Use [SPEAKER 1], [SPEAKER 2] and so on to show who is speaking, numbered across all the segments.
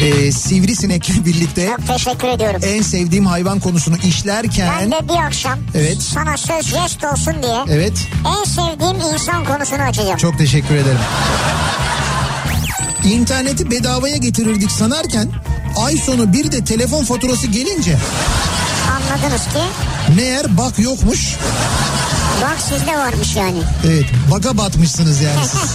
[SPEAKER 1] e, sivrisinekle birlikte
[SPEAKER 2] Çok teşekkür ediyorum.
[SPEAKER 1] en sevdiğim hayvan konusunu
[SPEAKER 2] ben
[SPEAKER 1] işlerken...
[SPEAKER 2] de bir akşam
[SPEAKER 1] Evet.
[SPEAKER 2] sana söz jest olsun diye
[SPEAKER 1] Evet.
[SPEAKER 2] en sevdiğim insan konusunu açacağım.
[SPEAKER 1] Çok teşekkür ederim. İnterneti bedavaya getirirdik sanarken ay sonu bir de telefon faturası gelince
[SPEAKER 2] Anladınız ki
[SPEAKER 1] meğer bak yokmuş.
[SPEAKER 2] bak sizde varmış yani.
[SPEAKER 1] Evet baka batmışsınız yani siz.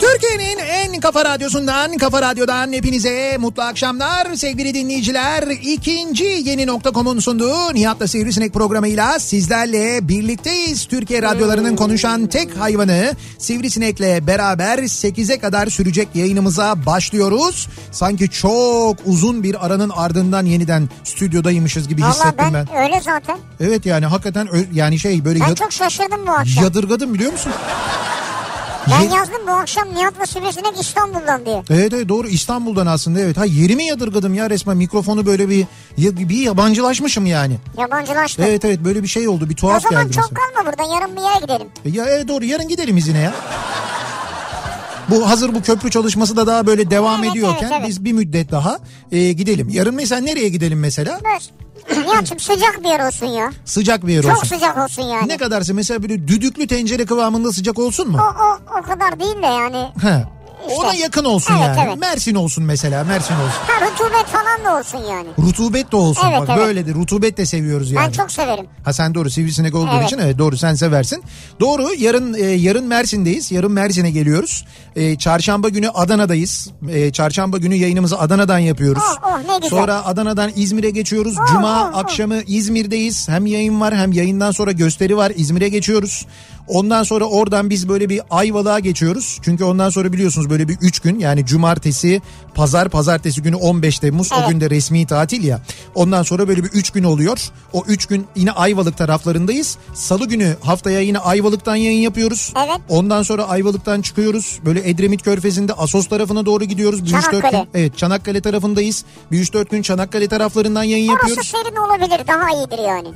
[SPEAKER 1] Türkiye'nin en kafa radyosundan, kafa radyodan hepinize mutlu akşamlar sevgili dinleyiciler. İkinci yeni nokta.com'un sunduğu Nihat'la Sivrisinek programıyla sizlerle birlikteyiz. Türkiye radyolarının konuşan tek hayvanı Sivrisinek'le beraber 8'e kadar sürecek yayınımıza başlıyoruz. Sanki çok uzun bir aranın ardından yeniden stüdyodaymışız gibi
[SPEAKER 2] Valla
[SPEAKER 1] hissettim
[SPEAKER 2] ben,
[SPEAKER 1] ben.
[SPEAKER 2] öyle zaten.
[SPEAKER 1] Evet yani hakikaten ö- yani şey böyle
[SPEAKER 2] Ben
[SPEAKER 1] ya-
[SPEAKER 2] çok şaşırdım bu akşam.
[SPEAKER 1] yadırgadım biliyor musun?
[SPEAKER 2] ben
[SPEAKER 1] Ye-
[SPEAKER 2] yazdım bu akşam Nihat'la Sivrisinek İstanbul'dan diye.
[SPEAKER 1] Evet evet doğru İstanbul'dan aslında evet. Ha yerimi yadırgadım ya resmen mikrofonu böyle bir ya- bir yabancılaşmışım yani.
[SPEAKER 2] Yabancılaştı.
[SPEAKER 1] Evet evet böyle bir şey oldu bir
[SPEAKER 2] o
[SPEAKER 1] tuhaf geldi.
[SPEAKER 2] zaman çok
[SPEAKER 1] mesela.
[SPEAKER 2] kalma burada yarın bir yere gidelim.
[SPEAKER 1] Ya evet doğru yarın gidelim izine ya. Bu hazır bu köprü çalışması da daha böyle devam
[SPEAKER 2] Evet,
[SPEAKER 1] ediyorken
[SPEAKER 2] evet, evet.
[SPEAKER 1] biz bir müddet daha e, gidelim. Yarın mesela nereye gidelim mesela?
[SPEAKER 2] Dur. Nihat'cığım sıcak bir yer olsun ya.
[SPEAKER 1] Sıcak bir yer
[SPEAKER 2] Çok
[SPEAKER 1] olsun.
[SPEAKER 2] sıcak olsun yani.
[SPEAKER 1] Ne kadarsa mesela böyle düdüklü tencere kıvamında sıcak olsun
[SPEAKER 2] O,
[SPEAKER 1] mu?
[SPEAKER 2] o, o kadar değil de yani.
[SPEAKER 1] He. Ona
[SPEAKER 2] İşte.
[SPEAKER 1] yakın olsun
[SPEAKER 2] Evet,
[SPEAKER 1] yani.
[SPEAKER 2] evet.
[SPEAKER 1] Mersin olsun mesela Mersin olsun.
[SPEAKER 2] Ha rutubet falan da olsun yani.
[SPEAKER 1] Rutubet de olsun
[SPEAKER 2] Evet,
[SPEAKER 1] bak
[SPEAKER 2] evet.
[SPEAKER 1] böyle de rutubet de seviyoruz yani.
[SPEAKER 2] Ben çok severim.
[SPEAKER 1] Ha sen doğru sivrisinek olduğun
[SPEAKER 2] Evet.
[SPEAKER 1] için evet doğru sen seversin. Doğru yarın e, yarın Mersin'deyiz. Yarın Mersin'e geliyoruz. E, çarşamba günü Adana'dayız. E, çarşamba günü yayınımızı Adana'dan yapıyoruz.
[SPEAKER 2] Oh, oh, ne güzel.
[SPEAKER 1] Sonra Adana'dan İzmir'e geçiyoruz.
[SPEAKER 2] Oh,
[SPEAKER 1] Cuma
[SPEAKER 2] oh, oh.
[SPEAKER 1] akşamı İzmir'deyiz. Hem yayın var hem yayından sonra gösteri var. İzmir'e geçiyoruz. Ondan sonra oradan biz böyle bir Ayvalık'a geçiyoruz. Çünkü ondan sonra biliyorsunuz böyle bir 3 gün yani cumartesi, pazar, pazartesi günü 15 Temmuz o
[SPEAKER 2] Evet.
[SPEAKER 1] gün de resmi tatil ya. Ondan sonra böyle bir 3 gün oluyor. O 3 gün yine Ayvalık taraflarındayız. Salı günü haftaya yine Ayvalık'tan yayın yapıyoruz.
[SPEAKER 2] Evet.
[SPEAKER 1] Ondan sonra Ayvalık'tan çıkıyoruz. Böyle Edremit Körfezi'nde Asos tarafına doğru gidiyoruz. Bir üç dört
[SPEAKER 2] Çanakkale.
[SPEAKER 1] gün- evet Çanakkale tarafındayız. Bir 3-4 gün Çanakkale taraflarından yayın
[SPEAKER 2] Orası
[SPEAKER 1] yapıyoruz.
[SPEAKER 2] serin olabilir daha iyidir yani.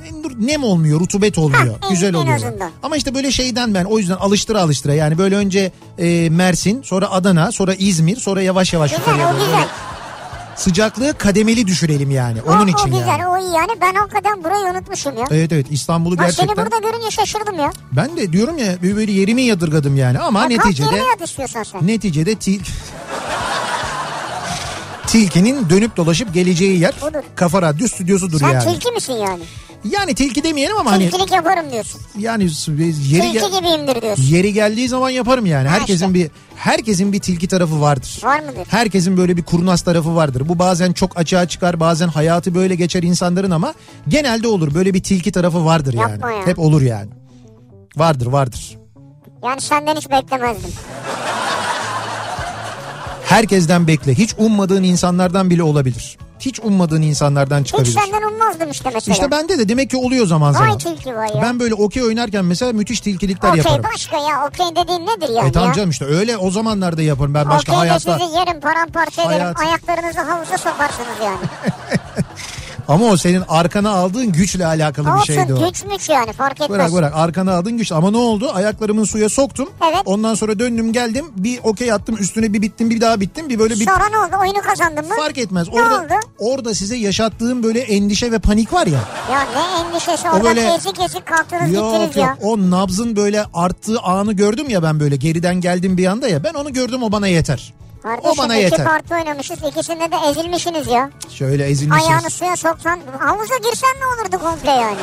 [SPEAKER 1] Nem olmuyor, rutubet olmuyor.
[SPEAKER 2] Ha, en-
[SPEAKER 1] Güzel
[SPEAKER 2] en
[SPEAKER 1] oluyor.
[SPEAKER 2] azından.
[SPEAKER 1] Ama işte böyle şeyden ben o yüzden alıştıra alıştıra yani böyle önce e, Mersin, sonra Adana, sonra İzmir, sonra yavaş yavaş yukarıya
[SPEAKER 2] Güzel o
[SPEAKER 1] doğru.
[SPEAKER 2] güzel. Oh,
[SPEAKER 1] Sıcaklığı kademeli düşürelim yani.
[SPEAKER 2] O-
[SPEAKER 1] Onun için
[SPEAKER 2] o güzel
[SPEAKER 1] yani.
[SPEAKER 2] o iyi yani ben hakikaten burayı unutmuşum ya.
[SPEAKER 1] Evet evet İstanbul'u
[SPEAKER 2] Bak
[SPEAKER 1] gerçekten.
[SPEAKER 2] seni burada görünce şaşırdım ya.
[SPEAKER 1] Ben de diyorum ya bir böyle yerimi yadırgadım yani ama
[SPEAKER 2] Ya Kalk
[SPEAKER 1] neticede
[SPEAKER 2] yerine yat istiyorsan sen.
[SPEAKER 1] neticede til Tilkinin dönüp dolaşıp geleceği yer
[SPEAKER 2] Odur.
[SPEAKER 1] Kafa Radyo stüdyosudur
[SPEAKER 2] Sen
[SPEAKER 1] yani.
[SPEAKER 2] tilki misin yani?
[SPEAKER 1] Yani tilki demeyelim ama hani
[SPEAKER 2] Tilkilik yaparım diyorsun.
[SPEAKER 1] yani s- yeri
[SPEAKER 2] Tilki
[SPEAKER 1] gel-
[SPEAKER 2] gibiyimdir diyorsun.
[SPEAKER 1] yeri geldiği zaman yaparım yani. Herkesin
[SPEAKER 2] işte.
[SPEAKER 1] bir herkesin bir tilki tarafı vardır.
[SPEAKER 2] Var mıdır?
[SPEAKER 1] Herkesin böyle bir kurnaz tarafı vardır. Bu bazen çok açığa çıkar, bazen hayatı böyle geçer insanların ama genelde olur. Böyle bir tilki tarafı vardır
[SPEAKER 2] Yapma
[SPEAKER 1] yani.
[SPEAKER 2] ya.
[SPEAKER 1] Hep olur yani. Vardır, vardır.
[SPEAKER 2] Yani senden hiç beklemezdim.
[SPEAKER 1] Herkesten bekle. Hiç ummadığın insanlardan bile olabilir. Hiç ummadığın insanlardan
[SPEAKER 2] Hiç
[SPEAKER 1] çıkabilir.
[SPEAKER 2] senden ummazdım işte mesela.
[SPEAKER 1] İşte bende de demek ki oluyor zaman zaman.
[SPEAKER 2] Vay tilki vay ya.
[SPEAKER 1] Ben böyle okey oynarken mesela müthiş tilkilikler
[SPEAKER 2] şey. Okey
[SPEAKER 1] yaparım.
[SPEAKER 2] başka ya okey dediğin nedir yani
[SPEAKER 1] E tamam
[SPEAKER 2] ya?
[SPEAKER 1] canım işte öyle o zamanlarda yaparım ben başka
[SPEAKER 2] Okey de
[SPEAKER 1] hayatta
[SPEAKER 2] sizi yerim paramparça ederim
[SPEAKER 1] Hayat-
[SPEAKER 2] ayaklarınızı havuza sokarsınız yani.
[SPEAKER 1] Ama o senin arkana aldığın güçle alakalı bir
[SPEAKER 2] Olsun
[SPEAKER 1] şeydi o.
[SPEAKER 2] güç müç yani fark etmez.
[SPEAKER 1] Bırak bırak arkana aldın güç ama ne oldu ayaklarımın suya soktum
[SPEAKER 2] Evet.
[SPEAKER 1] ondan sonra döndüm geldim bir okey attım üstüne bir bittim bir daha bittim bir böyle bir
[SPEAKER 2] Sonra ne oldu oyunu kazandın mı?
[SPEAKER 1] fark etmez.
[SPEAKER 2] Ne
[SPEAKER 1] Orada,
[SPEAKER 2] oldu?
[SPEAKER 1] orada size yaşattığım böyle endişe ve panik var ya.
[SPEAKER 2] Ya ne endişesi orada
[SPEAKER 1] böyle-
[SPEAKER 2] kesik kesik kalktınız
[SPEAKER 1] Yok yok
[SPEAKER 2] gittiniz ya.
[SPEAKER 1] o nabzın böyle arttığı anı gördüm ya ben böyle geriden geldim bir anda ya ben onu gördüm o bana yeter.
[SPEAKER 2] Kardeşim
[SPEAKER 1] o bana
[SPEAKER 2] iki
[SPEAKER 1] yeter.
[SPEAKER 2] parti oynamışız ikisinde de ezilmişsiniz ya.
[SPEAKER 1] Şöyle ezilmişiz.
[SPEAKER 2] Ayağını suya soksan havuza girsen ne olurdu komple yani.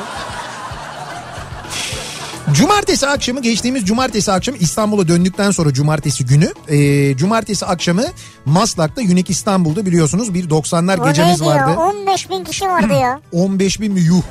[SPEAKER 1] Cumartesi akşamı geçtiğimiz cumartesi akşamı İstanbul'a döndükten sonra cumartesi günü e, cumartesi akşamı Maslak'ta Unique İstanbul'da biliyorsunuz bir 90'lar
[SPEAKER 2] O
[SPEAKER 1] gecemiz
[SPEAKER 2] neydi
[SPEAKER 1] vardı.
[SPEAKER 2] ya 15 bin kişi vardı ya.
[SPEAKER 1] 15 bin mi yuh.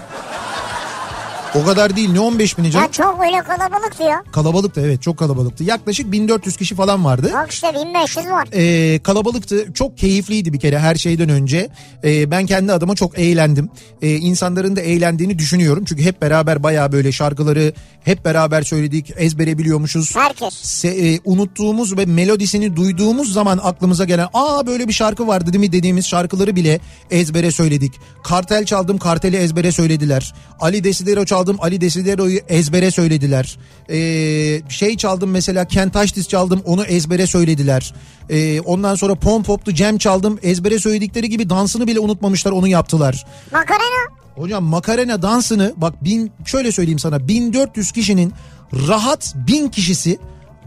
[SPEAKER 1] O kadar değil ne 15 bini canım?
[SPEAKER 2] Ya çok öyle kalabalıktı ya.
[SPEAKER 1] Kalabalıktı evet çok kalabalıktı. Yaklaşık 1400 kişi falan vardı.
[SPEAKER 2] Bak işte 1500 var.
[SPEAKER 1] Ee, kalabalıktı. Çok keyifliydi bir kere her şeyden önce. Ee, ben kendi adıma çok eğlendim. Ee, insanların da eğlendiğini düşünüyorum. Çünkü hep beraber bayağı böyle şarkıları hep beraber söyledik. Ezbere biliyormuşuz.
[SPEAKER 2] Herkes.
[SPEAKER 1] Se- e, unuttuğumuz ve melodisini duyduğumuz zaman aklımıza gelen aa böyle bir şarkı vardı değil mi dediğimiz şarkıları bile ezbere söyledik. Kartel çaldım karteli ezbere söylediler. Ali Desidero çaldım Ali Desidero'yu ezbere söylediler. Ee, şey çaldım mesela Kentaştis çaldım onu ezbere söylediler. Ee, ondan sonra Pom Pop'tu Cem çaldım ezbere söyledikleri gibi dansını bile unutmamışlar onu yaptılar.
[SPEAKER 2] Makarena.
[SPEAKER 1] Hocam Makarena dansını bak bin, şöyle söyleyeyim sana 1400 kişinin rahat 1000 kişisi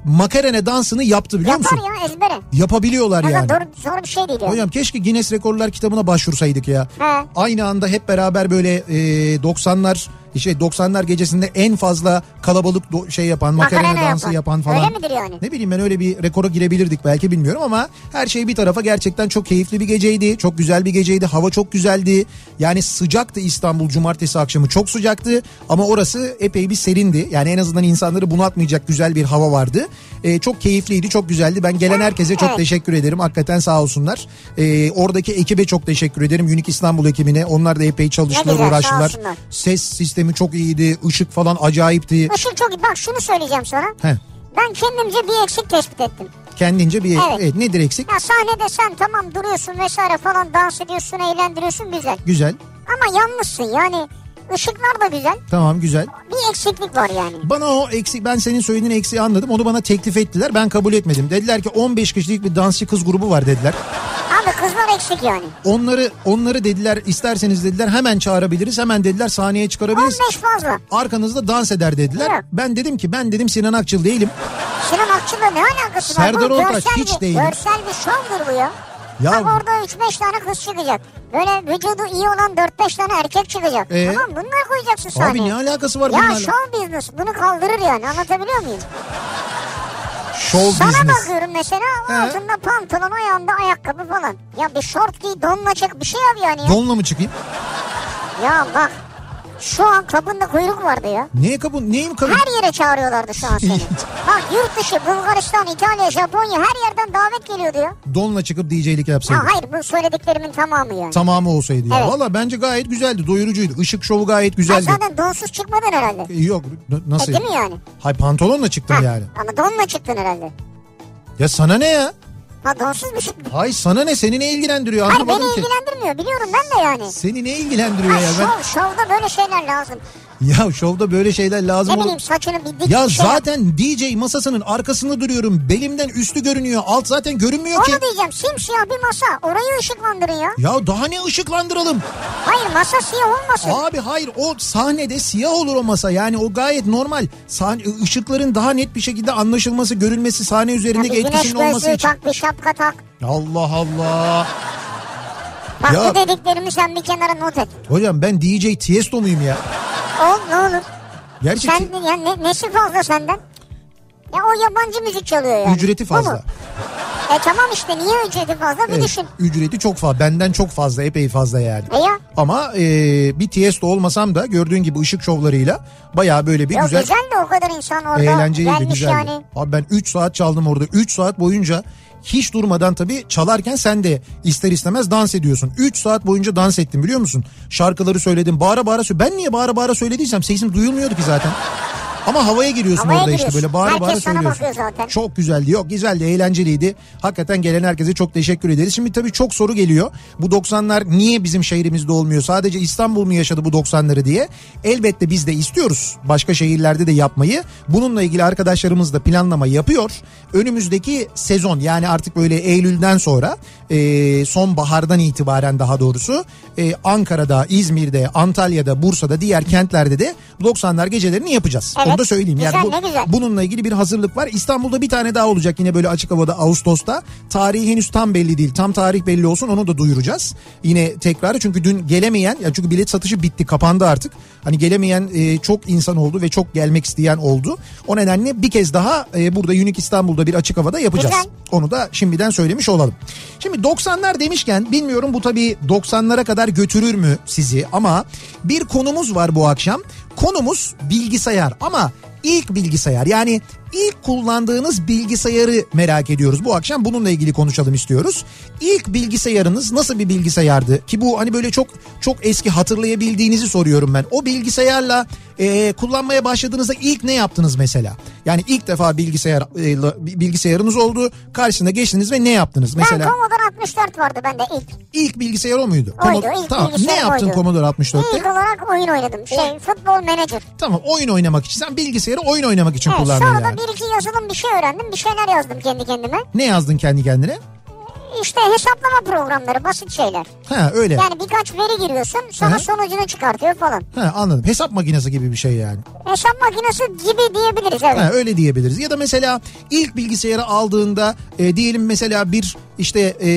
[SPEAKER 1] Makarena dansını yaptı biliyor
[SPEAKER 2] Yapar
[SPEAKER 1] musun?
[SPEAKER 2] ya ezbere.
[SPEAKER 1] Yapabiliyorlar
[SPEAKER 2] Yani.
[SPEAKER 1] yani.
[SPEAKER 2] Doğru, zor bir şey değil ya.
[SPEAKER 1] Hocam keşke Guinness Rekorlar kitabına başvursaydık ya.
[SPEAKER 2] He.
[SPEAKER 1] Aynı anda hep beraber böyle e, 90'lar şey 90'lar gecesinde en fazla kalabalık do- şey yapan makarena,
[SPEAKER 2] Makarena
[SPEAKER 1] dansı
[SPEAKER 2] yapan.
[SPEAKER 1] yapan falan.
[SPEAKER 2] Öyle midir yani?
[SPEAKER 1] Ne bileyim ben öyle bir rekora girebilirdik belki bilmiyorum ama her şey bir tarafa gerçekten çok keyifli bir geceydi. Çok güzel bir geceydi. Hava çok güzeldi. Yani sıcaktı İstanbul cumartesi akşamı çok sıcaktı ama orası epey bir serindi. Yani en azından insanları bunaltmayacak güzel bir hava vardı. E, çok keyifliydi, çok güzeldi. Ben gelen herkese çok
[SPEAKER 2] Evet.
[SPEAKER 1] teşekkür ederim. Hakikaten sağ olsunlar. E, oradaki ekibe çok teşekkür ederim. Unique İstanbul ekibine. Onlar da epey çalıştılar,
[SPEAKER 2] güzel, sağ
[SPEAKER 1] uğraştılar.
[SPEAKER 2] olsunlar.
[SPEAKER 1] Ses sistemi çok iyiydi. Işık falan acayipti.
[SPEAKER 2] Işık çok iyi. Bak şunu söyleyeceğim sana.
[SPEAKER 1] Heh.
[SPEAKER 2] Ben kendimce bir eksik tespit ettim.
[SPEAKER 1] Kendince bir
[SPEAKER 2] Evet.
[SPEAKER 1] evet, nedir eksik?
[SPEAKER 2] Ya sahnede sen tamam duruyorsun vesaire falan dans ediyorsun, eğlendiriyorsun güzel.
[SPEAKER 1] Güzel.
[SPEAKER 2] Ama yalnızsın yani. Işıklar da güzel.
[SPEAKER 1] Tamam güzel.
[SPEAKER 2] Bir eksiklik var yani.
[SPEAKER 1] Bana o eksik ben senin söylediğin eksiği anladım. Onu bana teklif ettiler. Ben kabul etmedim. Dediler ki 15 kişilik bir dansçı kız grubu var dediler.
[SPEAKER 2] Abi kızlar eksik yani.
[SPEAKER 1] Onları onları dediler isterseniz dediler hemen çağırabiliriz. Hemen dediler sahneye çıkarabiliriz.
[SPEAKER 2] 15 fazla.
[SPEAKER 1] Arkanızda dans eder dediler.
[SPEAKER 2] Yok.
[SPEAKER 1] Ben dedim ki ben dedim Sinan Akçıl değilim.
[SPEAKER 2] Sinan Akçıl'la ne alakası var?
[SPEAKER 1] Serdar
[SPEAKER 2] Bu
[SPEAKER 1] Ortaç
[SPEAKER 2] görsel
[SPEAKER 1] hiç
[SPEAKER 2] bir,
[SPEAKER 1] değil.
[SPEAKER 2] Görsel bir şovdur bu ya.
[SPEAKER 1] Ya-
[SPEAKER 2] Bak orada 3-5 tane kız çıkacak. Böyle vücudu iyi olan 4-5 tane erkek çıkacak.
[SPEAKER 1] Ee?
[SPEAKER 2] Tamam bunları koyacaksın sahneye.
[SPEAKER 1] Abi ne alakası var
[SPEAKER 2] Ya
[SPEAKER 1] bunlarla?
[SPEAKER 2] show business bunu kaldırır yani anlatabiliyor muyum?
[SPEAKER 1] Show
[SPEAKER 2] Sana
[SPEAKER 1] business.
[SPEAKER 2] bakıyorum mesela
[SPEAKER 1] He.
[SPEAKER 2] altında pantolon ayağında ayakkabı falan. Ya bir şort giy donla çık bir şey yap yani. Ya,
[SPEAKER 1] Donla mı çıkayım?
[SPEAKER 2] ya bak şu an kabında kuyruk vardı ya.
[SPEAKER 1] Neye kabul? Neyim kabul?
[SPEAKER 2] Her yere çağırıyorlardı şu an seni. Bak yurt dışı Bulgaristan, İtalya, Japonya her yerden davet geliyordu ya.
[SPEAKER 1] Donla çıkıp DJ'lik
[SPEAKER 2] Ya
[SPEAKER 1] yapsaydım.
[SPEAKER 2] hayır bu söylediklerimin tamamı yani.
[SPEAKER 1] Tamamı olsaydı ya.
[SPEAKER 2] Evet.
[SPEAKER 1] Valla bence gayet güzeldi. Doyurucuydu. Işık şovu gayet
[SPEAKER 2] Sen
[SPEAKER 1] güzeldi.
[SPEAKER 2] zaten donsuz çıkmadın herhalde.
[SPEAKER 1] E, Yok n-
[SPEAKER 2] E,
[SPEAKER 1] nasıl?
[SPEAKER 2] değil mi yani?
[SPEAKER 1] Hay pantolonla çıktım
[SPEAKER 2] Ha,
[SPEAKER 1] yani.
[SPEAKER 2] Ama donla çıktın herhalde.
[SPEAKER 1] Ya sana ne ya?
[SPEAKER 2] Ha donsuz bir şey.
[SPEAKER 1] Hay sana ne? Seni ne ilgilendiriyor?
[SPEAKER 2] Hayır
[SPEAKER 1] Anlamadım
[SPEAKER 2] beni
[SPEAKER 1] ki.
[SPEAKER 2] ilgilendirmiyor biliyorum ben de yani.
[SPEAKER 1] Seni ne ilgilendiriyor
[SPEAKER 2] Ha,
[SPEAKER 1] ya? Ben...
[SPEAKER 2] şov, şovda böyle şeyler lazım.
[SPEAKER 1] Ya şovda böyle şeyler lazım
[SPEAKER 2] Ne
[SPEAKER 1] olur.
[SPEAKER 2] bileyim saçını bir dik
[SPEAKER 1] Ya
[SPEAKER 2] bir şey yap.
[SPEAKER 1] zaten DJ masasının arkasında duruyorum. Belimden üstü görünüyor. Alt zaten görünmüyor ki.
[SPEAKER 2] Onu diyeceğim simsiyah bir masa orayı ışıklandırın ya.
[SPEAKER 1] Ya daha ne ışıklandıralım?
[SPEAKER 2] Hayır masa siyah olmasın.
[SPEAKER 1] Abi hayır o sahnede siyah olur o masa. Yani o gayet normal. Sahne, ışıkların daha net bir şekilde anlaşılması, görülmesi, sahne
[SPEAKER 2] Ya bir
[SPEAKER 1] üzerindeki
[SPEAKER 2] güneş
[SPEAKER 1] etkisinin olması
[SPEAKER 2] gözlüğü
[SPEAKER 1] için.
[SPEAKER 2] tak bir şapka tak.
[SPEAKER 1] Allah Allah.
[SPEAKER 2] Bak
[SPEAKER 1] Ya-
[SPEAKER 2] bu dediklerimi sen bir kenara not et.
[SPEAKER 1] Hocam ben DJ Tiesto muyum ya?
[SPEAKER 2] Ol ne olur.
[SPEAKER 1] Gerçekten
[SPEAKER 2] Sen ya ne, nesi fazla senden? Ya o yabancı müzik çalıyor yani.
[SPEAKER 1] ücreti
[SPEAKER 2] Bu mu?
[SPEAKER 1] fazla.
[SPEAKER 2] E tamam işte niye ücreti fazla bir
[SPEAKER 1] Evet,
[SPEAKER 2] düşün.
[SPEAKER 1] ücreti çok fazla. Benden çok fazla. Epey fazla yani.
[SPEAKER 2] E ya.
[SPEAKER 1] Ama e, bir Tiesto olmasam da gördüğün gibi ışık şovlarıyla baya böyle bir
[SPEAKER 2] Ya
[SPEAKER 1] güzel,
[SPEAKER 2] güzel, de o kadar insan orada
[SPEAKER 1] eğlenceliydi.
[SPEAKER 2] gelmiş
[SPEAKER 1] Güzeldi.
[SPEAKER 2] yani.
[SPEAKER 1] Abi ben 3 saat çaldım orada. 3 saat boyunca hiç durmadan tabii çalarken sen de ister istemez dans ediyorsun. 3 saat boyunca dans ettim biliyor musun? Şarkıları söyledim. Bağıra bağıra söyledim. Ben niye bağıra bağıra söylediysem sesim duyulmuyordu ki zaten. Ama havaya giriyorsun
[SPEAKER 2] Havaya
[SPEAKER 1] orada işte
[SPEAKER 2] giriyorsun.
[SPEAKER 1] böyle bağıra
[SPEAKER 2] Herkes
[SPEAKER 1] bağıra
[SPEAKER 2] sana
[SPEAKER 1] söylüyorsun.
[SPEAKER 2] bakıyor zaten.
[SPEAKER 1] Çok güzeldi. Yok güzeldi, eğlenceliydi. Hakikaten gelen herkese çok teşekkür ederiz. Şimdi tabii çok soru geliyor. Bu 90'lar niye bizim şehrimizde olmuyor? Sadece İstanbul mu yaşadı bu 90'ları diye. Elbette biz de istiyoruz başka şehirlerde de yapmayı. Bununla ilgili arkadaşlarımız da planlama yapıyor. Önümüzdeki sezon yani artık böyle Eylül'den sonra e, sonbahardan itibaren daha doğrusu e, Ankara'da, İzmir'de, Antalya'da, Bursa'da diğer kentlerde de 90'lar gecelerini yapacağız.
[SPEAKER 2] Evet.
[SPEAKER 1] Onu da söyleyeyim. yani
[SPEAKER 2] Güzel,
[SPEAKER 1] bu-
[SPEAKER 2] ne güzel.
[SPEAKER 1] bununla ilgili bir hazırlık var. İstanbul'da bir tane daha olacak yine böyle açık havada Ağustos'ta. Tarihi henüz tam belli değil. Tam tarih belli olsun onu da duyuracağız. Yine tekrar çünkü dün gelemeyen ya çünkü bilet satışı bitti kapandı artık. Hani gelemeyen e, çok insan oldu ve çok gelmek isteyen oldu. O nedenle bir kez daha e, burada Unique İstanbul'da bir açık havada yapacağız.
[SPEAKER 2] Güzel.
[SPEAKER 1] Onu da şimdiden söylemiş olalım. Şimdi 90'lar demişken bilmiyorum bu tabii 90'lara kadar götürür mü sizi ama bir konumuz var bu akşam. Konumuz bilgisayar ama ilk bilgisayar yani ilk kullandığınız bilgisayarı merak ediyoruz. Bu akşam bununla ilgili konuşalım istiyoruz. İlk bilgisayarınız nasıl bir bilgisayardı? Ki bu hani böyle çok çok eski hatırlayabildiğinizi soruyorum ben. O bilgisayarla e, kullanmaya başladığınızda ilk ne yaptınız mesela? Yani ilk defa bilgisayar e, la- bilgisayarınız oldu. Karşısına geçtiniz ve ne yaptınız mesela?
[SPEAKER 2] Ben Commodore 64 vardı bende ilk.
[SPEAKER 1] ilk bilgisayar o muydu?
[SPEAKER 2] Oydu
[SPEAKER 1] Komo-
[SPEAKER 2] ilk
[SPEAKER 1] tamam. Ne
[SPEAKER 2] bilgisayarım
[SPEAKER 1] yaptın
[SPEAKER 2] oydu.
[SPEAKER 1] Commodore 64'te?
[SPEAKER 2] İlk olarak oyun oynadım. Şey futbol manager.
[SPEAKER 1] Tamam oyun oynamak için. Sen bilgisayarı oyun oynamak için
[SPEAKER 2] Evet,
[SPEAKER 1] kullandın
[SPEAKER 2] sonra da
[SPEAKER 1] yani.
[SPEAKER 2] bir iki yazılım bir şey öğrendim. Bir şeyler yazdım kendi kendime.
[SPEAKER 1] Ne yazdın kendi kendine?
[SPEAKER 2] İşte hesaplama programları basit şeyler.
[SPEAKER 1] Ha öyle.
[SPEAKER 2] Yani birkaç veri giriyorsun
[SPEAKER 1] Hı
[SPEAKER 2] sonra
[SPEAKER 1] hı.
[SPEAKER 2] sonucunu çıkartıyor falan.
[SPEAKER 1] Ha anladım. Hesap makinesi gibi bir şey yani.
[SPEAKER 2] Hesap makinesi gibi diyebiliriz evet.
[SPEAKER 1] Ha, öyle diyebiliriz. Ya da mesela ilk bilgisayarı aldığında e, diyelim mesela bir işte e,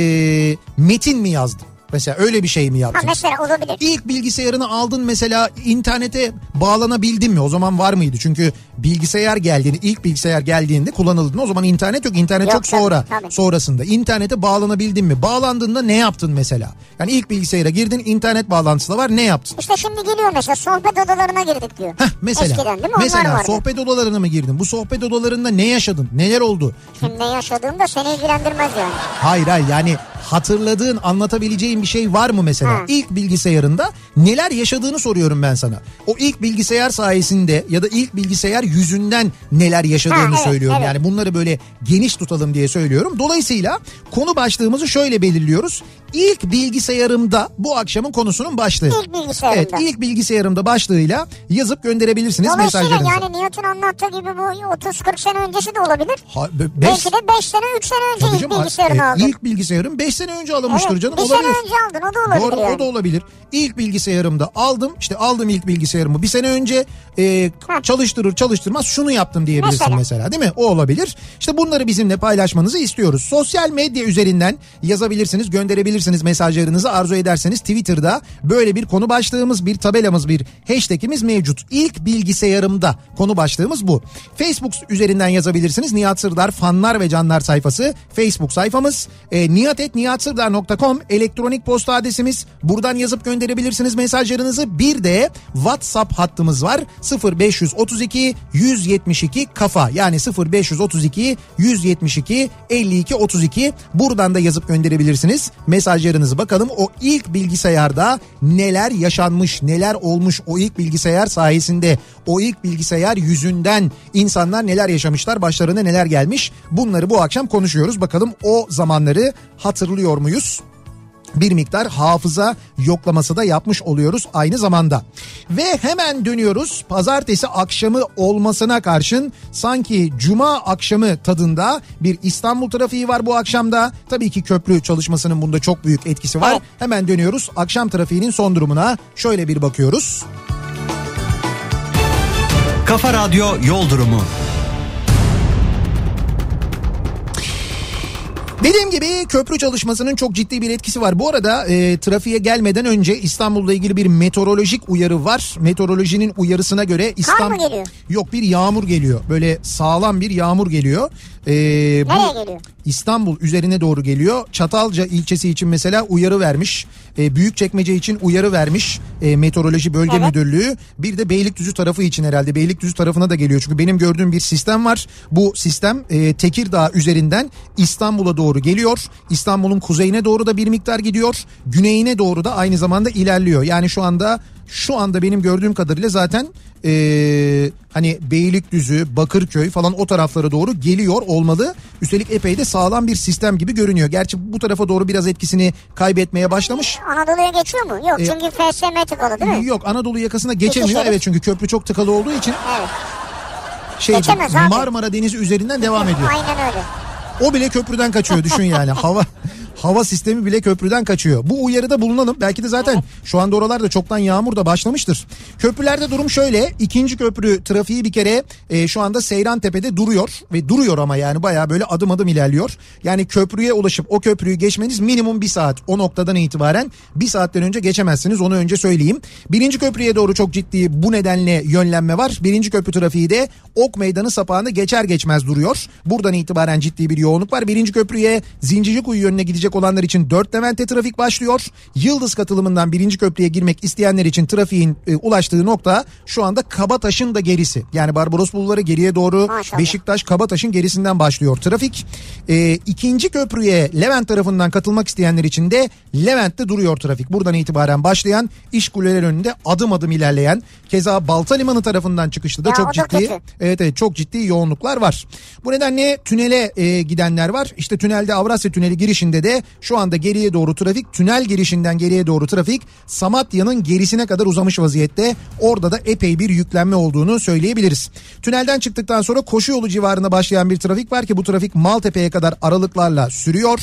[SPEAKER 1] metin mi yazdın? Mesela öyle bir şey mi
[SPEAKER 2] Ha
[SPEAKER 1] yaptın?
[SPEAKER 2] mesela olabilir.
[SPEAKER 1] İlk bilgisayarını aldın mesela internete bağlanabildin mi? O zaman var mıydı? Çünkü bilgisayar geldiğinde ilk bilgisayar geldiğinde kullanıldığında o zaman internet yok. İnternet çok
[SPEAKER 2] Yok, tabii,
[SPEAKER 1] sonra
[SPEAKER 2] tabii.
[SPEAKER 1] sonrasında. İnternete bağlanabildin mi? Bağlandığında ne yaptın mesela? Yani ilk bilgisayara girdin internet bağlantısı da var ne yaptın?
[SPEAKER 2] İşte şimdi geliyor mesela sohbet odalarına girdik diyor.
[SPEAKER 1] Heh, mesela
[SPEAKER 2] Eskiden değil mi? Onlar
[SPEAKER 1] mesela
[SPEAKER 2] vardı.
[SPEAKER 1] sohbet odalarına mı girdin? Bu sohbet odalarında ne yaşadın? Neler oldu?
[SPEAKER 2] Şimdi ne yaşadığım da seni ilgilendirmez yani.
[SPEAKER 1] Hayır hayır yani hatırladığın anlatabileceğin bir şey var mı mesela?
[SPEAKER 2] Ha.
[SPEAKER 1] İlk bilgisayarında neler yaşadığını soruyorum ben sana. O ilk bilgisayar sayesinde ya da ilk bilgisayar yüzünden neler yaşadığını
[SPEAKER 2] Ha, evet,
[SPEAKER 1] söylüyorum.
[SPEAKER 2] evet.
[SPEAKER 1] Yani bunları böyle geniş tutalım diye söylüyorum. Dolayısıyla konu başlığımızı şöyle belirliyoruz. İlk bilgisayarımda bu akşamın konusunun başlığı.
[SPEAKER 2] İlk bilgisayarımda.
[SPEAKER 1] Evet ilk bilgisayarımda başlığıyla yazıp gönderebilirsiniz
[SPEAKER 2] Dolayısıyla
[SPEAKER 1] mesajlarınızı.
[SPEAKER 2] yani Nihat'ın anlattığı gibi bu 30-40 sene öncesi de olabilir.
[SPEAKER 1] Ha, be- beş-
[SPEAKER 2] Belki de 5 sene 3 sene önce
[SPEAKER 1] Tabii
[SPEAKER 2] ilk
[SPEAKER 1] canım,
[SPEAKER 2] bilgisayarını
[SPEAKER 1] e,
[SPEAKER 2] aldın.
[SPEAKER 1] ilk bilgisayarım 5 sene önce alınmıştır
[SPEAKER 2] Evet,
[SPEAKER 1] canım.
[SPEAKER 2] bir sene
[SPEAKER 1] olabilir.
[SPEAKER 2] önce aldın, o da olabilir
[SPEAKER 1] Doğru
[SPEAKER 2] yani.
[SPEAKER 1] o da olabilir. İlk bilgisayarımda aldım işte aldım ilk bilgisayarımı bir sene önce e,
[SPEAKER 2] Heh.
[SPEAKER 1] çalıştırır çalıştırmaz şunu yaptım diyebilirsin mesela.
[SPEAKER 2] Mesela.
[SPEAKER 1] değil mi? O olabilir. İşte bunları bizimle paylaşmanızı istiyoruz. Sosyal medya üzerinden yazabilirsiniz gönderebilirsiniz mesajlarınızı arzu ederseniz Twitter'da böyle bir konu başlığımız bir tabelamız bir hashtagimiz mevcut. İlk bilgisayarımda konu başlığımız bu. Facebook üzerinden yazabilirsiniz. Nihat Sırdar fanlar ve canlar sayfası Facebook sayfamız. E, niyatetniyatsırdar.com elektronik posta adresimiz. Buradan yazıp gönderebilirsiniz mesajlarınızı. Bir de WhatsApp hattımız var. 0532 172 kafa yani 0532 172 52 32 buradan da yazıp gönderebilirsiniz. Mesajlarınızı bakalım o ilk bilgisayarda neler yaşanmış, neler olmuş o ilk bilgisayar sayesinde, o ilk bilgisayar yüzünden insanlar neler yaşamışlar, başlarına neler gelmiş. Bunları bu akşam konuşuyoruz. Bakalım o zamanları hatırlıyor muyuz? bir miktar hafıza yoklaması da yapmış oluyoruz aynı zamanda. Ve hemen dönüyoruz pazartesi akşamı olmasına karşın sanki cuma akşamı tadında bir İstanbul trafiği var bu akşamda. Tabii ki köprü çalışmasının bunda çok büyük etkisi var.
[SPEAKER 2] Evet.
[SPEAKER 1] Hemen dönüyoruz akşam trafiğinin son durumuna şöyle bir bakıyoruz.
[SPEAKER 3] Kafa Radyo Yol Durumu.
[SPEAKER 1] Dediğim gibi köprü çalışmasının çok ciddi bir etkisi var. Bu arada e, trafiğe gelmeden önce İstanbul'la ilgili bir meteorolojik uyarı var. Meteorolojinin uyarısına göre İstanbul...
[SPEAKER 2] mı geliyor?
[SPEAKER 1] Yok bir yağmur geliyor. Böyle sağlam bir yağmur geliyor. E, bu-
[SPEAKER 2] Nereye geliyor?
[SPEAKER 1] İstanbul üzerine doğru geliyor. Çatalca ilçesi için mesela uyarı vermiş. E, Büyükçekmece için uyarı vermiş. E, Meteoroloji Bölge
[SPEAKER 2] Evet.
[SPEAKER 1] Müdürlüğü. Bir de Beylikdüzü tarafı için herhalde. Beylikdüzü tarafına da geliyor. Çünkü benim gördüğüm bir sistem var. Bu sistem e, Tekirdağ üzerinden İstanbul'a doğru geliyor. İstanbul'un kuzeyine doğru da bir miktar gidiyor. Güneyine doğru da aynı zamanda ilerliyor. Yani şu anda şu anda benim gördüğüm kadarıyla zaten e, hani Beylikdüzü, Bakırköy falan o taraflara doğru geliyor olmalı. Üstelik epey de sağlam bir sistem gibi görünüyor. Gerçi bu tarafa doğru biraz etkisini kaybetmeye başlamış.
[SPEAKER 2] Anadolu'ya geçiyor mu? Yok çünkü FSM tıkalı değil mi?
[SPEAKER 1] E, Yok Anadolu yakasına geçemiyor.
[SPEAKER 2] Geçişleri.
[SPEAKER 1] Evet çünkü köprü çok tıkalı olduğu için
[SPEAKER 2] Evet.
[SPEAKER 1] şey
[SPEAKER 2] Geçemez abi.
[SPEAKER 1] Marmara Denizi üzerinden devam ediyor.
[SPEAKER 2] Aynen öyle.
[SPEAKER 1] O bile köprüden kaçıyor düşün yani. Hava hava sistemi bile köprüden kaçıyor. Bu uyarıda bulunalım. Belki de zaten şu anda oralarda çoktan yağmur da başlamıştır. Köprülerde durum şöyle. İkinci köprü trafiği bir kere e, şu anda Seyran Tepe'de duruyor ve duruyor ama yani bayağı böyle adım adım ilerliyor. Yani köprüye ulaşıp o köprüyü geçmeniz minimum bir saat. O noktadan itibaren bir saatten önce geçemezsiniz. Onu önce söyleyeyim. Birinci köprüye doğru çok ciddi bu nedenle yönlenme var. Birinci köprü trafiği de Ok Meydanı sapağını geçer geçmez duruyor. Buradan itibaren ciddi bir yoğunluk var. Birinci köprüye Zincirlikuyu yönüne gidecek olanlar için 4 Levent'e trafik başlıyor. Yıldız katılımından birinci köprüye girmek isteyenler için trafiğin e, ulaştığı nokta şu anda Kabataş'ın da gerisi. Yani Barbaros Bulvarı geriye doğru
[SPEAKER 2] Maşallah.
[SPEAKER 1] Beşik Beşiktaş Kabataş'ın gerisinden başlıyor trafik. Ee, ikinci köprüye Levent tarafından katılmak isteyenler için de Levent'te duruyor trafik. Buradan itibaren başlayan iş kuleler önünde adım adım ilerleyen keza Balta Limanı tarafından çıkışta da
[SPEAKER 2] Ya o da
[SPEAKER 1] çok ciddi
[SPEAKER 2] kötü.
[SPEAKER 1] evet evet çok ciddi yoğunluklar var. Bu nedenle tünele e, gidenler var. İşte tünelde Avrasya Tüneli girişinde de şu anda geriye doğru trafik tünel girişinden geriye doğru trafik Samatya'nın gerisine kadar uzamış vaziyette. Orada da epey bir yüklenme olduğunu söyleyebiliriz. Tünelden çıktıktan sonra koşu yolu civarında başlayan bir trafik var ki bu trafik Maltepe'ye kadar aralıklarla sürüyor.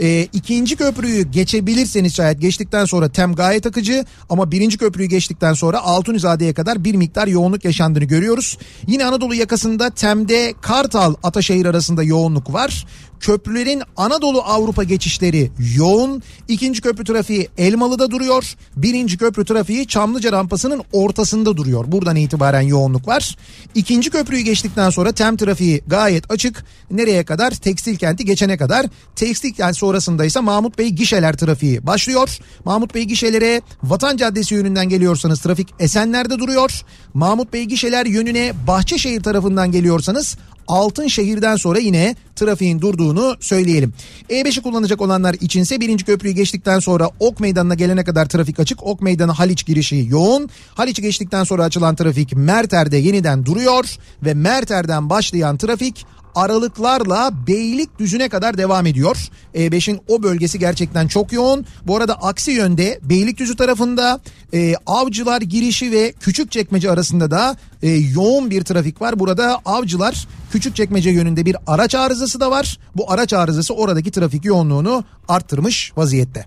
[SPEAKER 1] E, ikinci köprüyü geçebilirseniz şayet geçtikten sonra tem gayet akıcı ama birinci köprüyü geçtikten sonra Altunizade'ye kadar bir miktar yoğunluk yaşandığını görüyoruz. Yine Anadolu yakasında Tem'de Kartal Ataşehir arasında yoğunluk var. Köprülerin Anadolu Avrupa geçişleri yoğun. İkinci köprü trafiği Elmalı'da duruyor. Birinci köprü trafiği Çamlıca rampasının ortasında duruyor. Buradan itibaren yoğunluk var. İkinci köprüyü geçtikten sonra tem trafiği gayet açık. Nereye kadar? Tekstil kenti geçene kadar. Tekstil kent sonrasında ise Mahmut Bey gişeler trafiği başlıyor. Mahmut Bey gişelere Vatan Caddesi yönünden geliyorsanız trafik Esenler'de duruyor. Mahmut Bey gişeler yönüne Bahçeşehir tarafından geliyorsanız Altınşehir'den sonra yine trafiğin durduğunu söyleyelim. E5'i kullanacak olanlar içinse birinci köprüyü geçtikten sonra Ok Meydanı'na gelene kadar trafik açık. Ok Meydanı Haliç girişi yoğun. Haliç'i geçtikten sonra açılan trafik Merter'de yeniden duruyor ve Merter'den başlayan trafik aralıklarla Beylikdüzü'ne kadar devam ediyor. E5'in o bölgesi gerçekten çok yoğun. Bu arada aksi yönde Beylikdüzü tarafında e, Avcılar girişi ve Küçükçekmece arasında da e, yoğun bir trafik var. Burada Avcılar Küçükçekmece yönünde bir araç arızası da var. Bu araç arızası oradaki trafik yoğunluğunu arttırmış vaziyette.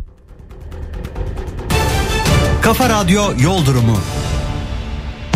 [SPEAKER 3] Kafa Radyo Yol Durumu.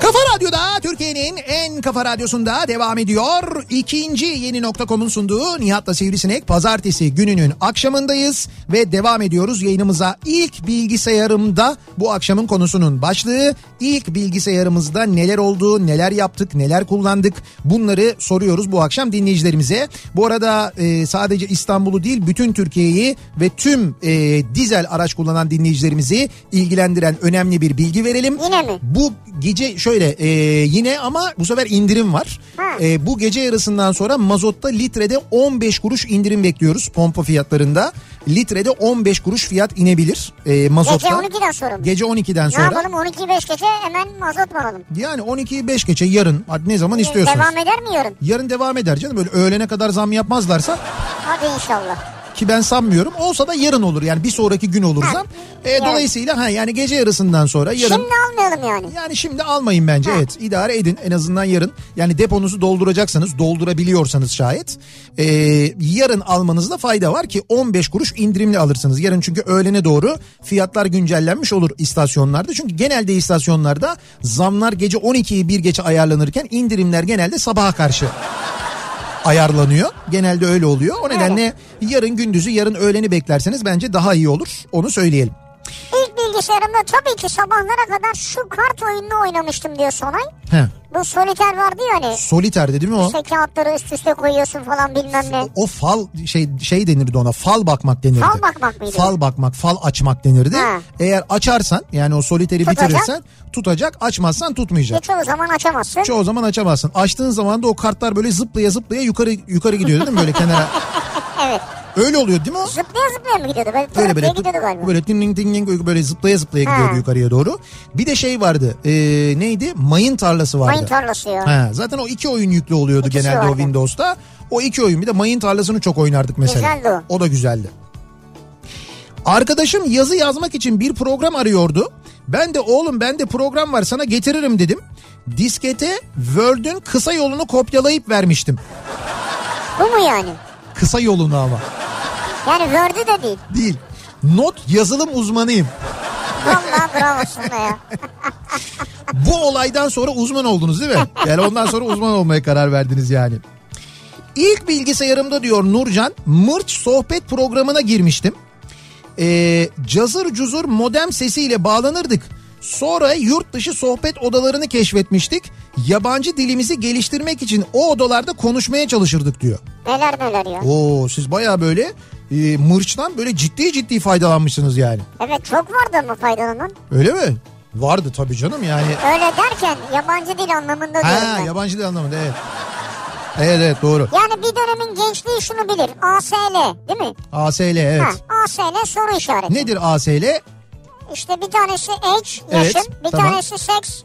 [SPEAKER 1] Kafa Radyo'da Türkiye'nin en kafa radyosunda devam ediyor. İkinci yeni nokta.com'un sunduğu Nihat'la Sivrisinek pazartesi gününün akşamındayız ve devam ediyoruz yayınımıza. İlk bilgisayarımda bu akşamın konusunun başlığı ilk bilgisayarımızda neler oldu, neler yaptık, neler kullandık bunları soruyoruz bu akşam dinleyicilerimize. Bu arada e, sadece İstanbul'u değil bütün Türkiye'yi ve tüm e, dizel araç kullanan dinleyicilerimizi ilgilendiren önemli bir bilgi verelim.
[SPEAKER 2] Yine mi?
[SPEAKER 1] Bu gece şöyle e, yine ama bu sefer indirim var.
[SPEAKER 2] Ha.
[SPEAKER 1] E, bu gece yarısından sonra mazotta litrede 15 kuruş indirim bekliyoruz pompa fiyatlarında. Litrede 15 kuruş fiyat inebilir e,
[SPEAKER 2] Gece
[SPEAKER 1] mazotta.
[SPEAKER 2] 12'den sonra mı?
[SPEAKER 1] Gece 12'den
[SPEAKER 2] Ne
[SPEAKER 1] sonra.
[SPEAKER 2] yapalım 12'yi 5 gece hemen mazot mu alalım?
[SPEAKER 1] Yani 12'yi 5 geçe yarın artık ne zaman istiyorsunuz.
[SPEAKER 2] Ee, Devam eder mi yarın?
[SPEAKER 1] Yarın devam eder canım böyle öğlene kadar zam yapmazlarsa
[SPEAKER 2] Hadi inşallah.
[SPEAKER 1] ki ben sanmıyorum. Olsa da yarın olur yani bir sonraki gün olur zam. E,
[SPEAKER 2] yarın.
[SPEAKER 1] dolayısıyla ha yani gece yarısından sonra yarın.
[SPEAKER 2] Şimdi almayalım yani.
[SPEAKER 1] Yani şimdi almayın bence evet idare edin en azından yarın yani deponuzu dolduracaksanız doldurabiliyorsanız şayet Ee, yarın almanızda fayda var ki 15 kuruş indirimli alırsınız. Yarın çünkü öğlene doğru fiyatlar güncellenmiş olur istasyonlarda çünkü genelde istasyonlarda zamlar gece 12'yi bir geçe ayarlanırken indirimler genelde sabaha karşı ayarlanıyor. Genelde öyle oluyor. O nedenle yarın gündüzü yarın öğleni beklerseniz bence daha iyi olur. Onu söyleyelim.
[SPEAKER 2] İlk bilgisayarımda tabii ki sabahlara kadar şu kart oyununu oynamıştım diyor Sonay.
[SPEAKER 1] He.
[SPEAKER 2] Bu soliter vardı ya hani.
[SPEAKER 1] Soliter'de değil mi o?
[SPEAKER 2] İşte kağıtları üst üste koyuyorsun falan bilmem ne.
[SPEAKER 1] O fal şey şey denirdi ona. Fal bakmak denirdi.
[SPEAKER 2] Fal bakmak mıydı?
[SPEAKER 1] Fal bakmak, fal açmak denirdi.
[SPEAKER 2] Ha.
[SPEAKER 1] Eğer açarsan yani o soliteri
[SPEAKER 2] Tutacak.
[SPEAKER 1] bitirirsen tutacak, açmazsan tutmayacak.
[SPEAKER 2] E çoğu zaman açamazsın.
[SPEAKER 1] Çoğu zaman açamazsın. Açtığın zaman da o kartlar böyle zıplaya zıplaya yukarı yukarı gidiyor değil mi böyle kenara?
[SPEAKER 2] Evet.
[SPEAKER 1] Öyle oluyor değil mi o?
[SPEAKER 2] Zıplaya zıplaya mı gidiyordu? Böyle,
[SPEAKER 1] Böyle
[SPEAKER 2] böyle,
[SPEAKER 1] böyle,
[SPEAKER 2] gidiyordu galiba.
[SPEAKER 1] böyle ding ding ding ding böyle zıplaya zıplaya
[SPEAKER 2] Ha.
[SPEAKER 1] gidiyordu yukarıya doğru. Bir de şey vardı. e, neydi? Mayın tarlası vardı.
[SPEAKER 2] Mayın tarlası ya.
[SPEAKER 1] Ha, zaten o iki oyun yüklü oluyordu
[SPEAKER 2] İkisi
[SPEAKER 1] genelde o
[SPEAKER 2] vardı.
[SPEAKER 1] Windows'ta. O iki oyun bir de mayın tarlasını çok oynardık mesela.
[SPEAKER 2] Güzeldi o.
[SPEAKER 1] da güzeldi. Arkadaşım yazı yazmak için bir program arıyordu. Ben de oğlum bende program var sana getiririm dedim. Diskete Word'ün kısa yolunu kopyalayıp vermiştim.
[SPEAKER 2] Bu mu yani?
[SPEAKER 1] Kısa yolunu ama
[SPEAKER 2] Yani Word'ü de değil.
[SPEAKER 1] değil. Not yazılım uzmanıyım.
[SPEAKER 2] Vallahi bravo sana ya.
[SPEAKER 1] Bu olaydan sonra uzman oldunuz değil mi? Yani ondan sonra uzman olmaya karar verdiniz yani. İlk bilgisayarımda diyor Nurcan Mırç sohbet programına girmiştim. Ee, cazır cuzur modem sesiyle bağlanırdık. Sonra yurt dışı sohbet odalarını keşfetmiştik. Yabancı dilimizi geliştirmek için o odalarda konuşmaya çalışırdık diyor.
[SPEAKER 2] Neler neler ya.
[SPEAKER 1] Oo siz baya böyle e, mırçtan böyle ciddi ciddi faydalanmışsınız yani.
[SPEAKER 2] Evet çok vardı mı faydalanan?
[SPEAKER 1] Öyle mi? Vardı tabii canım yani.
[SPEAKER 2] Öyle derken yabancı dil anlamında diyorum
[SPEAKER 1] Ha
[SPEAKER 2] ben.
[SPEAKER 1] yabancı dil anlamında evet. Evet evet doğru.
[SPEAKER 2] Yani bir dönemin gençliği şunu bilir. ASL değil mi?
[SPEAKER 1] ASL evet.
[SPEAKER 2] Ha, ASL soru işareti.
[SPEAKER 1] Nedir ASL?
[SPEAKER 2] İşte bir tanesi age
[SPEAKER 1] Evet,
[SPEAKER 2] yaşın, bir
[SPEAKER 1] tamam.
[SPEAKER 2] tanesi seks.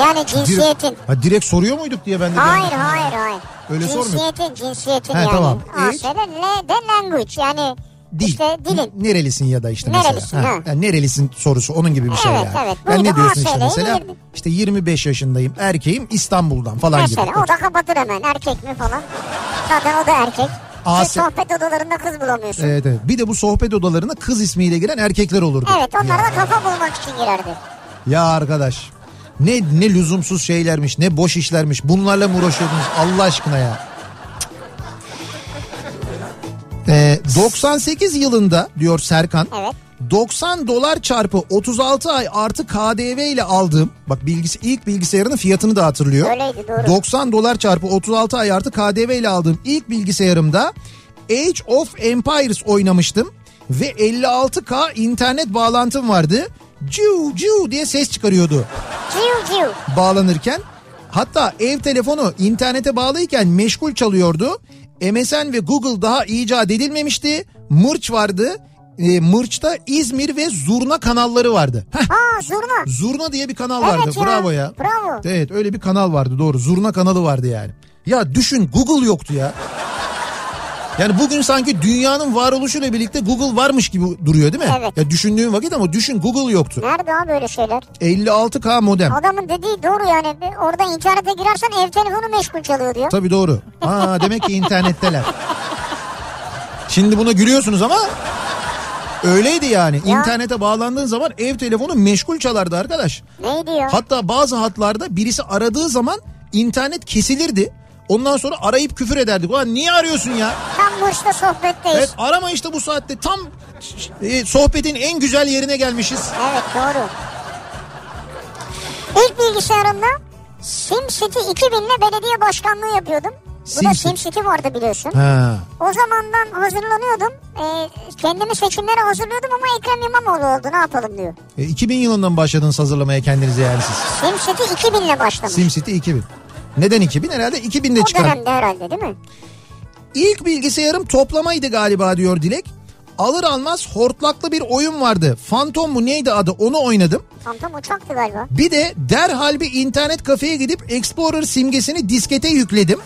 [SPEAKER 2] Yani cinsiyetin.
[SPEAKER 1] Ha, direkt soruyor muyduk diye ben de. bir an-
[SPEAKER 2] Hayır hayır hayır.
[SPEAKER 1] Öyle sormuyor.
[SPEAKER 2] cinsiyetin, cinsiyetin
[SPEAKER 1] He,
[SPEAKER 2] yani.
[SPEAKER 1] tamam. Age.
[SPEAKER 2] ASL le de language yani
[SPEAKER 1] Dil.
[SPEAKER 2] işte dilin.
[SPEAKER 1] Nerelisin ya da işte
[SPEAKER 2] Nerelisin,
[SPEAKER 1] mesela.
[SPEAKER 2] ha.
[SPEAKER 1] yani nerelisin sorusu onun gibi bir şey
[SPEAKER 2] Evet,
[SPEAKER 1] yani.
[SPEAKER 2] evet.
[SPEAKER 1] Yani ne
[SPEAKER 2] Buydu,
[SPEAKER 1] diyorsun işte
[SPEAKER 2] ASL 'ye
[SPEAKER 1] mesela?
[SPEAKER 2] girdim.
[SPEAKER 1] İşte 25 yaşındayım erkeğim İstanbul'dan falan
[SPEAKER 2] Mesela
[SPEAKER 1] gibi.
[SPEAKER 2] o da kapatır hemen erkek mi falan. Zaten o da erkek.
[SPEAKER 1] ASL.
[SPEAKER 2] Siz sohbet odalarında kız bulamıyorsun. Evet,
[SPEAKER 1] Evet, evet. Bir de bu sohbet odalarına kız ismiyle giren erkekler olurdu.
[SPEAKER 2] onlar
[SPEAKER 1] ya.
[SPEAKER 2] da kafa bulmak için girerdi.
[SPEAKER 1] ya arkadaş. Ne ne lüzumsuz şeylermiş, ne boş işlermiş. Bunlarla mı uğraşıyordunuz Allah aşkına ya? Ee, 98 yılında diyor Serkan.
[SPEAKER 2] Evet.
[SPEAKER 1] 90 dolar çarpı 36 ay artı KDV ile aldığım bak bilgisi ilk bilgisayarının fiyatını da hatırlıyor.
[SPEAKER 2] Öyleydi, doğru.
[SPEAKER 1] 90 dolar çarpı 36 ay artı KDV ile aldığım ilk bilgisayarımda Age of Empires oynamıştım ve 56K internet bağlantım vardı. Ciu ciu diye ses çıkarıyordu
[SPEAKER 2] Ciu ciu.
[SPEAKER 1] bağlanırken. Hatta ev telefonu internete bağlıyken meşgul çalıyordu. MSN ve Google daha icat edilmemişti. Mırç vardı. E, Mırç'ta İzmir ve Zurna kanalları vardı. Heh,
[SPEAKER 2] Aa zurna.
[SPEAKER 1] Zurna diye bir kanal
[SPEAKER 2] Evet
[SPEAKER 1] vardı.
[SPEAKER 2] ya,
[SPEAKER 1] Bravo ya.
[SPEAKER 2] bravo.
[SPEAKER 1] Evet öyle bir kanal vardı doğru. Zurna kanalı vardı yani. Ya düşün Google yoktu ya. Yani bugün sanki dünyanın varoluşuyla birlikte Google varmış gibi duruyor değil mi?
[SPEAKER 2] Evet.
[SPEAKER 1] Ya düşündüğün vakit ama düşün Google yoktu.
[SPEAKER 2] Nerede abi öyle şeyler?
[SPEAKER 1] 56K modem.
[SPEAKER 2] Adamın dediği doğru yani. Bir Orada internete girersen ev telefonu meşgul çalıyor diyor.
[SPEAKER 1] Tabii doğru. Aa demek ki internetteler. Şimdi buna gülüyorsunuz ama öyleydi yani. İnternete bağlandığın zaman ev telefonu meşgul çalardı arkadaş.
[SPEAKER 2] Neydi ya?
[SPEAKER 1] Hatta bazı hatlarda birisi aradığı zaman internet kesilirdi. Ondan sonra arayıp küfür ederdik. Ulan niye arıyorsun ya?
[SPEAKER 2] Tam Mırş'ta sohbetteyiz.
[SPEAKER 1] Evet
[SPEAKER 2] Evet.
[SPEAKER 1] arama işte bu saatte tam e, sohbetin en güzel yerine gelmişiz.
[SPEAKER 2] doğru. İlk bilgisayarımda SimCity 2000'le belediye başkanlığı yapıyordum. Bu da
[SPEAKER 1] SimCity.
[SPEAKER 2] SimCity vardı biliyorsun.
[SPEAKER 1] Ha.
[SPEAKER 2] O zamandan hazırlanıyordum. Ee, kendimi seçimlere hazırlıyordum ama Ekrem İmamoğlu oldu ne yapalım diyor.
[SPEAKER 1] E, 2000 yılından başladınız hazırlamaya kendinizi yani siz.
[SPEAKER 2] SimCity 2000'le başlamış.
[SPEAKER 1] SimCity 2000. Neden 2000? Herhalde 2000'de
[SPEAKER 2] o
[SPEAKER 1] çıkan
[SPEAKER 2] dönemde herhalde değil mi?
[SPEAKER 1] İlk bilgisayarım toplamaydı galiba diyor Dilek. Alır almaz hortlaklı bir oyun vardı. Phantom mu neydi adı onu oynadım.
[SPEAKER 2] Tam tam uçaktı galiba.
[SPEAKER 1] Bir de derhal bir internet kafeye gidip Explorer simgesini diskete yükledim.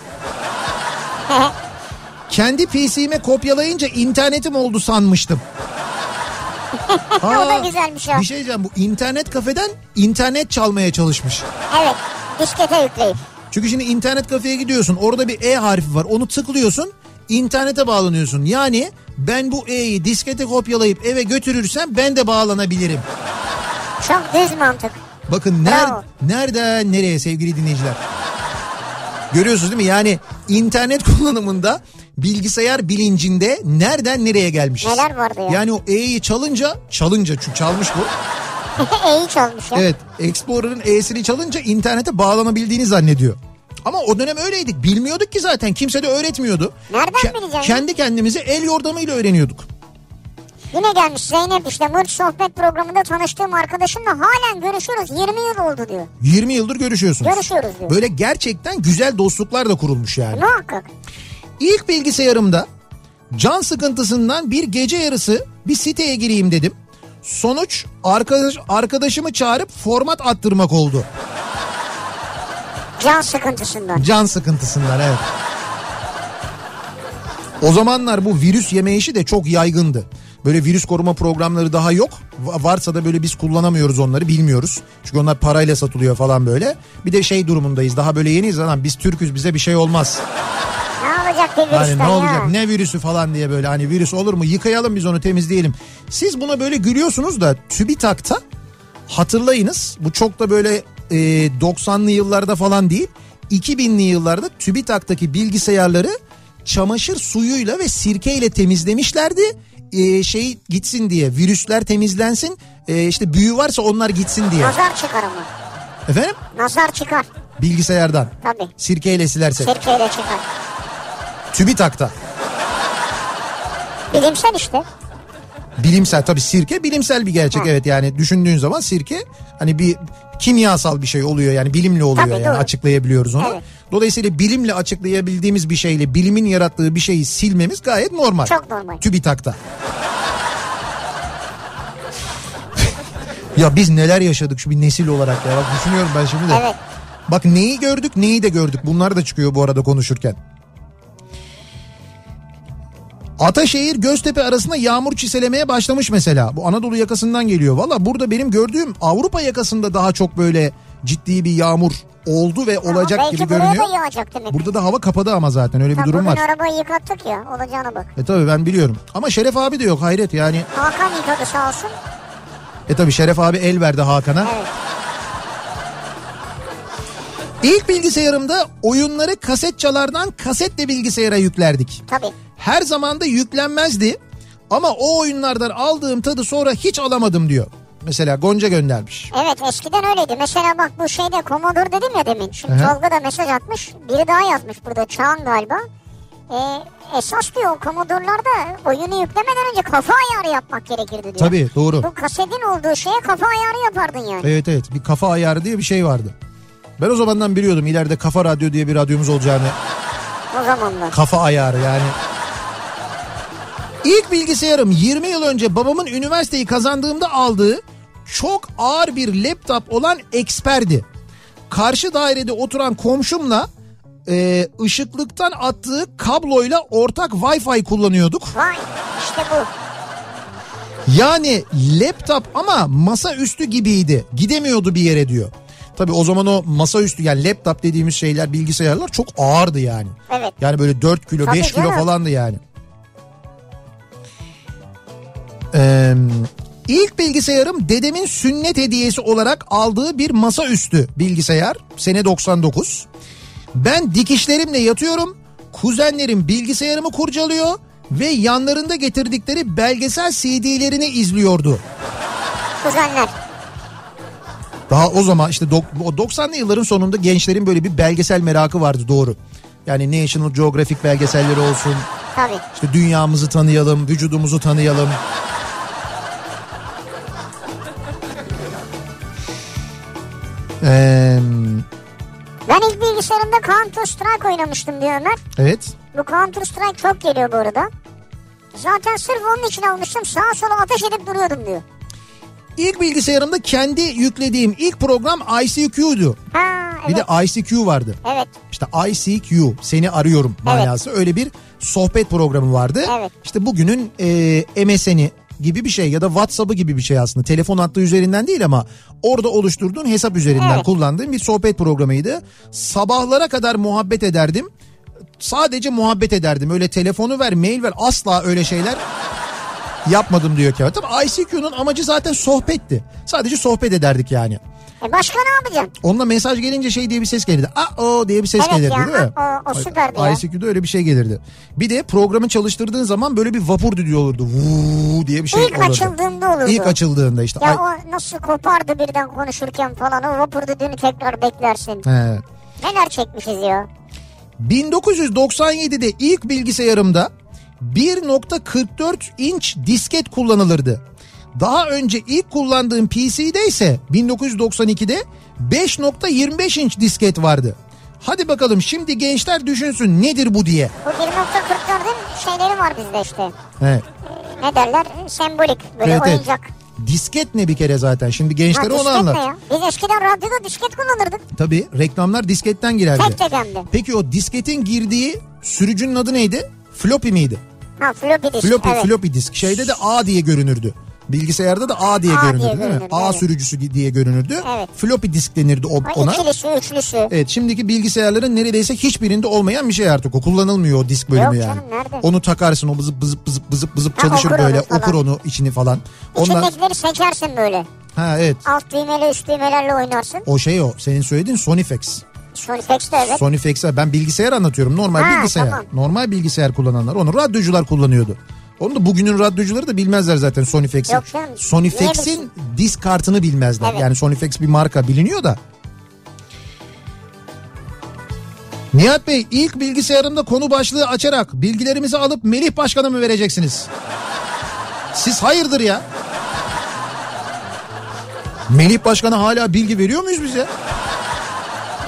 [SPEAKER 1] Kendi PC'me kopyalayınca internetim oldu sanmıştım.
[SPEAKER 2] da
[SPEAKER 1] Aa,
[SPEAKER 2] güzelmiş ya.
[SPEAKER 1] Bir şey diyeceğim bu internet kafeden internet çalmaya çalışmış.
[SPEAKER 2] Evet diskete yükleyip.
[SPEAKER 1] Çünkü şimdi internet kafeye gidiyorsun orada bir E harfi var onu tıklıyorsun internete bağlanıyorsun. Yani ben bu E'yi diskete kopyalayıp eve götürürsem ben de bağlanabilirim.
[SPEAKER 2] Çok düz mantık.
[SPEAKER 1] Bakın ner
[SPEAKER 2] Bravo.
[SPEAKER 1] nereden nereye sevgili dinleyiciler. Görüyorsunuz değil mi? Yani internet kullanımında bilgisayar bilincinde nereden nereye gelmişiz.
[SPEAKER 2] Neler vardı ya?
[SPEAKER 1] Yani o E'yi çalınca, çalınca çünkü çalmış bu.
[SPEAKER 2] E'yi çalmış ya.
[SPEAKER 1] Evet Explorer'ın E'sini çalınca internete bağlanabildiğini zannediyor. Ama o dönem öyleydik. Bilmiyorduk ki zaten. Kimse de öğretmiyordu.
[SPEAKER 2] Nereden
[SPEAKER 1] Ke-
[SPEAKER 2] bileceksin?
[SPEAKER 1] Kendi kendimize el yordamıyla öğreniyorduk.
[SPEAKER 2] Yine gelmiş Zeynep işte Mırç Sohbet programında tanıştığım arkadaşımla halen görüşüyoruz 20 yıl oldu diyor.
[SPEAKER 1] 20 yıldır görüşüyorsunuz.
[SPEAKER 2] Görüşüyoruz diyor.
[SPEAKER 1] Böyle gerçekten güzel dostluklar da kurulmuş yani.
[SPEAKER 2] Muhakkak.
[SPEAKER 1] İlk bilgisayarımda can sıkıntısından bir gece yarısı bir siteye gireyim dedim. Sonuç arkadaş, arkadaşımı çağırıp format attırmak oldu.
[SPEAKER 2] Can sıkıntısından.
[SPEAKER 1] Can sıkıntısından evet. O zamanlar bu virüs yeme işi de çok yaygındı. Böyle virüs koruma programları daha yok. Va- Varsa da böyle biz kullanamıyoruz onları bilmiyoruz. Çünkü onlar parayla satılıyor falan böyle. Bir de şey durumundayız daha böyle yeniyiz lan biz Türk'üz bize bir şey olmaz.
[SPEAKER 2] Ne olacak bir virüsten
[SPEAKER 1] Yani Hani ne olacak
[SPEAKER 2] ya?
[SPEAKER 1] ne virüsü falan diye böyle hani virüs olur mu yıkayalım biz onu temizleyelim. Siz buna böyle gülüyorsunuz da TÜBİTAK'ta hatırlayınız bu çok da böyle e, 90'lı yıllarda falan değil 2000'li yıllarda TÜBİTAK'taki bilgisayarları çamaşır suyuyla ve sirkeyle temizlemişlerdi. E, şey gitsin diye virüsler temizlensin e, işte büyü varsa onlar gitsin diye.
[SPEAKER 2] Nazar çıkar ama.
[SPEAKER 1] Efendim
[SPEAKER 2] Nazar çıkar.
[SPEAKER 1] bilgisayardan
[SPEAKER 2] Tabii.
[SPEAKER 1] sirkeyle silersek
[SPEAKER 2] Sirkeyle çıkar.
[SPEAKER 1] TÜBİTAK'ta.
[SPEAKER 2] Bilimsel işte.
[SPEAKER 1] bilimsel tabii sirke bilimsel bir gerçek evet yani düşündüğün zaman sirke hani bir kimyasal bir şey oluyor yani bilimle oluyor
[SPEAKER 2] Tabii,
[SPEAKER 1] yani
[SPEAKER 2] doğru.
[SPEAKER 1] açıklayabiliyoruz onu.
[SPEAKER 2] Evet.
[SPEAKER 1] Dolayısıyla bilimle açıklayabildiğimiz bir şeyle bilimin yarattığı bir şeyi silmemiz gayet normal.
[SPEAKER 2] Çok normal.
[SPEAKER 1] TÜBİTAK'ta. ya biz neler yaşadık şu bir nesil olarak ya bak düşünüyorum ben şimdi de.
[SPEAKER 2] Evet.
[SPEAKER 1] Bak neyi gördük neyi de gördük bunlar da çıkıyor bu arada konuşurken. Ataşehir Göztepe arasında yağmur çiselemeye başlamış mesela. Bu Anadolu yakasından geliyor. Valla burada benim gördüğüm Avrupa yakasında daha çok böyle ciddi bir yağmur oldu ve olacak
[SPEAKER 2] Ama belki
[SPEAKER 1] gibi
[SPEAKER 2] buraya
[SPEAKER 1] görünüyor.
[SPEAKER 2] da yağacak demek.
[SPEAKER 1] Burada da hava kapadı ama zaten öyle bir
[SPEAKER 2] Bak,
[SPEAKER 1] durum
[SPEAKER 2] bugün
[SPEAKER 1] var.
[SPEAKER 2] arabayı yıkattık ya olacağına bak.
[SPEAKER 1] E tabii ben biliyorum. Ama Şeref abi de yok hayret yani.
[SPEAKER 2] Hakan yıkadı sağ olsun.
[SPEAKER 1] E tabii Şeref abi el verdi Hakan'a.
[SPEAKER 2] Evet.
[SPEAKER 1] İlk bilgisayarımda oyunları kaset çalardan kasetle bilgisayara yüklerdik.
[SPEAKER 2] Tabii.
[SPEAKER 1] Her zaman da yüklenmezdi. Ama o oyunlardan aldığım tadı sonra hiç alamadım diyor. Mesela Gonca göndermiş.
[SPEAKER 2] Evet eskiden öyleydi. Mesela bak bu şeyde Commodore dedim ya demin. Şimdi
[SPEAKER 1] Aha.
[SPEAKER 2] Tolga da mesaj atmış. Biri daha yazmış burada Çağan galiba. Ee, esas diyor Commodore'larda oyunu yüklemeden önce kafa ayarı yapmak gerekirdi diyor.
[SPEAKER 1] Tabii doğru.
[SPEAKER 2] Bu kasetin olduğu şeye kafa ayarı yapardın yani.
[SPEAKER 1] Evet evet bir kafa ayarı diye bir şey vardı. Ben o zamandan biliyordum ileride kafa radyo diye bir radyomuz olacağını.
[SPEAKER 2] O zamanlar.
[SPEAKER 1] Kafa ayarı yani. İlk bilgisayarım 20 yıl önce babamın üniversiteyi kazandığımda aldığı çok ağır bir laptop olan Xper'di. Karşı dairede oturan komşumla e, ışıklıktan attığı kabloyla ortak Wi-Fi kullanıyorduk.
[SPEAKER 2] Vay işte bu.
[SPEAKER 1] Yani laptop ama masaüstü gibiydi. Gidemiyordu bir yere diyor. Tabii o zaman o masaüstü yani laptop dediğimiz şeyler bilgisayarlar çok ağırdı yani.
[SPEAKER 2] Evet.
[SPEAKER 1] Yani böyle 4 kilo
[SPEAKER 2] Tabii
[SPEAKER 1] 5 kilo
[SPEAKER 2] canım.
[SPEAKER 1] falandı yani. Ee, ilk bilgisayarım dedemin sünnet hediyesi olarak aldığı bir masaüstü bilgisayar. Sene 99. Ben dikişlerimle yatıyorum. Kuzenlerim bilgisayarımı kurcalıyor ve yanlarında getirdikleri belgesel CD'lerini izliyordu.
[SPEAKER 2] Kuzenler.
[SPEAKER 1] Daha o zaman işte dok- o 90'lı yılların sonunda gençlerin böyle bir belgesel merakı vardı doğru. Yani National Geographic belgeselleri olsun.
[SPEAKER 2] Tabii.
[SPEAKER 1] İşte dünyamızı tanıyalım, vücudumuzu tanıyalım. Ee,
[SPEAKER 2] Ben ilk bilgisayarımda Counter Strike oynamıştım diyor Ömer.
[SPEAKER 1] evet.
[SPEAKER 2] Bu Counter Strike çok geliyor bu arada. Zaten sırf onun için almıştım. Sağa sola ateş edip duruyordum diyor.
[SPEAKER 1] İlk bilgisayarımda kendi yüklediğim ilk program ICQ'du.
[SPEAKER 2] Ha
[SPEAKER 1] Bir
[SPEAKER 2] evet.
[SPEAKER 1] de ICQ vardı.
[SPEAKER 2] Evet.
[SPEAKER 1] İşte ICQ seni arıyorum manası öyle bir sohbet programı vardı.
[SPEAKER 2] Evet.
[SPEAKER 1] İşte bugünün e, MSN'i gibi bir şey ya da WhatsApp'ı gibi bir şey aslında. Telefon hattı üzerinden değil ama orada oluşturduğun hesap üzerinden
[SPEAKER 2] Evet.
[SPEAKER 1] kullandığım bir sohbet programıydı. Sabahlara kadar muhabbet ederdim. Sadece muhabbet ederdim. Öyle telefonu ver, mail ver asla öyle şeyler yapmadım diyor Kemal. Tabii ICQ'nun amacı zaten sohbetti. Sadece sohbet ederdik yani.
[SPEAKER 2] E başka ne yapacaksın?
[SPEAKER 1] Onunla mesaj gelince şey diye bir ses gelirdi. A o diye bir ses
[SPEAKER 2] Evet
[SPEAKER 1] gelirdi
[SPEAKER 2] ya,
[SPEAKER 1] değil mi?
[SPEAKER 2] "A, o", o süperdi ya.
[SPEAKER 1] ICQ'da öyle bir şey gelirdi. Bir de programı çalıştırdığın zaman böyle bir vapur düdüğü olurdu. Vuu diye bir şey
[SPEAKER 2] İlk
[SPEAKER 1] olurdu.
[SPEAKER 2] açıldığında olurdu.
[SPEAKER 1] İlk açıldığında işte.
[SPEAKER 2] Ya
[SPEAKER 1] Ay-
[SPEAKER 2] o nasıl kopardı birden konuşurken falan o vapur düdüğünü tekrar beklersin.
[SPEAKER 1] He.
[SPEAKER 2] Neler çekmişiz ya.
[SPEAKER 1] 1997'de ilk bilgisayarımda 1.44 inç disket kullanılırdı. Daha önce ilk kullandığım PC'de ise 1992'de 5.25 inç disket vardı. Hadi bakalım şimdi gençler düşünsün nedir bu diye.
[SPEAKER 2] Bu 1.44'ün şeyleri var bizde işte.
[SPEAKER 1] Evet.
[SPEAKER 2] Ne derler? Sembolik böyle
[SPEAKER 1] Evet, evet.
[SPEAKER 2] oyuncak.
[SPEAKER 1] Disket ne bir kere zaten. Şimdi
[SPEAKER 2] Ha,
[SPEAKER 1] gençlere onu
[SPEAKER 2] disket
[SPEAKER 1] anlat.
[SPEAKER 2] ne ya? Biz eskiden radyoda disket kullanırdık.
[SPEAKER 1] Tabii reklamlar disketten girerdi.
[SPEAKER 2] Tek tek hem de.
[SPEAKER 1] Peki o disketin girdiği sürücünün adı neydi? Floppy miydi?
[SPEAKER 2] Ha floppy disk.
[SPEAKER 1] Floppy,
[SPEAKER 2] evet.
[SPEAKER 1] floppy disk. Şeyde de A diye görünürdü. Bilgisayarda da A diye
[SPEAKER 2] A diye
[SPEAKER 1] görünürdü değil mi?
[SPEAKER 2] görünürdü,
[SPEAKER 1] A
[SPEAKER 2] evet.
[SPEAKER 1] sürücüsü di- diye görünürdü.
[SPEAKER 2] Evet.
[SPEAKER 1] Floppy disk denirdi o-
[SPEAKER 2] O
[SPEAKER 1] ona. E,
[SPEAKER 2] ikilisi, üçlüsü.
[SPEAKER 1] Evet şimdiki bilgisayarların neredeyse hiçbirinde olmayan bir şey artık o. Kullanılmıyor o disk bölümü
[SPEAKER 2] Yok
[SPEAKER 1] yani.
[SPEAKER 2] canım, nerede?
[SPEAKER 1] Onu takarsın o bızıp bızıp bızıp bızıp bızıp
[SPEAKER 2] Ha,
[SPEAKER 1] çalışır
[SPEAKER 2] okur onu
[SPEAKER 1] böyle
[SPEAKER 2] falan.
[SPEAKER 1] okur onu içini falan. Onlar
[SPEAKER 2] İçindekileri seçersin böyle.
[SPEAKER 1] ha evet.
[SPEAKER 2] Alt düğmeyle üst düğmelerle oynarsın.
[SPEAKER 1] O şey o senin söylediğin Sonifax.
[SPEAKER 2] Solfex de evet.
[SPEAKER 1] Sonifax'a ben bilgisayar anlatıyorum normal
[SPEAKER 2] Ha,
[SPEAKER 1] bilgisayar.
[SPEAKER 2] tamam.
[SPEAKER 1] Normal bilgisayar kullananlar onu radyocular kullanıyordu. Onu da bugünün radyocuları da bilmezler zaten Sonifax'i.
[SPEAKER 2] Yok canım, niye
[SPEAKER 1] Sonifax'in
[SPEAKER 2] bilsin?
[SPEAKER 1] disk kartını bilmezler.
[SPEAKER 2] Evet.
[SPEAKER 1] Yani Sonifax bir marka biliniyor da. Nihat Bey ilk bilgisayarımda konu başlığı açarak bilgilerimizi alıp Melih Başkan'a mı vereceksiniz? Siz hayırdır ya? Melih Başkan'a hala bilgi veriyor muyuz biz ya?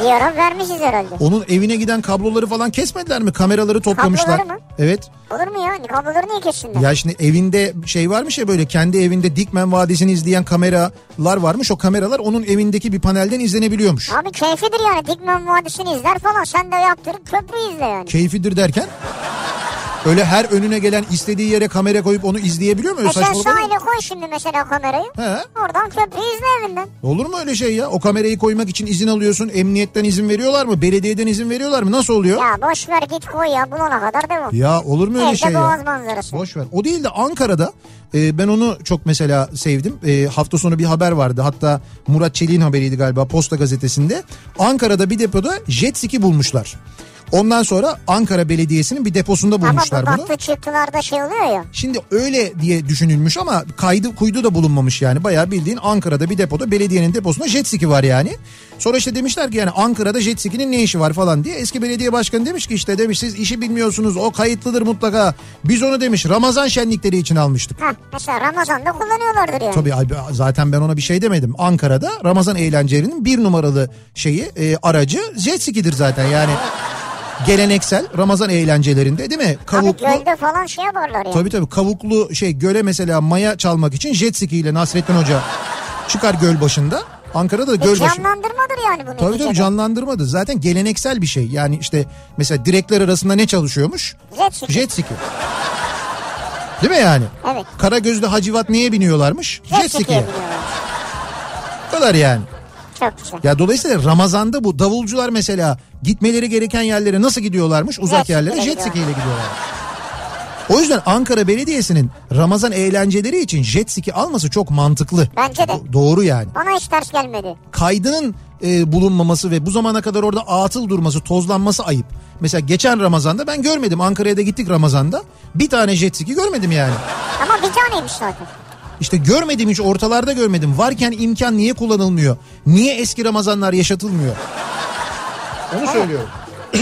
[SPEAKER 2] Bir ara vermişiz herhalde.
[SPEAKER 1] Onun evine giden kabloları falan kesmediler mi? Kameraları toplamışlar.
[SPEAKER 2] Kabloları mı?
[SPEAKER 1] Evet.
[SPEAKER 2] Olur mu ya? Kabloları niye kessinler?
[SPEAKER 1] Ya şimdi evinde şey varmış ya böyle kendi evinde Dikmen Vadisi'ni izleyen kameralar varmış. O kameralar onun evindeki bir panelden izlenebiliyormuş.
[SPEAKER 2] Abi keyfidir yani. Dikmen Vadisi'ni izler falan. Sen de yaptırıp köprü izle yani.
[SPEAKER 1] Keyfidir derken öyle her önüne gelen istediği yere kamera koyup onu izleyebiliyor mu? Öyle
[SPEAKER 2] E sen
[SPEAKER 1] saçmalık olur mu?
[SPEAKER 2] sahile koy şimdi mesela kamerayı.
[SPEAKER 1] He.
[SPEAKER 2] Oradan köprüyü izle evinden.
[SPEAKER 1] Olur mu öyle şey ya? O kamerayı koymak için izin alıyorsun. Emniyetten izin veriyorlar mı? Belediyeden izin veriyorlar mı? Nasıl oluyor?
[SPEAKER 2] Ya boş ver git koy ya. Bulana kadar devam.
[SPEAKER 1] Ya olur mu öyle
[SPEAKER 2] Evde
[SPEAKER 1] şey ya?
[SPEAKER 2] boğaz manzarası.
[SPEAKER 1] Boş ver. O değil de Ankara'da e, ben onu çok mesela sevdim. E, hafta sonu bir haber vardı. Hatta Murat Çelik'in haberiydi galiba Posta gazetesinde. Ankara'da bir depoda jet ski bulmuşlar. Ondan sonra Ankara Belediyesi'nin bir deposunda
[SPEAKER 2] Ama
[SPEAKER 1] bulmuşlar
[SPEAKER 2] bu
[SPEAKER 1] bunu.
[SPEAKER 2] battı çıktılarda şey oluyor ya.
[SPEAKER 1] Şimdi öyle diye düşünülmüş ama kaydı kuydu da bulunmamış yani. Bayağı bildiğin Ankara'da bir depoda belediyenin deposunda jet ski var yani. Sonra işte demişler ki yani Ankara'da jet ski'nin ne işi var falan diye. Eski belediye başkanı demiş ki işte demiş siz işi bilmiyorsunuz o kayıtlıdır mutlaka. Biz onu demiş Ramazan şenlikleri için almıştık.
[SPEAKER 2] Heh, mesela Ramazan'da kullanıyorlardır yani.
[SPEAKER 1] Tabii abi, zaten ben ona bir şey demedim. Ankara'da Ramazan eğlencelerinin bir numaralı şeyi e, aracı jet ski'dir zaten yani. Geleneksel Ramazan eğlencelerinde değil mi?
[SPEAKER 2] Abi
[SPEAKER 1] Kavuklu,
[SPEAKER 2] gölde falan şey yaparlar yani.
[SPEAKER 1] Tabii tabii kavuklu şey göle mesela maya çalmak için jet ski ile Nasrettin Hoca çıkar göl başında. Ankara'da da
[SPEAKER 2] E,
[SPEAKER 1] göl başı.
[SPEAKER 2] canlandırmadır yani bunu.
[SPEAKER 1] Tabii tabii canlandırmadı. Zaten geleneksel bir şey. Yani işte mesela direkler arasında ne çalışıyormuş?
[SPEAKER 2] Jet ski.
[SPEAKER 1] Jet ski. Değil mi yani?
[SPEAKER 2] Evet.
[SPEAKER 1] Karagöz'de Hacivat neye biniyorlarmış?
[SPEAKER 2] Jet
[SPEAKER 1] Jet
[SPEAKER 2] ski'ye
[SPEAKER 1] ski'ye.
[SPEAKER 2] biniyorlar.
[SPEAKER 1] Bu kadar yani.
[SPEAKER 2] Çok güzel.
[SPEAKER 1] Ya dolayısıyla Ramazan'da bu davulcular mesela gitmeleri gereken yerlere nasıl gidiyorlarmış? Uzak
[SPEAKER 2] Jet
[SPEAKER 1] yerlere
[SPEAKER 2] skiyle
[SPEAKER 1] jet ski ile gidiyorlar. O yüzden Ankara Belediyesi'nin Ramazan eğlenceleri için jet ski alması çok mantıklı.
[SPEAKER 2] Bence de.
[SPEAKER 1] Do- doğru yani.
[SPEAKER 2] Bana hiç ters gelmedi.
[SPEAKER 1] Kaydının e, bulunmaması ve bu zamana kadar orada atıl durması, tozlanması ayıp. Mesela geçen Ramazan'da ben görmedim. Ankara'ya da gittik Ramazan'da. Bir tane jet ski görmedim yani.
[SPEAKER 2] Ama bir taneymiş zaten.
[SPEAKER 1] İşte görmedim hiç ortalarda görmedim. Varken imkan niye kullanılmıyor? Niye eski Ramazanlar yaşatılmıyor? Onu söylüyorum.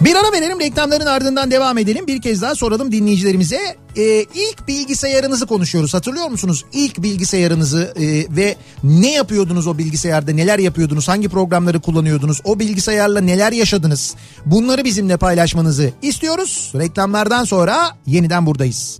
[SPEAKER 1] Bir ara verelim reklamların ardından devam edelim. Bir kez daha soralım dinleyicilerimize. Ee, ilk bilgisayarınızı konuşuyoruz hatırlıyor musunuz? İlk bilgisayarınızı e, ve ne yapıyordunuz o bilgisayarda neler yapıyordunuz? Hangi programları kullanıyordunuz? O bilgisayarla neler yaşadınız? Bunları bizimle paylaşmanızı istiyoruz. Reklamlardan sonra yeniden buradayız.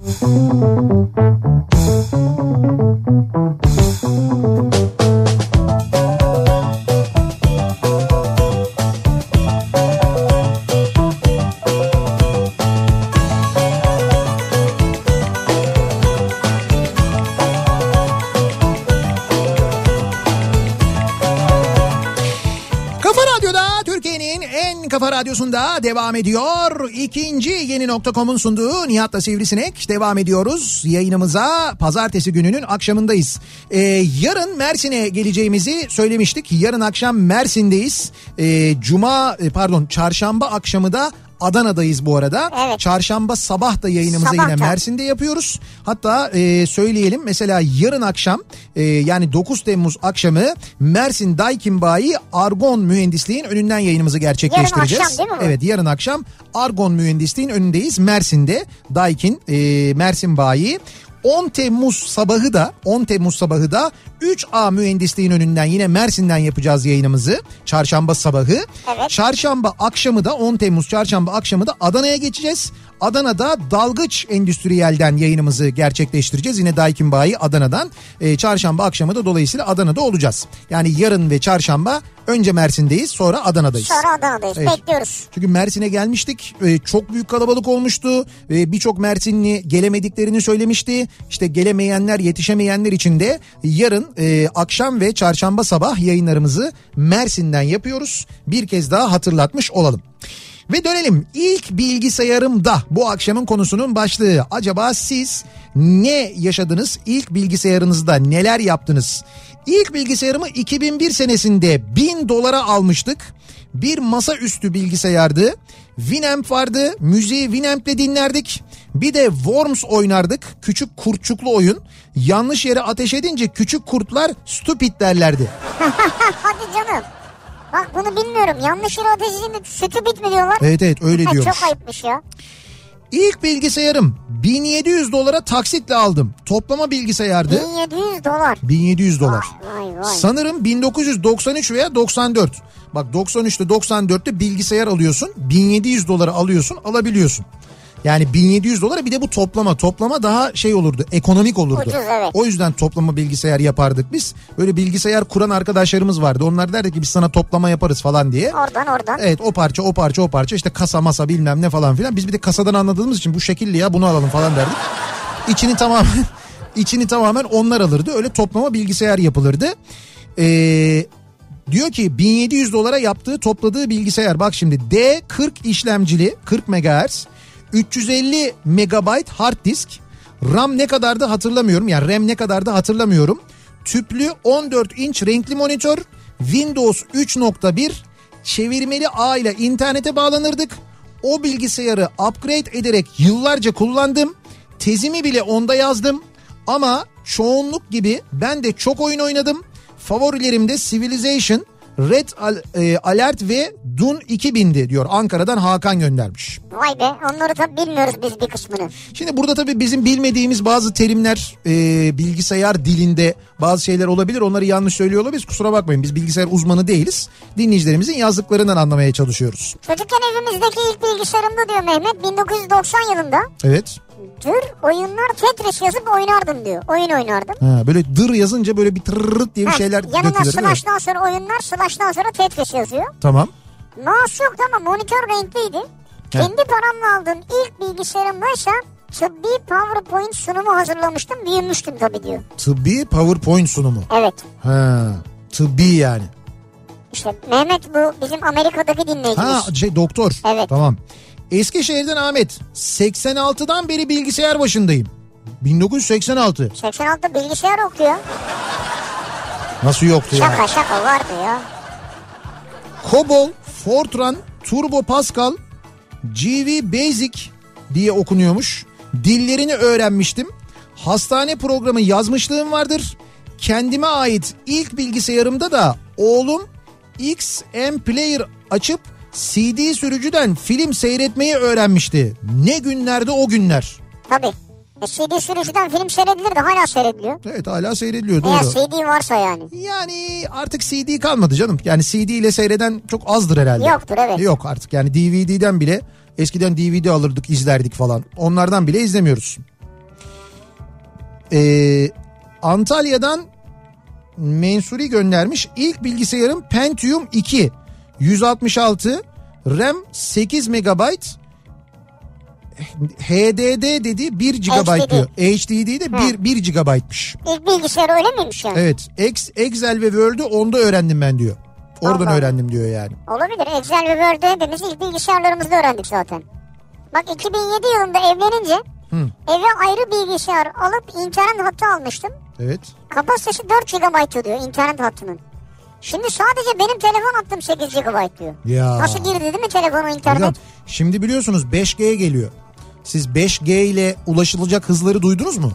[SPEAKER 1] Kafa Radyo'da Türkiye'nin en kafa Kafa Radyosu'nda devam ediyor. İkinci yeni nokta.com'un sunduğu Nihat'la Sivrisinek devam ediyoruz. Yayınımıza pazartesi gününün akşamındayız. Ee, yarın Mersin'e geleceğimizi söylemiştik. Yarın akşam Mersin'deyiz. Ee, Cuma e, pardon çarşamba akşamı da Adana'dayız bu arada.
[SPEAKER 2] Evet.
[SPEAKER 1] Çarşamba sabah da yayınımızı
[SPEAKER 2] Sabah
[SPEAKER 1] yine
[SPEAKER 2] da.
[SPEAKER 1] Mersin'de yapıyoruz. Hatta e, söyleyelim mesela yarın akşam e, yani 9 Temmuz akşamı Mersin Daikinbayi Argon Mühendisliğin önünden yayınımızı gerçekleştireceğiz.
[SPEAKER 2] akşam değil mi bu?
[SPEAKER 1] Evet yarın akşam Argon Mühendisliğin önündeyiz Mersin'de Daikin e, Mersin Bayi. 10 Temmuz sabahı da 10 Temmuz sabahı da 3A Mühendisliğin önünden yine Mersin'den yapacağız yayınımızı. Çarşamba sabahı.
[SPEAKER 2] Evet.
[SPEAKER 1] Çarşamba akşamı da 10 Temmuz çarşamba akşamı da Adana'ya geçeceğiz. Adana'da Dalgıç Endüstriyel'den yayınımızı gerçekleştireceğiz. Yine Daikin Bayi Adana'dan. Ee, çarşamba akşamı da dolayısıyla Adana'da olacağız. Yani yarın ve çarşamba önce Mersin'deyiz sonra Adana'dayız.
[SPEAKER 2] Sonra Adana'dayız.
[SPEAKER 1] Evet.
[SPEAKER 2] Bekliyoruz.
[SPEAKER 1] Çünkü Mersin'e gelmiştik. Ee, çok büyük kalabalık olmuştu. Ee, Birçok Mersinli gelemediklerini söylemişti. İşte gelemeyenler, yetişemeyenler için de yarın e, akşam ve çarşamba sabah yayınlarımızı Mersin'den yapıyoruz. Bir kez daha hatırlatmış olalım. Ve dönelim ilk bilgisayarımda bu akşamın konusunun başlığı. Acaba siz ne yaşadınız? İlk bilgisayarınızda neler yaptınız? İlk bilgisayarımı 2001 senesinde 1000 dolara almıştık. Bir masaüstü bilgisayardı. Winamp vardı. Müziği Winamp'le dinlerdik. Bir de Worms oynardık. Küçük kurtçuklu oyun. Yanlış yere ateş edince küçük kurtlar stupid derlerdi.
[SPEAKER 2] Hadi canım. Bak bunu bilmiyorum. Yanlış yere ateş edildi. Sütü bitmi diyorlar.
[SPEAKER 1] Evet evet öyle
[SPEAKER 2] Ha,
[SPEAKER 1] diyormuş.
[SPEAKER 2] Çok ayıpmış ya.
[SPEAKER 1] İlk bilgisayarım 1700 dolara taksitle aldım. Toplama bilgisayardı
[SPEAKER 2] 1700 dolar.
[SPEAKER 1] 1700 dolar.
[SPEAKER 2] Vay vay.
[SPEAKER 1] Sanırım 1993 veya 94. Bak 93'te 94'te bilgisayar alıyorsun. 1700 dolara alıyorsun alabiliyorsun. Yani 1700 dolara bir de bu toplama. Toplama daha şey olurdu ekonomik olurdu.
[SPEAKER 2] Ucuz, evet.
[SPEAKER 1] O yüzden toplama bilgisayar yapardık biz. Böyle bilgisayar kuran arkadaşlarımız vardı. Onlar derdi ki biz sana toplama yaparız falan diye.
[SPEAKER 2] Oradan oradan.
[SPEAKER 1] Evet o parça o parça o parça işte kasa masa bilmem ne falan filan. Biz bir de kasadan anladığımız için bu şekilli ya bunu alalım falan derdik. İçini tamamen içini tamamen onlar alırdı. Öyle toplama bilgisayar yapılırdı. Ee, diyor ki 1700 dolara yaptığı topladığı bilgisayar bak şimdi D40 işlemcili 40 MHz 350 MB hard disk RAM ne kadardı hatırlamıyorum yani RAM ne kadardı hatırlamıyorum. Tüplü 14 inç renkli monitör Windows 3.1 çevirmeli ağ ile internete bağlanırdık. O bilgisayarı upgrade ederek yıllarca kullandım. Tezimi bile onda yazdım. Ama çoğunluk gibi ben de çok oyun oynadım. Favorilerim de Civilization, Red Al- e, Alert ve Dun 2000'di diyor. Ankara'dan Hakan göndermiş.
[SPEAKER 2] Vay be. Onları tabii bilmiyoruz biz bir kısmını.
[SPEAKER 1] Şimdi burada tabii bizim bilmediğimiz bazı terimler e, bilgisayar dilinde bazı şeyler olabilir. Onları yanlış söylüyor olabiliriz. Kusura bakmayın biz bilgisayar uzmanı değiliz. Dinleyicilerimizin yazdıklarından anlamaya çalışıyoruz.
[SPEAKER 2] Çocukken evimizdeki ilk bilgisayarımda diyor Mehmet 1990 yılında
[SPEAKER 1] Evet.
[SPEAKER 2] dur oyunlar Tetris yazıp oynardım diyor. Oyun oynardım.
[SPEAKER 1] Ha, böyle dır yazınca böyle bir tırırırt diye bir
[SPEAKER 2] Ha,
[SPEAKER 1] şeyler
[SPEAKER 2] Yanına
[SPEAKER 1] dökülür. değil mi?
[SPEAKER 2] slash'tan sonra oyunlar slash'tan sonra Tetris yazıyor.
[SPEAKER 1] Tamam.
[SPEAKER 2] Mouse yoktu ama monitör renkliydi. Kendi paramla aldığım ilk bilgisayarımdaysa tıbbi PowerPoint sunumu hazırlamıştım. Büyümüştüm tabii diyor.
[SPEAKER 1] Tıbbi PowerPoint sunumu.
[SPEAKER 2] Evet.
[SPEAKER 1] Ha. Tıbbi yani.
[SPEAKER 2] İşte Mehmet bu bizim Amerika'daki
[SPEAKER 1] Ha
[SPEAKER 2] dinleyicimiz.
[SPEAKER 1] şey doktor.
[SPEAKER 2] Evet.
[SPEAKER 1] Tamam. Eskişehir'den Ahmet. 86'dan beri bilgisayar başındayım. 1986.
[SPEAKER 2] 86 bilgisayar okuyor.
[SPEAKER 1] Nasıl yoktu ya?
[SPEAKER 2] Şaka şaka vardı ya.
[SPEAKER 1] Cobol, Fortran, Turbo Pascal, GV Basic diye okunuyormuş. Dillerini öğrenmiştim. Hastane programı yazmışlığım vardır. Kendime ait ilk bilgisayarımda da oğlum XM Player açıp CD sürücüden film seyretmeyi öğrenmişti. Ne günlerde o günler.
[SPEAKER 2] Tabii. E, CD sürücüden film seyredilirdi hala seyrediliyor.
[SPEAKER 1] Evet hala seyrediliyor
[SPEAKER 2] Eğer
[SPEAKER 1] doğru.
[SPEAKER 2] CD varsa yani.
[SPEAKER 1] Yani artık CD kalmadı canım. Yani CD ile seyreden çok azdır herhalde.
[SPEAKER 2] Yoktur, evet.
[SPEAKER 1] Yok artık yani DVD'den bile eskiden DVD alırdık izlerdik falan. Onlardan bile izlemiyoruz. Ee, Antalya'dan Mensuri göndermiş. İlk bilgisayarım Pentium 2. 166 RAM 8 MB HDD dedi 1 GB
[SPEAKER 2] HDD.
[SPEAKER 1] diyor. HDD de 1, 1 GB'mış.
[SPEAKER 2] İlk bilgisayar öyle miymiş yani?
[SPEAKER 1] Evet. Ex, Excel ve Word'ü onda öğrendim ben diyor. Oradan
[SPEAKER 2] Allah.
[SPEAKER 1] öğrendim diyor yani.
[SPEAKER 2] Olabilir. Excel ve Word'ü hepimiz ilk bilgisayarlarımızda öğrendik zaten. Bak 2007 yılında evlenince eve ayrı bilgisayar alıp internet hattı almıştım.
[SPEAKER 1] Evet.
[SPEAKER 2] Kapasitesi 4 GB diyor internet hattının. Şimdi sadece benim telefon hattım 8 GB diyor.
[SPEAKER 1] Ya.
[SPEAKER 2] Nasıl girdi değil mi telefonu internet?
[SPEAKER 1] Hocam şimdi biliyorsunuz 5G geliyor. Siz 5G ile ulaşılacak hızları duydunuz mu?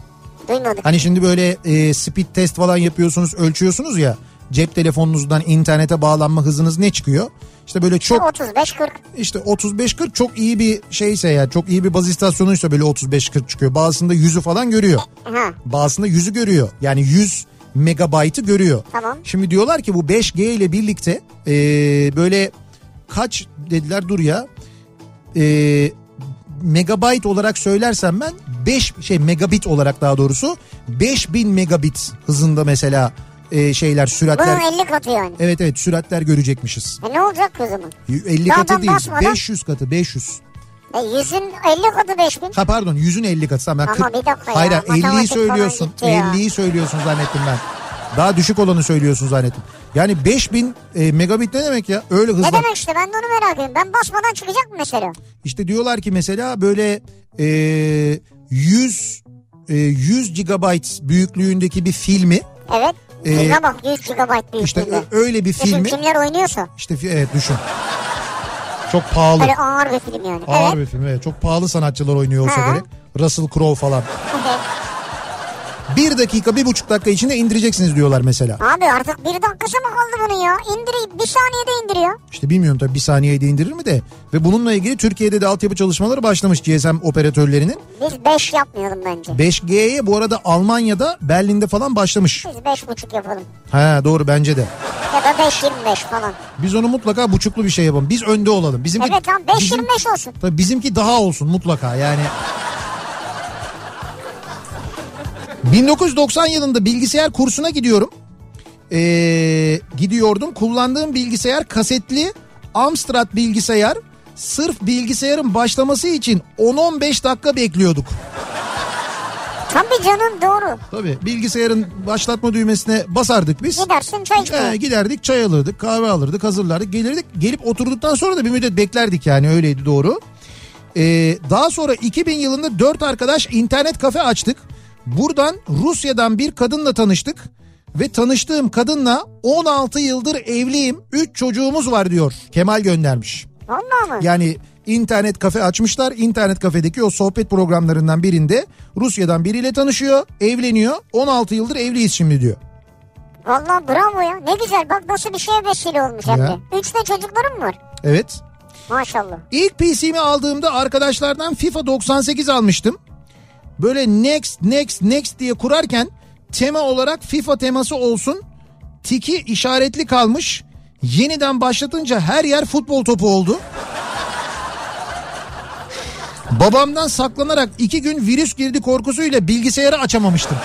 [SPEAKER 2] Duymadık.
[SPEAKER 1] Hani şimdi böyle e, speed test falan yapıyorsunuz, ölçüyorsunuz ya. Cep telefonunuzdan internete bağlanma hızınız ne çıkıyor? İşte böyle çok
[SPEAKER 2] 35-40.
[SPEAKER 1] işte 35-40 çok iyi bir şeyse ya çok iyi bir baz istasyonuysa böyle 35-40 çıkıyor. Bazısında yüzü falan görüyor.
[SPEAKER 2] Ha.
[SPEAKER 1] Bazısında yüzü görüyor. Yani 100 megabaytı görüyor.
[SPEAKER 2] Tamam.
[SPEAKER 1] Şimdi diyorlar ki bu 5G ile birlikte e, böyle kaç dediler dur ya. E, megabayt olarak söylersem ben 5 şey megabit olarak daha doğrusu 5000 megabit hızında mesela e, şeyler süratler.
[SPEAKER 2] Bunun 50 katı yani.
[SPEAKER 1] Evet evet süratler görecekmişiz.
[SPEAKER 2] E ne olacak o zaman?
[SPEAKER 1] 50
[SPEAKER 2] Daha
[SPEAKER 1] katı
[SPEAKER 2] ben
[SPEAKER 1] değil
[SPEAKER 2] basmadan-
[SPEAKER 1] 500 katı 500.
[SPEAKER 2] E yüzün 50 katı 5000.
[SPEAKER 1] Ha pardon 100'ün 50 katı. Tamam, ben
[SPEAKER 2] Ama
[SPEAKER 1] 40
[SPEAKER 2] bir dakika ya,
[SPEAKER 1] Hayır hayır, 50'yi
[SPEAKER 2] matematik falan
[SPEAKER 1] söylüyorsun.
[SPEAKER 2] gitti ya.
[SPEAKER 1] 50'yi söylüyorsun zannettim ben. Daha düşük olanı söylüyorsun zannettim. Yani 5000 e, megabit ne demek ya? Öyle hızla.
[SPEAKER 2] Ne demek işte ben de onu merak ediyorum. Ben basmadan çıkacak mı mesela?
[SPEAKER 1] İşte diyorlar ki mesela böyle e, 100 e, 100 gigabyte büyüklüğündeki bir filmi
[SPEAKER 2] Evet.
[SPEAKER 1] Ee,
[SPEAKER 2] Filme bak 100 GB
[SPEAKER 1] işte
[SPEAKER 2] büyüklüğünde.
[SPEAKER 1] ö- öyle bir
[SPEAKER 2] Düşün
[SPEAKER 1] filmi
[SPEAKER 2] kimler oynuyorsa.
[SPEAKER 1] işte fi- evet düşün. Çok pahalı.
[SPEAKER 2] Böyle ağır bir film yani.
[SPEAKER 1] Ağır
[SPEAKER 2] evet.
[SPEAKER 1] bir film evet. Çok pahalı sanatçılar oynuyor olsa
[SPEAKER 2] Ha.
[SPEAKER 1] gerek. Russell Crowe falan.
[SPEAKER 2] Evet.
[SPEAKER 1] Bir dakika, bir buçuk dakika içinde indireceksiniz diyorlar mesela.
[SPEAKER 2] Abi artık bir dakikası mı kaldı bunun ya? İndireyim bir saniyede indiriyor.
[SPEAKER 1] İşte bilmiyorum tabii bir saniyede indirir mi de. Ve bununla ilgili Türkiye'de de altyapı çalışmaları başlamış GSM operatörlerinin.
[SPEAKER 2] Biz 5 yapmayalım bence.
[SPEAKER 1] 5G'ye bu arada Almanya'da Berlin'de falan başlamış.
[SPEAKER 2] Biz 5.5 yapalım.
[SPEAKER 1] Ha doğru bence de.
[SPEAKER 2] Ya da 5.25 falan.
[SPEAKER 1] Biz onu mutlaka buçuklu bir şey yapalım. Biz önde olalım. Bizimki,
[SPEAKER 2] Evet tamam
[SPEAKER 1] bizim-
[SPEAKER 2] 5.25 olsun.
[SPEAKER 1] Tabii bizimki daha olsun mutlaka yani. 1990 yılında bilgisayar kursuna gidiyorum. Ee, gidiyordum. Kullandığım bilgisayar kasetli Amstrad bilgisayar. Sırf bilgisayarın başlaması için 10-15 dakika bekliyorduk.
[SPEAKER 2] Tabii canım doğru.
[SPEAKER 1] Tabii bilgisayarın başlatma düğmesine basardık biz.
[SPEAKER 2] Gidersin çay
[SPEAKER 1] Ee,
[SPEAKER 2] içmeye.
[SPEAKER 1] giderdik çay alırdık kahve alırdık hazırlardık gelirdik gelip oturduktan sonra da bir müddet beklerdik yani öyleydi doğru. Ee, daha sonra 2000 yılında dört arkadaş internet kafe açtık. Buradan Rusya'dan bir kadınla tanıştık ve tanıştığım kadınla 16 yıldır evliyim 3 çocuğumuz var diyor Kemal göndermiş.
[SPEAKER 2] Valla mı?
[SPEAKER 1] Yani internet kafe açmışlar. İnternet kafedeki o sohbet programlarından birinde Rusya'dan biriyle tanışıyor, evleniyor. 16 yıldır evliyiz şimdi diyor.
[SPEAKER 2] Valla bravo ya. Ne güzel bak nasıl bir şeye vesile olmuş hem
[SPEAKER 1] Ya.
[SPEAKER 2] de. Üç de çocuklarım var.
[SPEAKER 1] Evet.
[SPEAKER 2] Maşallah.
[SPEAKER 1] İlk PC'mi aldığımda arkadaşlardan FIFA 98 almıştım. Böyle next next next diye kurarken tema olarak FIFA teması olsun. Tiki işaretli kalmış. Yeniden başlatınca her yer futbol topu oldu. Babamdan saklanarak iki gün virüs girdi korkusuyla bilgisayarı açamamıştım.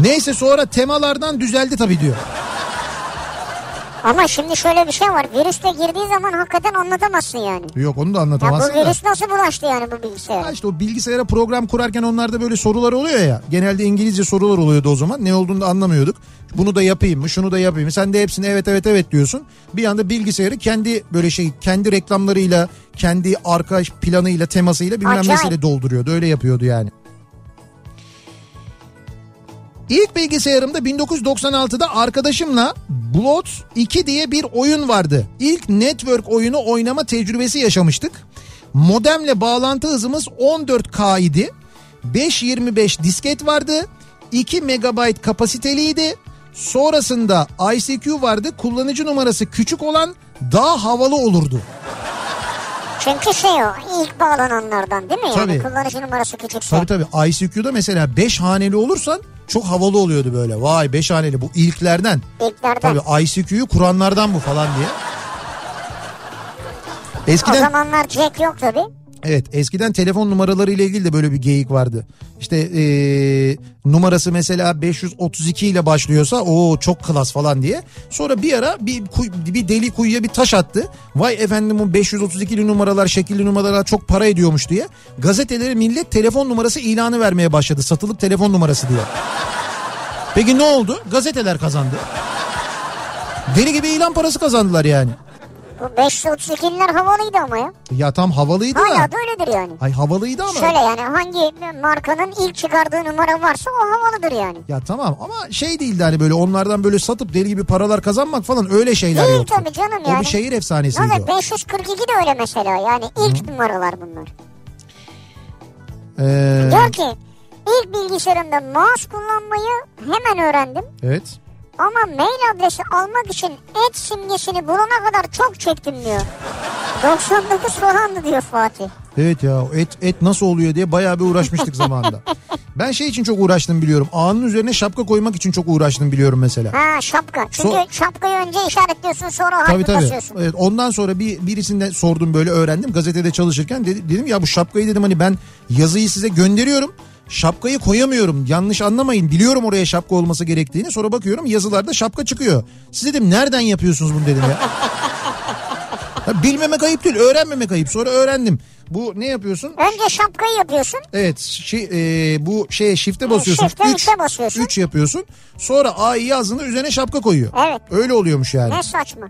[SPEAKER 1] Neyse sonra temalardan düzeldi tabii diyor.
[SPEAKER 2] Ama şimdi şöyle bir şey var. Virüs de girdiği zaman hakikaten anlatamazsın yani.
[SPEAKER 1] Yok onu da
[SPEAKER 2] Ya
[SPEAKER 1] anlatamazsın.
[SPEAKER 2] bu
[SPEAKER 1] da.
[SPEAKER 2] virüs nasıl bulaştı yani bu
[SPEAKER 1] Ha
[SPEAKER 2] bilgisayara?
[SPEAKER 1] işte o bilgisayara program kurarken onlarda böyle sorular oluyor ya. Genelde İngilizce sorular oluyordu o zaman. Ne olduğunu da anlamıyorduk. Bunu da yapayım mı? Şunu da yapayım mı? Sen de hepsini evet evet evet diyorsun. Bir anda bilgisayarı kendi böyle şey kendi reklamlarıyla, kendi arka planıyla, temasıyla bilmem
[SPEAKER 2] Acayip.
[SPEAKER 1] nesiyle dolduruyordu. Öyle yapıyordu yani. İlk bilgisayarımda 1996'da arkadaşımla Blood 2 diye bir oyun vardı. İlk network oyunu oynama tecrübesi yaşamıştık. Modemle bağlantı hızımız 14K idi. 5.25 disket vardı. 2 MB kapasiteliydi. Sonrasında ICQ vardı. Kullanıcı numarası küçük olan daha havalı olurdu.
[SPEAKER 2] Çünkü şey o ilk bağlananlardan değil mi? Yani
[SPEAKER 1] Tabii.
[SPEAKER 2] kullanıcı numarası küçükse.
[SPEAKER 1] Tabii tabii ICQ'da mesela 5 haneli olursan çok havalı oluyordu böyle. Vay 5 haneli bu ilklerden.
[SPEAKER 2] İlklerden.
[SPEAKER 1] Tabii ICQ'yu kuranlardan bu falan diye.
[SPEAKER 2] O
[SPEAKER 1] Eskiden
[SPEAKER 2] zamanlar Jack yok tabii.
[SPEAKER 1] evet eskiden telefon numaraları ile ilgili de böyle bir geyik vardı. İşte ee, numarası mesela 532 ile başlıyorsa o çok klas falan diye. Sonra bir ara bir kuy- bir deli kuyuya bir taş attı. Vay efendim bu 532'li numaralar, şekilli numaralar çok para ediyormuş diye. Gazetelere millet telefon numarası ilanı vermeye başladı. Satılık telefon numarası diye. Peki ne oldu? Gazeteler kazandı. Deli gibi ilan parası kazandılar yani.
[SPEAKER 2] Bu 532'liler havalıydı ama ya.
[SPEAKER 1] Ya tam havalıydı
[SPEAKER 2] Hala
[SPEAKER 1] da. Şey,
[SPEAKER 2] da öyledir yani.
[SPEAKER 1] Ay havalıydı ama.
[SPEAKER 2] Şöyle yani hangi markanın ilk çıkardığı numara varsa o havalıdır yani.
[SPEAKER 1] Ya tamam ama şey değildi hani böyle onlardan böyle satıp deli gibi paralar kazanmak falan öyle şeyler
[SPEAKER 2] Değil
[SPEAKER 1] yoktu.
[SPEAKER 2] tabii canım
[SPEAKER 1] O bir
[SPEAKER 2] yani.
[SPEAKER 1] şehir
[SPEAKER 2] Ne
[SPEAKER 1] efsanesiydi
[SPEAKER 2] olacak?
[SPEAKER 1] o.
[SPEAKER 2] 542 de öyle mesela yani ilk numaralar bunlar.
[SPEAKER 1] Ee,
[SPEAKER 2] Diyor ki ilk bilgisayarımda mouse kullanmayı hemen öğrendim.
[SPEAKER 1] evet.
[SPEAKER 2] Ama mail adresi almak için et simgesini bulana kadar çok çektim diyor. 99 falandı diyor Fatih.
[SPEAKER 1] Evet ya et et nasıl oluyor diye bayağı bir uğraşmıştık zamanında. Ben şey için çok uğraştım biliyorum. Ağının üzerine şapka koymak için çok uğraştım biliyorum mesela.
[SPEAKER 2] Ha şapka. Çünkü
[SPEAKER 1] So-
[SPEAKER 2] şapkayı önce işaretliyorsun sonra harfi
[SPEAKER 1] Tabii tabii.
[SPEAKER 2] basıyorsun.
[SPEAKER 1] Evet, ondan sonra bir birisinden sordum böyle öğrendim. Gazetede çalışırken dedi- dedim ya bu şapkayı dedim hani ben yazıyı size gönderiyorum. Şapkayı koyamıyorum. Yanlış anlamayın. Biliyorum oraya şapka olması gerektiğini. Sonra bakıyorum yazılarda şapka çıkıyor. Siz dedim nereden yapıyorsunuz bunu dedim ya. Ha, Bilmemek ayıp değil, öğrenmemek ayıp. Sonra öğrendim. Bu ne yapıyorsun?
[SPEAKER 2] Önce şapkayı yapıyorsun.
[SPEAKER 1] Evet şey, e, bu şeye şifte basıyorsun.
[SPEAKER 2] shift'e,
[SPEAKER 1] Üç-
[SPEAKER 2] üçe basıyorsun.
[SPEAKER 1] üç yapıyorsun. Sonra A'yı yazdığında üzerine şapka koyuyor.
[SPEAKER 2] Evet.
[SPEAKER 1] Öyle oluyormuş yani.
[SPEAKER 2] Ne saçma.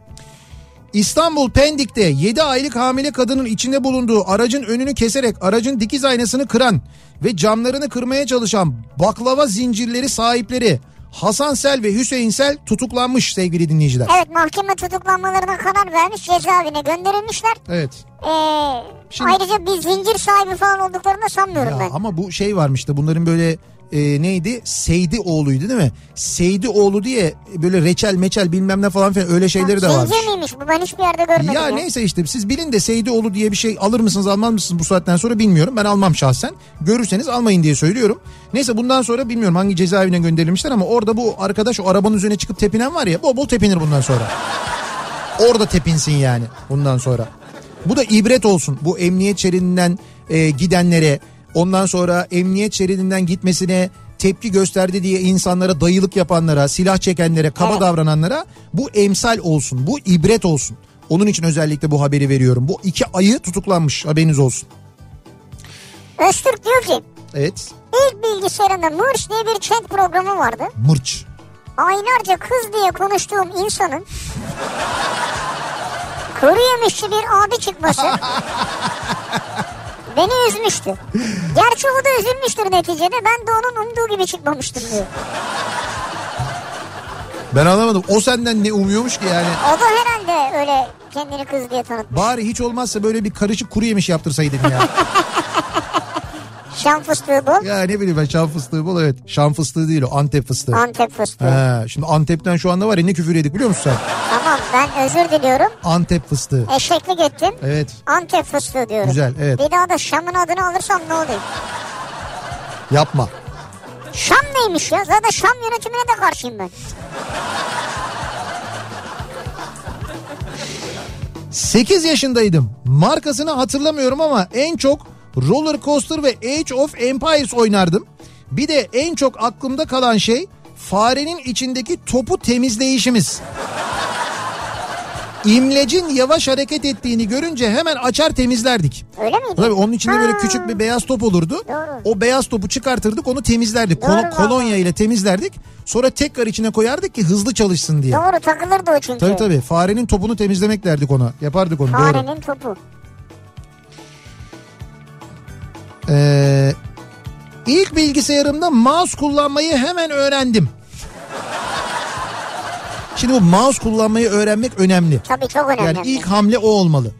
[SPEAKER 1] İstanbul Pendik'te 7 aylık hamile kadının içinde bulunduğu aracın önünü keserek aracın dikiz aynasını kıran ve camlarını kırmaya çalışan baklava zincirleri sahipleri Hasan Sel ve Hüseyin Sel tutuklanmış sevgili dinleyiciler.
[SPEAKER 2] Evet mahkeme tutuklanmalarına karar vermiş cezaevine gönderilmişler.
[SPEAKER 1] Evet.
[SPEAKER 2] Ee,
[SPEAKER 1] Şimdi-
[SPEAKER 2] Ayrıca bir zincir sahibi falan olduklarını da sanmıyorum
[SPEAKER 1] Ya
[SPEAKER 2] ben.
[SPEAKER 1] ama bu şey varmış da bunların böyle e, neydi? Seydi oğluydu değil mi? Seydi oğlu diye böyle reçel meçel bilmem ne falan filan öyle şeyleri de varmış.
[SPEAKER 2] Zincir miymiş bu ben hiçbir yerde görmedim.
[SPEAKER 1] Ya neyse işte siz bilin de Seydioğlu diye bir şey alır mısınız almaz mısınız bu saatten sonra bilmiyorum. Ben almam şahsen. Görürseniz almayın diye söylüyorum. Neyse bundan sonra bilmiyorum hangi cezaevine gönderilmişler ama orada bu arkadaş o arabanın üzerine çıkıp tepinen var ya bol bol tepinir bundan sonra. Orada tepinsin yani bundan sonra. Bu da ibret olsun bu emniyet şeridinden e, gidenlere ondan sonra emniyet şeridinden gitmesine tepki gösterdi diye insanlara dayılık yapanlara silah çekenlere kaba davrananlara bu emsal olsun bu ibret olsun. Onun için özellikle bu haberi veriyorum. Bu iki ayı tutuklanmış haberiniz olsun.
[SPEAKER 2] Öztürk diyor ki
[SPEAKER 1] Evet
[SPEAKER 2] ilk bilgisayarında Mırç diye bir chat programı vardı.
[SPEAKER 1] mırç.
[SPEAKER 2] Aylarca kız diye konuştuğum insanın kuru yemişçi bir abi çıkması beni üzmüştü. Gerçi o da üzülmüştür neticede. Ben de onun umduğu gibi çıkmamıştım diyor.
[SPEAKER 1] Ben anlamadım o senden ne umuyormuş ki yani.
[SPEAKER 2] O da herhalde öyle kendini kız diye tanıtmış.
[SPEAKER 1] Bari hiç olmazsa böyle bir karışık kuru yemiş yaptırsaydın ya.
[SPEAKER 2] Şam fıstığı bu.
[SPEAKER 1] ya ne bileyim ben şan fıstığı bol evet. Şan fıstığı değil o Antep fıstığı.
[SPEAKER 2] Antep fıstığı.
[SPEAKER 1] He, şimdi Antep'ten şu anda var ya ne küfür yedik biliyor musun sen?
[SPEAKER 2] Tamam ben özür diliyorum.
[SPEAKER 1] Antep fıstığı.
[SPEAKER 2] Eşeklik ettim.
[SPEAKER 1] Evet.
[SPEAKER 2] Antep fıstığı diyorum.
[SPEAKER 1] Güzel, evet.
[SPEAKER 2] Bir daha da Şam'ın adını alırsam ne oluyor?
[SPEAKER 1] Yapma.
[SPEAKER 2] Şam neymiş ya? Zaten Şam yönetimine de karşıyım ben.
[SPEAKER 1] 8 yaşındaydım. Markasını hatırlamıyorum ama en çok Roller Coaster ve Age of Empires oynardım. Bir de en çok aklımda kalan şey farenin içindeki topu temizleyişimiz. İmlecin yavaş hareket ettiğini görünce hemen açar temizlerdik.
[SPEAKER 2] Öyle miydi?
[SPEAKER 1] Tabii onun içinde böyle
[SPEAKER 2] Ha.
[SPEAKER 1] küçük bir beyaz top olurdu.
[SPEAKER 2] Doğru.
[SPEAKER 1] O beyaz topu çıkartırdık onu temizlerdik.
[SPEAKER 2] Doğru
[SPEAKER 1] Kol-
[SPEAKER 2] valla.
[SPEAKER 1] kolonya ile temizlerdik. Sonra tekrar içine koyardık ki hızlı çalışsın diye.
[SPEAKER 2] Doğru takılırdı o çünkü.
[SPEAKER 1] Tabii tabii farenin topunu temizlemek derdik ona. Yapardık onu doğru.
[SPEAKER 2] Farenin topu.
[SPEAKER 1] Ee, ilk bilgisayarımda mouse kullanmayı hemen öğrendim. Şimdi bu mouse kullanmayı öğrenmek önemli.
[SPEAKER 2] Tabii çok önemli.
[SPEAKER 1] Yani ilk hamle o olmalı.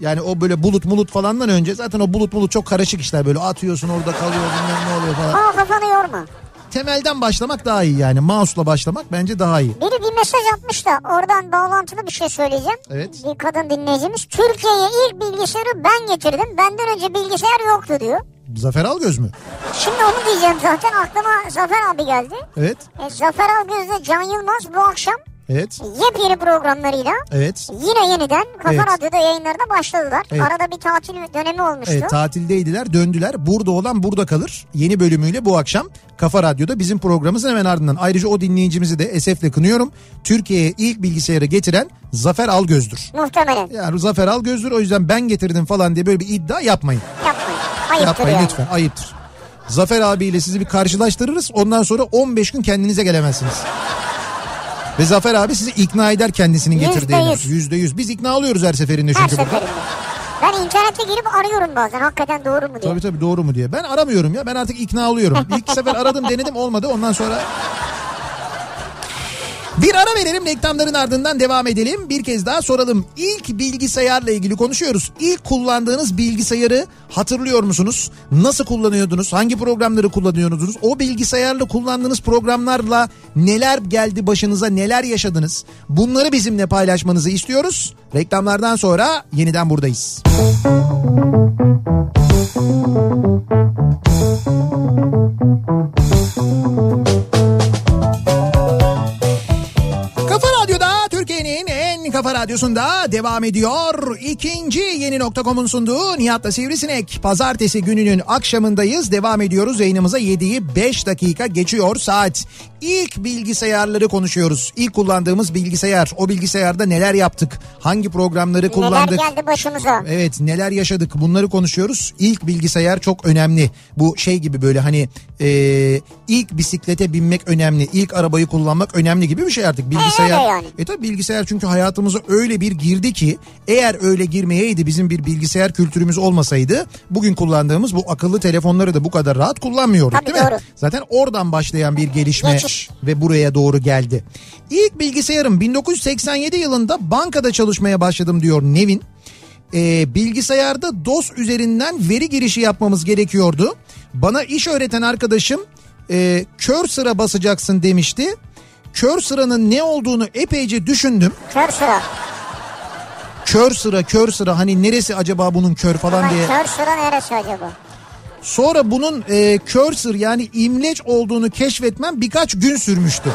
[SPEAKER 1] Yani o böyle bulut mulut falandan önce zaten o bulut mulut çok karışık işler böyle atıyorsun orada kalıyor bilmem ne oluyor falan.
[SPEAKER 2] Aa kafanı yorma.
[SPEAKER 1] Temelden başlamak daha iyi yani mouse'la başlamak bence daha iyi.
[SPEAKER 2] Biri bir mesaj atmış da oradan bağlantılı bir şey söyleyeceğim.
[SPEAKER 1] Evet.
[SPEAKER 2] Bir kadın dinleyicimiz. Türkiye'ye ilk bilgisayarı ben getirdim. Benden önce bilgisayar yoktu diyor.
[SPEAKER 1] Zafer Algöz mü?
[SPEAKER 2] Şimdi onu diyeceğim zaten aklıma Zafer abi geldi.
[SPEAKER 1] Evet.
[SPEAKER 2] E, Zafer Algöz'de Can Yılmaz bu akşam
[SPEAKER 1] Evet.
[SPEAKER 2] yepyeni programlarıyla
[SPEAKER 1] Evet.
[SPEAKER 2] yine yeniden Kafa
[SPEAKER 1] Evet.
[SPEAKER 2] Radyo'da yayınlarına başladılar.
[SPEAKER 1] Evet.
[SPEAKER 2] Arada bir tatil dönemi olmuştu.
[SPEAKER 1] Evet, E, tatildeydiler döndüler. Burada olan burada kalır. Yeni bölümüyle bu akşam Kafa Radyo'da bizim programımızın hemen ardından. Ayrıca o dinleyicimizi de esefle kınıyorum. Türkiye'ye ilk bilgisayarı getiren Zafer Algöz'dür.
[SPEAKER 2] Muhtemelen.
[SPEAKER 1] Yani Zafer Algöz'dür o yüzden ben getirdim falan diye böyle bir iddia yapmayın.
[SPEAKER 2] Yapmayın. Ayıptır
[SPEAKER 1] yapmayın
[SPEAKER 2] yani.
[SPEAKER 1] lütfen ayıptır. Zafer abiyle sizi bir karşılaştırırız. Ondan sonra 15 gün kendinize gelemezsiniz. Ve Zafer abi sizi ikna eder kendisinin
[SPEAKER 2] Yüzde
[SPEAKER 1] getirdiğini.
[SPEAKER 2] yüz.
[SPEAKER 1] Yüzde yüz. Biz ikna oluyoruz her seferinde
[SPEAKER 2] Her
[SPEAKER 1] çünkü. bu.
[SPEAKER 2] seferinde. Ben internete girip arıyorum bazen hakikaten doğru mu diye.
[SPEAKER 1] Tabii tabii doğru mu diye. Ben aramıyorum ya. Ben artık ikna oluyorum. İlk sefer aradım denedim olmadı. Ondan sonra... Bir ara verelim reklamların ardından devam edelim. Bir kez daha soralım. İlk bilgisayarla ilgili konuşuyoruz. İlk kullandığınız bilgisayarı hatırlıyor musunuz? Nasıl kullanıyordunuz? Hangi programları kullanıyordunuz? O bilgisayarla kullandığınız programlarla neler geldi başınıza? Neler yaşadınız? Bunları bizimle paylaşmanızı istiyoruz. Reklamlardan sonra yeniden buradayız. Kafa Radyo'da Türkiye'nin en kafa radyosunda devam ediyor. İkinci yeni nokta.com'un sunduğu Nihat'la Sivrisinek. Pazartesi gününün akşamındayız. Devam ediyoruz. Yayınımıza 7'yi 5 dakika geçiyor saat. İlk bilgisayarları konuşuyoruz. İlk kullandığımız bilgisayar. O bilgisayarda neler yaptık? Hangi programları kullandık? E-
[SPEAKER 2] Neler geldi başımıza.
[SPEAKER 1] Evet neler yaşadık bunları konuşuyoruz. İlk bilgisayar çok önemli. Bu şey gibi böyle hani e, ilk bisiklete binmek önemli. ilk arabayı kullanmak önemli gibi bir şey artık. Bilgisayar.
[SPEAKER 2] öyle yani.
[SPEAKER 1] E tabi bilgisayar çünkü hayatımıza öyle bir girdi ki eğer öyle girmeyeydi bizim bir bilgisayar kültürümüz olmasaydı bugün kullandığımız bu akıllı telefonları da bu kadar rahat kullanmıyorduk
[SPEAKER 2] Tabii,
[SPEAKER 1] değil mi?
[SPEAKER 2] doğru.
[SPEAKER 1] Zaten oradan başlayan bir gelişme
[SPEAKER 2] Geçiş.
[SPEAKER 1] ve buraya doğru geldi. İlk bilgisayarım 1987 yılında bankada çalışmaya başladım diyor Nevin. Ee, bilgisayarda DOS üzerinden veri girişi yapmamız gerekiyordu. Bana iş öğreten arkadaşım e, kör sıra basacaksın demişti. Kör sıranın ne olduğunu epeyce düşündüm.
[SPEAKER 2] Kör sıra.
[SPEAKER 1] Kör sıra kör sıra hani neresi acaba bunun kör falan
[SPEAKER 2] Ama
[SPEAKER 1] diye.
[SPEAKER 2] kör sıra neresi acaba?
[SPEAKER 1] Sonra bunun e, cursor yani imleç olduğunu keşfetmem birkaç gün sürmüştü.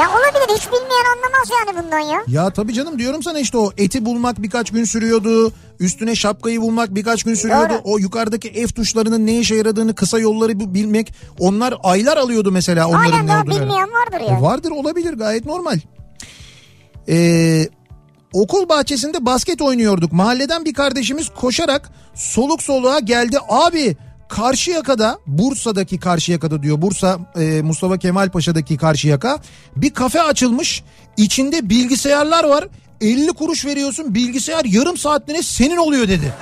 [SPEAKER 2] Ya olabilir hiç bilmeyen anlamaz yani bundan ya.
[SPEAKER 1] Ya tabii canım diyorum sana işte o eti bulmak birkaç gün sürüyordu. Üstüne şapkayı bulmak birkaç gün sürüyordu.
[SPEAKER 2] Doğru.
[SPEAKER 1] O yukarıdaki F tuşlarının ne işe yaradığını, kısa yolları bi- bilmek onlar aylar alıyordu mesela onların
[SPEAKER 2] Aynen
[SPEAKER 1] ne
[SPEAKER 2] daha
[SPEAKER 1] olduğunu.
[SPEAKER 2] bilmeyen vardır ya.
[SPEAKER 1] E, Vardır olabilir gayet normal. Ee, okul bahçesinde basket oynuyorduk. Mahalleden bir kardeşimiz koşarak soluk soluğa geldi. Abi Karşıyaka'da Bursa'daki Karşıyaka'da diyor Bursa e, Mustafa Kemal Paşa'daki Karşıyaka bir kafe açılmış içinde bilgisayarlar var 50 kuruş veriyorsun bilgisayar yarım saatliğine senin oluyor dedi.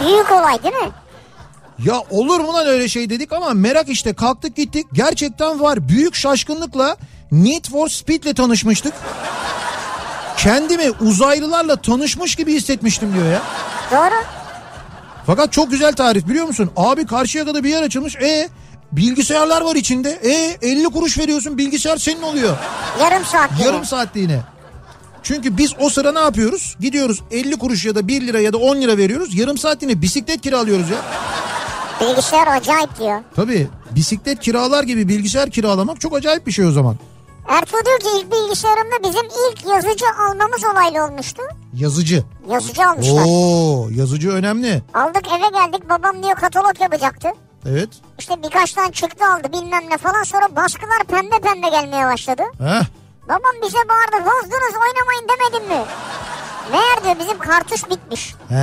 [SPEAKER 2] Büyük olay değil mi?
[SPEAKER 1] Ya olur mu lan öyle şey dedik ama merak işte kalktık gittik. Gerçekten var büyük şaşkınlıkla Need for Speed'le tanışmıştık. Kendimi uzaylılarla tanışmış gibi hissetmiştim diyor ya.
[SPEAKER 2] Doğru.
[SPEAKER 1] Fakat çok güzel tarif biliyor musun? Abi Karşıyaka'da bir yer açılmış. E bilgisayarlar var içinde. E 50 kuruş veriyorsun bilgisayar senin oluyor.
[SPEAKER 2] Yarım saat. yine.
[SPEAKER 1] Yarım saatliğine. Çünkü biz o sıra ne yapıyoruz? Gidiyoruz 50 kuruş ya da 1 lira ya da 10 lira veriyoruz. Yarım saatliğine bisiklet kiralıyoruz ya.
[SPEAKER 2] Bilgisayar acayip diyor.
[SPEAKER 1] Tabii bisiklet kiralar gibi bilgisayar kiralamak çok acayip bir şey o zaman.
[SPEAKER 2] Ertuğ diyor ki ilk bilgisayarımda bizim ilk yazıcı almamız olaylı olmuştu.
[SPEAKER 1] Yazıcı.
[SPEAKER 2] Yazıcı almışlar.
[SPEAKER 1] Oo, yazıcı önemli.
[SPEAKER 2] Aldık eve geldik babam diyor katalog yapacaktı.
[SPEAKER 1] Evet.
[SPEAKER 2] İşte birkaç tane çıktı aldı bilmem ne falan sonra baskılar pembe pembe gelmeye başladı.
[SPEAKER 1] Heh.
[SPEAKER 2] Babam bize bağırdı bozdunuz oynamayın demedim mi? Meğer diyor bizim kartuş bitmiş.
[SPEAKER 1] He.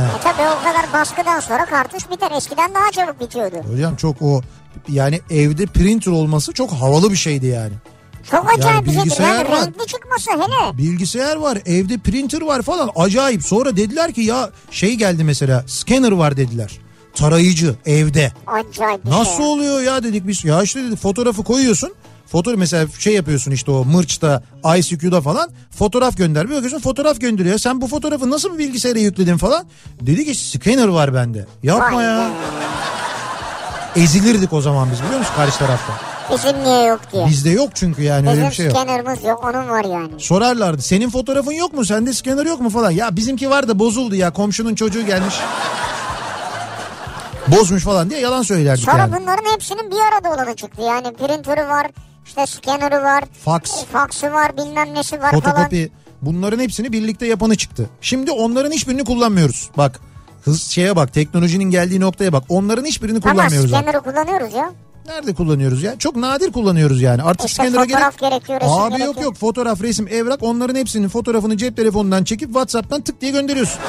[SPEAKER 2] E tabi o kadar baskıdan sonra kartuş biter eskiden daha çabuk bitiyordu.
[SPEAKER 1] Hocam çok o yani evde printer olması çok havalı bir şeydi yani.
[SPEAKER 2] Çok acayip bir şeydir
[SPEAKER 1] bilgisayar
[SPEAKER 2] yani
[SPEAKER 1] var.
[SPEAKER 2] renkli çıkması hele.
[SPEAKER 1] Bilgisayar var, evde printer var falan acayip. Sonra dediler ki ya şey geldi mesela scanner var dediler. Tarayıcı evde.
[SPEAKER 2] Acayip bir şey.
[SPEAKER 1] Nasıl oluyor ya dedik biz. Ya işte dedik fotoğrafı koyuyorsun. Fotoğraf mesela şey yapıyorsun işte o Mırç'ta, ICQ'da falan fotoğraf gönder. Bir bakıyorsun fotoğraf gönderiyor. Sen bu fotoğrafı nasıl bir bilgisayara yükledin falan. Dedi ki scanner var bende. Yapma
[SPEAKER 2] Vay
[SPEAKER 1] ya.
[SPEAKER 2] be.
[SPEAKER 1] Ezilirdik o zaman biz biliyor musun karşı tarafta.
[SPEAKER 2] Bizim niye yok diye.
[SPEAKER 1] Bizde yok çünkü yani öyle
[SPEAKER 2] Bizim
[SPEAKER 1] bir şey yok.
[SPEAKER 2] scanner'ımız yok onun var yani.
[SPEAKER 1] Sorarlardı senin fotoğrafın yok mu sende scanner yok mu falan. Ya bizimki var da bozuldu ya komşunun çocuğu gelmiş. Bozmuş falan diye yalan söylerdik
[SPEAKER 2] Sonra
[SPEAKER 1] yani.
[SPEAKER 2] bunların hepsinin bir arada olanı çıktı. Yani printer'ı var, işte scanner'ı var,
[SPEAKER 1] Fax.
[SPEAKER 2] e, faksı var, bilmem nesi var falan.
[SPEAKER 1] fotokopi bunların hepsini birlikte yapanı çıktı. Şimdi onların hiçbirini kullanmıyoruz. Bak hız şeye bak teknolojinin geldiği noktaya bak. Onların hiçbirini
[SPEAKER 2] Ama
[SPEAKER 1] kullanmıyoruz. artık.
[SPEAKER 2] scanner'ı kullanıyoruz ya.
[SPEAKER 1] Nerede kullanıyoruz ya? Çok nadir kullanıyoruz yani. Artık
[SPEAKER 2] İşte
[SPEAKER 1] scanner'a
[SPEAKER 2] fotoğraf
[SPEAKER 1] gerek.
[SPEAKER 2] gerekiyor, resim
[SPEAKER 1] Abi
[SPEAKER 2] gerekiyor.
[SPEAKER 1] yok yok fotoğraf, resim, evrak onların hepsinin fotoğrafını cep telefonundan çekip WhatsApp'tan tık diye gönderiyorsun.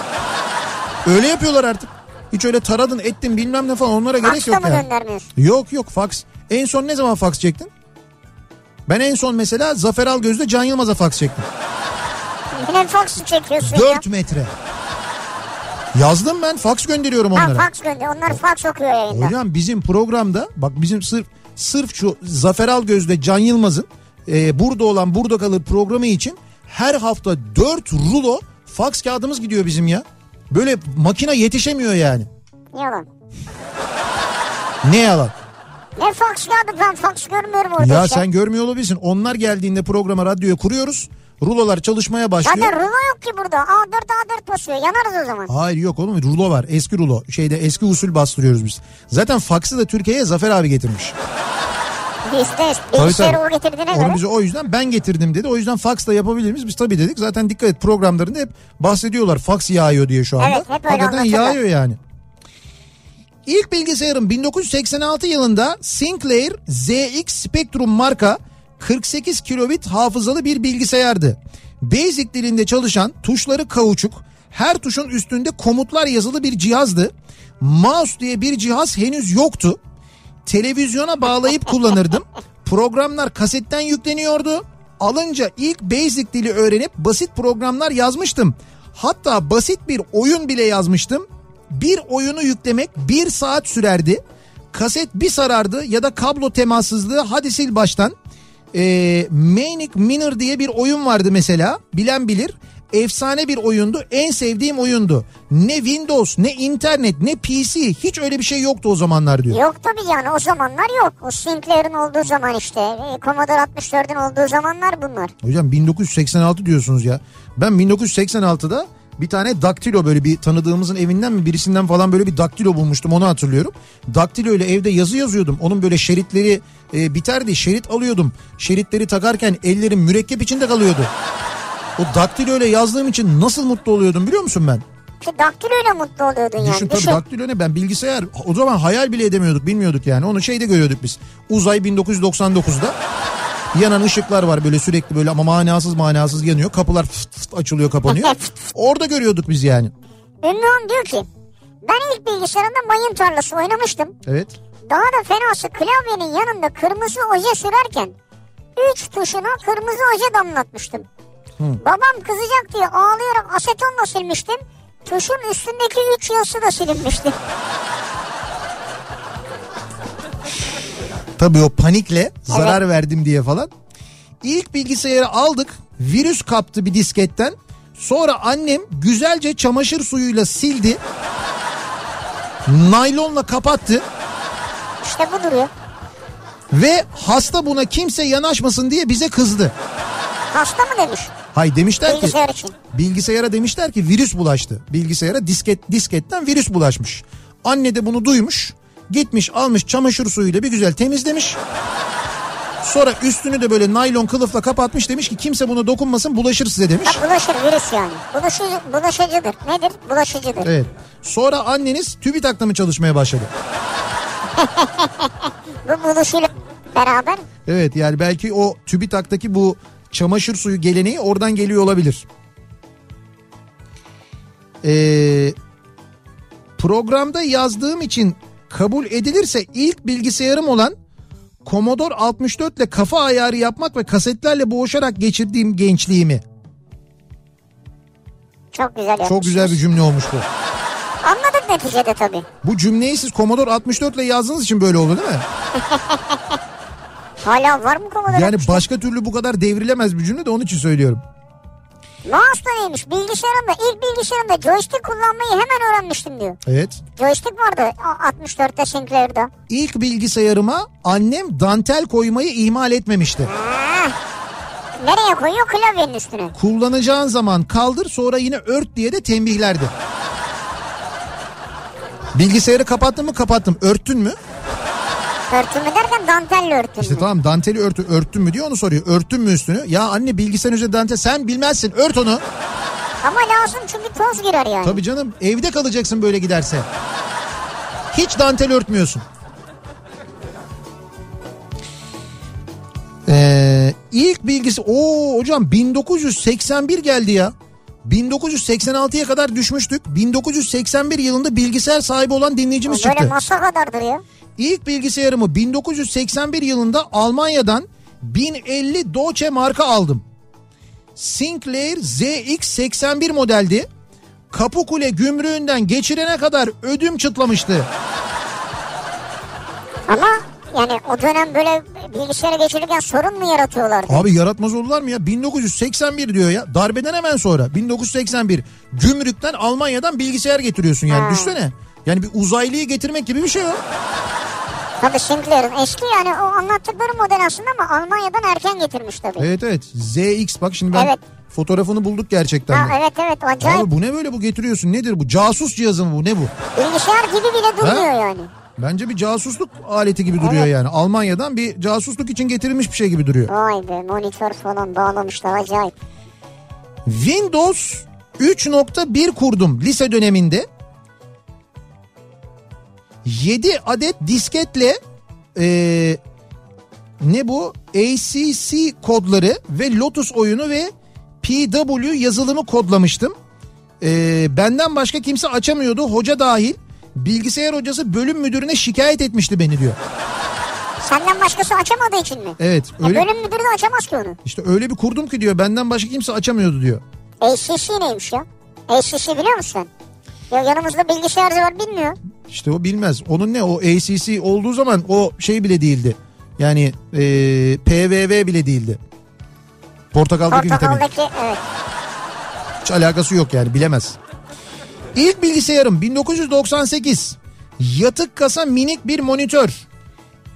[SPEAKER 1] öyle yapıyorlar artık. Hiç öyle taradın ettin bilmem ne falan onlara gerek
[SPEAKER 2] Fax'ta
[SPEAKER 1] yok
[SPEAKER 2] mı
[SPEAKER 1] yani.
[SPEAKER 2] göndermiyorsun?
[SPEAKER 1] Yok yok fax. En son ne zaman fax çektin? Ben en son mesela Zafer Algöz'de Can Yılmaz'a faks çektim.
[SPEAKER 2] Yine fax çekiyorsun ya.
[SPEAKER 1] 4 metre. Yazdım ben faks gönderiyorum
[SPEAKER 2] Ha
[SPEAKER 1] onlara.
[SPEAKER 2] fax gönder. Onlar fax okuyor yayında.
[SPEAKER 1] Hocam bizim programda bak bizim sırf sırf şu Zafer Algöz'de Can Yılmaz'ın e, burada olan burada kalır programı için her hafta 4 rulo faks kağıdımız gidiyor bizim ya. Böyle makine yetişemiyor yani.
[SPEAKER 2] Yalan.
[SPEAKER 1] Ne yalan.
[SPEAKER 2] Ne fax kağıdı ben fax görmüyorum orada. şey.
[SPEAKER 1] Ya
[SPEAKER 2] işte.
[SPEAKER 1] sen görmüyor olabilirsin. Onlar geldiğinde programa radyoya kuruyoruz. Rulolar çalışmaya başlıyor.
[SPEAKER 2] Zaten rulo yok ki burada. A4 A4 basıyor. Yanarız o zaman.
[SPEAKER 1] Hayır yok oğlum rulo var eski rulo şeyde eski usul bastırıyoruz biz. Zaten faksı da Türkiye'ye Zafer abi getirmiş.
[SPEAKER 2] Bizde
[SPEAKER 1] Tabii,
[SPEAKER 2] bilgisayarı
[SPEAKER 1] tabii.
[SPEAKER 2] o getirdiğine
[SPEAKER 1] Onu
[SPEAKER 2] göre.
[SPEAKER 1] bize o yüzden ben getirdim dedi. O yüzden faksla yapabilir miyiz? Biz tabii dedik. Zaten dikkat et programlarında hep bahsediyorlar faks yağıyor diye şu anda.
[SPEAKER 2] Evet, hep öyle
[SPEAKER 1] Hakikaten
[SPEAKER 2] anlatılıyor.
[SPEAKER 1] yağıyor yani. İlk bilgisayarım 1986 yılında Sinclair ZX Spectrum marka 48 kilobit hafızalı bir bilgisayardı. Basic dilinde çalışan tuşları kauçuk, her tuşun üstünde komutlar yazılı bir cihazdı. Mouse diye bir cihaz henüz yoktu. Televizyona bağlayıp kullanırdım. Programlar kasetten yükleniyordu. Alınca ilk basic dili öğrenip basit programlar yazmıştım. Hatta basit bir oyun bile yazmıştım. Bir oyunu yüklemek bir saat sürerdi. Kaset bir sarardı ya da kablo temassızlığı hadi sil baştan. Ee, Manic Miner diye bir oyun vardı mesela bilen bilir. Efsane bir oyundu en sevdiğim oyundu. Ne Windows ne internet ne PC hiç öyle bir şey yoktu o zamanlar diyor.
[SPEAKER 2] Yok tabii yani o zamanlar yok. O Sinclair'ın olduğu zaman işte. e, Commodore 64'ün olduğu zamanlar bunlar.
[SPEAKER 1] Hocam 1986 diyorsunuz ya. Ben 1986'da bir tane daktilo böyle bir tanıdığımızın evinden mi birisinden falan böyle bir daktilo bulmuştum onu hatırlıyorum. Daktilo ile evde yazı yazıyordum. Onun böyle şeritleri e, biterdi şerit alıyordum. Şeritleri takarken ellerim mürekkep içinde kalıyordu. O daktilo ile yazdığım için nasıl mutlu oluyordum biliyor musun ben?
[SPEAKER 2] Ki daktiloyla mutlu oluyordun yani.
[SPEAKER 1] Düşün tabii
[SPEAKER 2] Düşün.
[SPEAKER 1] daktilo ne ben bilgisayar o zaman hayal bile edemiyorduk bilmiyorduk yani onu şeyde görüyorduk biz. Uzay 1999'da yanan ışıklar var böyle sürekli böyle ama manasız manasız yanıyor kapılar fıt fıt açılıyor kapanıyor. Orada görüyorduk biz yani
[SPEAKER 2] Ümmü Han diyor ki ben ilk bilgisayarımda mayın tarlası oynamıştım.
[SPEAKER 1] evet.
[SPEAKER 2] Daha da fenası klavyenin yanında kırmızı oje sürerken 3 tuşuna kırmızı oje damlatmıştım. Babam kızacak diye ağlayarak asetonla silmiştim. Tuşun üstündeki 3 yazısı da silinmişti.
[SPEAKER 1] Tabii o panikle zarar verdim diye falan. İlk bilgisayarı aldık. Virüs kaptı bir disketten. Sonra annem güzelce çamaşır suyuyla sildi. Naylonla kapattı.
[SPEAKER 2] İşte bu duruyor.
[SPEAKER 1] Ve hasta buna kimse yanaşmasın diye bize kızdı.
[SPEAKER 2] Hasta mı demiş
[SPEAKER 1] Hay demişler ki
[SPEAKER 2] bilgisayar için?
[SPEAKER 1] bilgisayara demişler ki virüs bulaştı. Bilgisayara disket disketten virüs bulaşmış. Anne de bunu duymuş. Gitmiş almış çamaşır suyuyla bir güzel temizlemiş. Sonra üstünü de böyle naylon kılıfla kapatmış demiş ki kimse buna dokunmasın bulaşır size demiş.
[SPEAKER 2] Ha, bulaşır virüs yani. Bulaşıcı, bulaşıcıdır. Nedir? Bulaşıcıdır.
[SPEAKER 1] Evet. Sonra anneniz TÜBİTAK'ta mı çalışmaya başladı?
[SPEAKER 2] Bu buluşuyla beraber
[SPEAKER 1] Evet yani belki o TÜBİTAK'taki bu çamaşır suyu geleneği oradan geliyor olabilir. Ee, programda yazdığım için kabul edilirse ilk bilgisayarım olan Commodore 64 ile kafa ayarı yapmak ve kasetlerle boğuşarak geçirdiğim gençliğimi.
[SPEAKER 2] çok güzel yapmış.
[SPEAKER 1] Çok güzel bir cümle olmuş bu.
[SPEAKER 2] Anladık neticede tabii.
[SPEAKER 1] Bu cümleyi siz Commodore 64 ile yazdığınız için böyle oldu değil mi?
[SPEAKER 2] Hala var mı kovalar?
[SPEAKER 1] Yani başka türlü bu kadar devrilemez bir cümle de onun için söylüyorum.
[SPEAKER 2] Mouse da neymiş? Bilgisayarımda ilk bilgisayarımda joystick kullanmayı hemen öğrenmiştim diyor.
[SPEAKER 1] Evet.
[SPEAKER 2] Joystick vardı a- 64'te Sinclair'da.
[SPEAKER 1] İlk bilgisayarıma annem dantel koymayı ihmal etmemişti.
[SPEAKER 2] Nereye koyuyor? Klavyenin üstüne.
[SPEAKER 1] Kullanacağın zaman kaldır sonra yine ört diye de tembihlerdi. Bilgisayarı kapattın mı kapattım. Örttün mü?
[SPEAKER 2] Örtümü derken dantelle örtün.
[SPEAKER 1] İşte tamam danteli örtü örttün mü diye onu soruyor. Örttün mü üstünü? Ya anne bilgisayarın üzerinde dantel sen bilmezsin ört onu.
[SPEAKER 2] Ama lazım çünkü toz girer yani.
[SPEAKER 1] Tabii canım evde kalacaksın böyle giderse. Hiç dantel örtmüyorsun. Ee, ilk bilgisi o hocam 1981 geldi ya. 1986'ya kadar düşmüştük. 1981 yılında bilgisayar sahibi olan dinleyicimiz
[SPEAKER 2] Böyle
[SPEAKER 1] çıktı.
[SPEAKER 2] masa kadardır ya.
[SPEAKER 1] İlk bilgisayarımı 1981 yılında Almanya'dan 1050 Doce marka aldım. Sinclair ZX81 modeldi. Kapıkule gümrüğünden geçirene kadar ödüm çıtlamıştı.
[SPEAKER 2] Ama yani o dönem böyle bilgisayara geçirirken sorun mu yaratıyorlardı?
[SPEAKER 1] Abi yaratmaz oldular mı ya? 1981 diyor ya. Darbeden hemen sonra. 1981. Gümrükten Almanya'dan bilgisayar getiriyorsun yani.
[SPEAKER 2] Ha.
[SPEAKER 1] Düşsene. Yani bir uzaylıyı getirmek gibi bir şey o.
[SPEAKER 2] Tabii Sinclair'ın eski yani o anlattıkları model aslında ama Almanya'dan erken getirmiş tabii.
[SPEAKER 1] Evet evet. ZX bak şimdi ben
[SPEAKER 2] Evet.
[SPEAKER 1] fotoğrafını bulduk gerçekten.
[SPEAKER 2] Ha,
[SPEAKER 1] de.
[SPEAKER 2] evet evet acayip.
[SPEAKER 1] Abi bu ne böyle bu getiriyorsun nedir bu? Casus cihazı mı bu ne bu?
[SPEAKER 2] Bilgisayar gibi bile durmuyor yani.
[SPEAKER 1] Bence bir casusluk aleti gibi duruyor yani. Almanya'dan bir casusluk için getirilmiş bir şey gibi duruyor.
[SPEAKER 2] Vay be monitör falan bağlamışlar acayip.
[SPEAKER 1] Windows 3.1 kurdum lise döneminde. 7 adet disketle eee, ne bu? ACC kodları ve Lotus oyunu ve PW yazılımı kodlamıştım. Eee, benden başka kimse açamıyordu hoca dahil. Bilgisayar hocası bölüm müdürüne şikayet etmişti beni diyor.
[SPEAKER 2] Senden başkası açamadığı için mi?
[SPEAKER 1] Evet
[SPEAKER 2] Ya
[SPEAKER 1] E, öyle
[SPEAKER 2] bölüm müdürü de açamaz ki onu.
[SPEAKER 1] işte öyle bir kurdum ki diyor benden başka kimse açamıyordu diyor.
[SPEAKER 2] ACC neymiş ya? ACC biliyor musun? Ya yanımızda bilgisayarcı var bilmiyor.
[SPEAKER 1] İşte o bilmez. Onun ne o ACC olduğu zaman o şey bile değildi. Yani eee, PVV bile değildi. Portakaldaki vitamin.
[SPEAKER 2] Portakaldaki evet.
[SPEAKER 1] Hiç alakası yok yani bilemez. İlk bilgisayarım 1998. Yatık kasa minik bir monitör.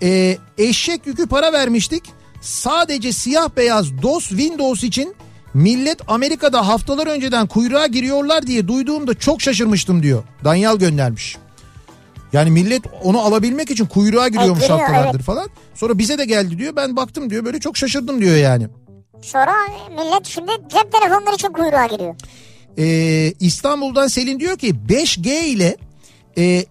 [SPEAKER 1] Ee, eşek yükü para vermiştik. Sadece siyah beyaz DOS Windows için millet Amerika'da haftalar önceden kuyruğa giriyorlar diye duyduğumda çok şaşırmıştım diyor. Danyal göndermiş. Yani millet onu alabilmek için kuyruğa giriyormuş
[SPEAKER 2] giriyor,
[SPEAKER 1] haftalardır
[SPEAKER 2] evet.
[SPEAKER 1] falan. Sonra bize de geldi diyor. Ben baktım diyor. Böyle çok şaşırdım diyor yani.
[SPEAKER 2] Sonra millet şimdi cep telefonları için kuyruğa giriyor.
[SPEAKER 1] Ee, İstanbul'dan Selin diyor ki 5G ile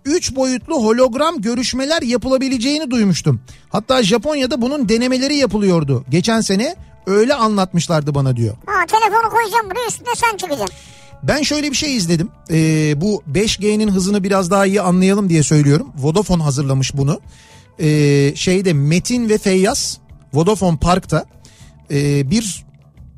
[SPEAKER 1] 3 boyutlu hologram görüşmeler yapılabileceğini duymuştum. Hatta Japonya'da bunun denemeleri yapılıyordu. Geçen sene öyle anlatmışlardı bana diyor.
[SPEAKER 2] Ha telefonu koyacağım buraya üstüne sen çıkacaksın.
[SPEAKER 1] Ben şöyle bir şey izledim. Ee, bu 5G'nin hızını biraz daha iyi anlayalım diye söylüyorum. Vodafone hazırlamış bunu. Ee, şeyde Metin ve Feyyaz Vodafone Park'ta ee, bir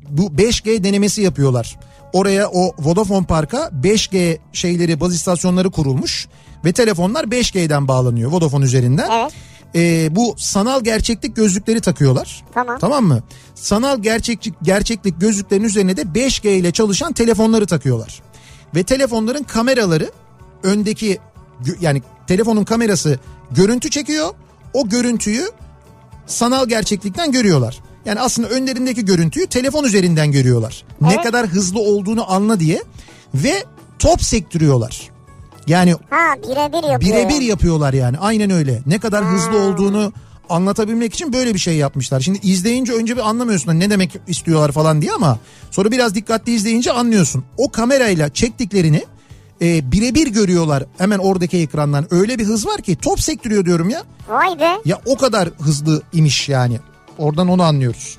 [SPEAKER 1] bu 5G denemesi yapıyorlar. Oraya o Vodafone Park'a 5G şeyleri baz istasyonları kurulmuş ve telefonlar 5G'den bağlanıyor Vodafone üzerinden.
[SPEAKER 2] Evet.
[SPEAKER 1] Ee, bu sanal gerçeklik gözlükleri takıyorlar.
[SPEAKER 2] Tamam.
[SPEAKER 1] Tamam mı? Sanal gerçeklik gerçeklik gözlüklerin üzerine de 5G ile çalışan telefonları takıyorlar. Ve telefonların kameraları öndeki gö- yani telefonun kamerası görüntü çekiyor. O görüntüyü sanal gerçeklikten görüyorlar. Yani aslında önlerindeki görüntüyü telefon üzerinden görüyorlar. Ne
[SPEAKER 2] Evet.
[SPEAKER 1] kadar hızlı olduğunu anla diye ve top sektiriyorlar. Yani
[SPEAKER 2] Ha birebir yapıyor.
[SPEAKER 1] birebir
[SPEAKER 2] yani.
[SPEAKER 1] yapıyorlar yani. Aynen öyle. Ne kadar hızlı olduğunu anlatabilmek için böyle bir şey yapmışlar. Şimdi izleyince önce bir anlamıyorsun hani ne demek istiyorlar falan diye ama sonra biraz dikkatli izleyince anlıyorsun. O kamerayla çektiklerini e, birebir görüyorlar hemen oradaki ekrandan. Öyle bir hız var ki top sektiriyor diyorum ya.
[SPEAKER 2] Vay be.
[SPEAKER 1] Ya o kadar hızlı imiş yani. Oradan onu anlıyoruz.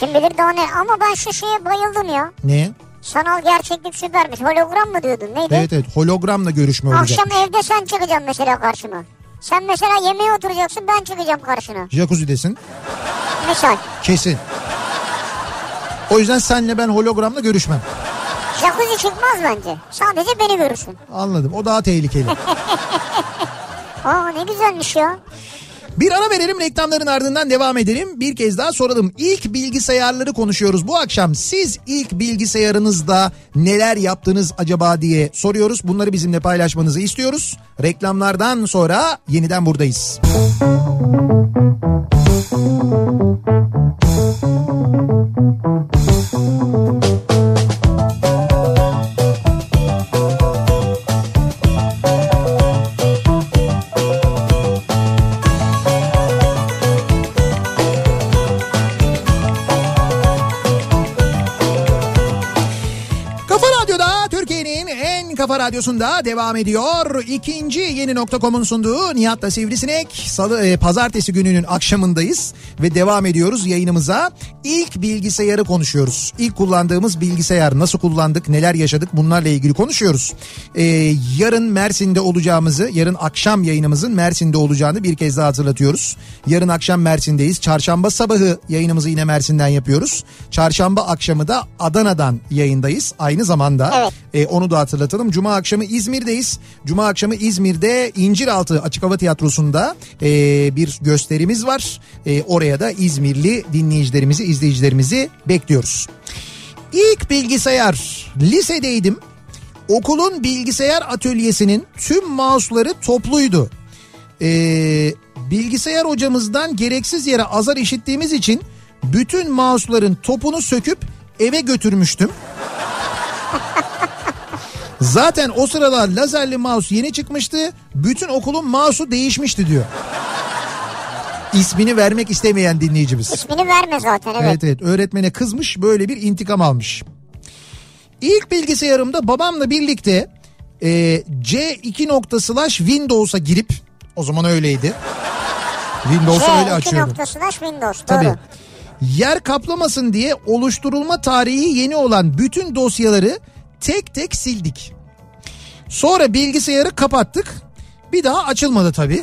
[SPEAKER 2] Kim bilir daha ne. Ama ben şu şeye bayıldım ya.
[SPEAKER 1] Neye?
[SPEAKER 2] Sanal gerçeklik süpermiş. Hologram mı diyordun neydi?
[SPEAKER 1] Evet evet hologramla görüşme olacak.
[SPEAKER 2] Akşam evde sen çıkacaksın mesela karşıma. Sen mesela yemeğe oturacaksın ben çıkacağım karşına.
[SPEAKER 1] Jacuzzi'desin.
[SPEAKER 2] Misal.
[SPEAKER 1] Kesin. O yüzden senle ben hologramla görüşmem.
[SPEAKER 2] Jacuzzi çıkmaz bence. Sadece beni görürsün.
[SPEAKER 1] Anladım. O daha tehlikeli.
[SPEAKER 2] Aa ne güzelmiş ya.
[SPEAKER 1] Bir ara verelim reklamların ardından devam edelim. Bir kez daha soralım. İlk bilgisayarları konuşuyoruz bu akşam. Siz ilk bilgisayarınızda neler yaptınız acaba diye soruyoruz. Bunları bizimle paylaşmanızı istiyoruz. Reklamlardan sonra yeniden buradayız. Kafa Radyo'da Türkiye'nin en Kafa Radyosu'nda devam ediyor. İkinci yeni nokta.com'un sunduğu Nihat'la Sivrisinek. Salı, e, pazartesi gününün akşamındayız ve devam ediyoruz yayınımıza. İlk bilgisayarı konuşuyoruz. İlk kullandığımız bilgisayar nasıl kullandık, neler yaşadık bunlarla ilgili konuşuyoruz. E, yarın Mersin'de olacağımızı, yarın akşam yayınımızın Mersin'de olacağını bir kez daha hatırlatıyoruz. Yarın akşam Mersin'deyiz. Çarşamba sabahı yayınımızı yine Mersin'den yapıyoruz. Çarşamba akşamı da Adana'dan yayındayız. Aynı zamanda
[SPEAKER 2] Evet.
[SPEAKER 1] e, onu da hatırlatalım. Cuma akşamı İzmir'deyiz. Cuma akşamı İzmir'de İnciraltı Açık Hava Tiyatrosu'nda e, bir gösterimiz var. E, oraya da İzmirli dinleyicilerimizi, izleyicilerimizi bekliyoruz. İlk bilgisayar lisedeydim. Okulun bilgisayar atölyesinin tüm mouse'ları topluydu. Ee, bilgisayar hocamızdan gereksiz yere azar işittiğimiz için bütün mouse'ların topunu söküp eve götürmüştüm. Zaten o sıralar lazerli mouse yeni çıkmıştı. Bütün okulun mouse'u değişmişti diyor. İsmini vermek istemeyen dinleyicimiz.
[SPEAKER 2] İsmini verme zaten evet.
[SPEAKER 1] Evet evet öğretmene kızmış böyle bir intikam almış. İlk bilgisayarımda babamla birlikte e, C2 nokta slash Windows'a girip o zaman öyleydi. Windows'u öyle
[SPEAKER 2] C2
[SPEAKER 1] açıyordum.
[SPEAKER 2] nokta slash Windows.
[SPEAKER 1] Tabii.
[SPEAKER 2] Doğru.
[SPEAKER 1] Yer kaplamasın diye oluşturulma tarihi yeni olan bütün dosyaları tek tek sildik. Sonra bilgisayarı kapattık. Bir daha açılmadı tabii.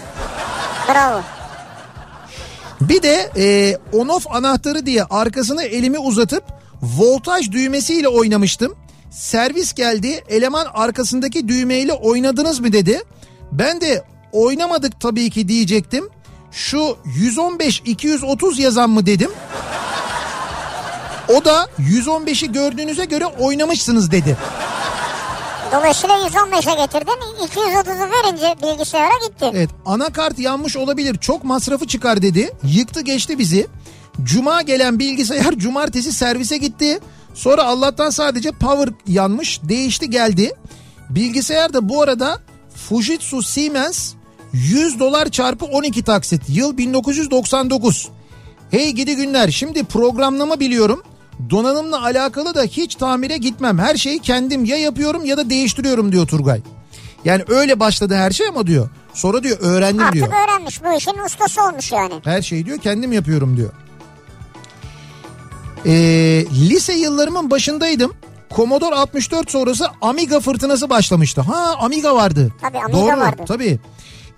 [SPEAKER 2] Bravo.
[SPEAKER 1] Bir de e, on-off anahtarı diye arkasını elimi uzatıp voltaj düğmesiyle oynamıştım. Servis geldi eleman arkasındaki düğmeyle oynadınız mı dedi. Ben de oynamadık tabii ki diyecektim. Şu 115-230 yazan mı dedim. O da 115'i gördüğünüze göre oynamışsınız dedi.
[SPEAKER 2] Dolayısıyla 115'e getirdin 230'u verince bilgisayara gitti.
[SPEAKER 1] Evet anakart yanmış olabilir çok masrafı çıkar dedi. Yıktı geçti bizi. Cuma gelen bilgisayar cumartesi servise gitti. Sonra Allah'tan sadece power yanmış değişti geldi. Bilgisayar da bu arada Fujitsu Siemens 100 dolar çarpı 12 taksit yıl 1999. Hey gidi günler şimdi programlama biliyorum. Donanımla alakalı da hiç tamire gitmem. Her şeyi kendim ya yapıyorum ya da değiştiriyorum diyor Turgay. Yani öyle başladı her şey ama diyor. Sonra diyor öğrendim
[SPEAKER 2] Artık
[SPEAKER 1] diyor.
[SPEAKER 2] öğrenmiş bu işin ustası olmuş yani.
[SPEAKER 1] Her şeyi diyor kendim yapıyorum diyor. Ee, lise yıllarımın başındaydım. Commodore 64 sonrası Amiga fırtınası başlamıştı. Ha Amiga vardı.
[SPEAKER 2] Tabii, Amiga vardı.
[SPEAKER 1] Tabii.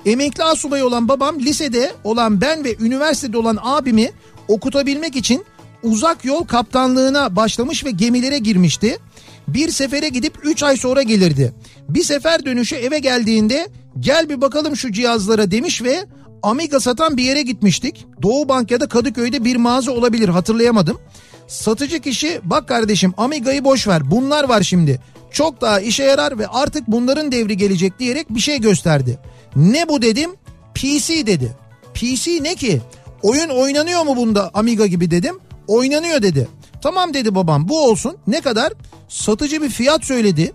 [SPEAKER 1] Emekli asubay olan babam lisede olan ben ve üniversitede olan abimi okutabilmek için uzak yol kaptanlığına başlamış ve gemilere girmişti. Bir sefere gidip 3 ay sonra gelirdi. Bir sefer dönüşü eve geldiğinde gel bir bakalım şu cihazlara demiş ve Amiga satan bir yere gitmiştik. Doğu Bank ya da Kadıköy'de bir mağaza olabilir hatırlayamadım. Satıcı kişi bak kardeşim Amiga'yı boş ver bunlar var şimdi. Çok daha işe yarar ve artık bunların devri gelecek diyerek bir şey gösterdi. Ne bu dedim? PC dedi. PC ne ki? Oyun oynanıyor mu bunda Amiga gibi dedim. Oynanıyor dedi. Tamam dedi babam bu olsun. Ne kadar? Satıcı bir fiyat söyledi.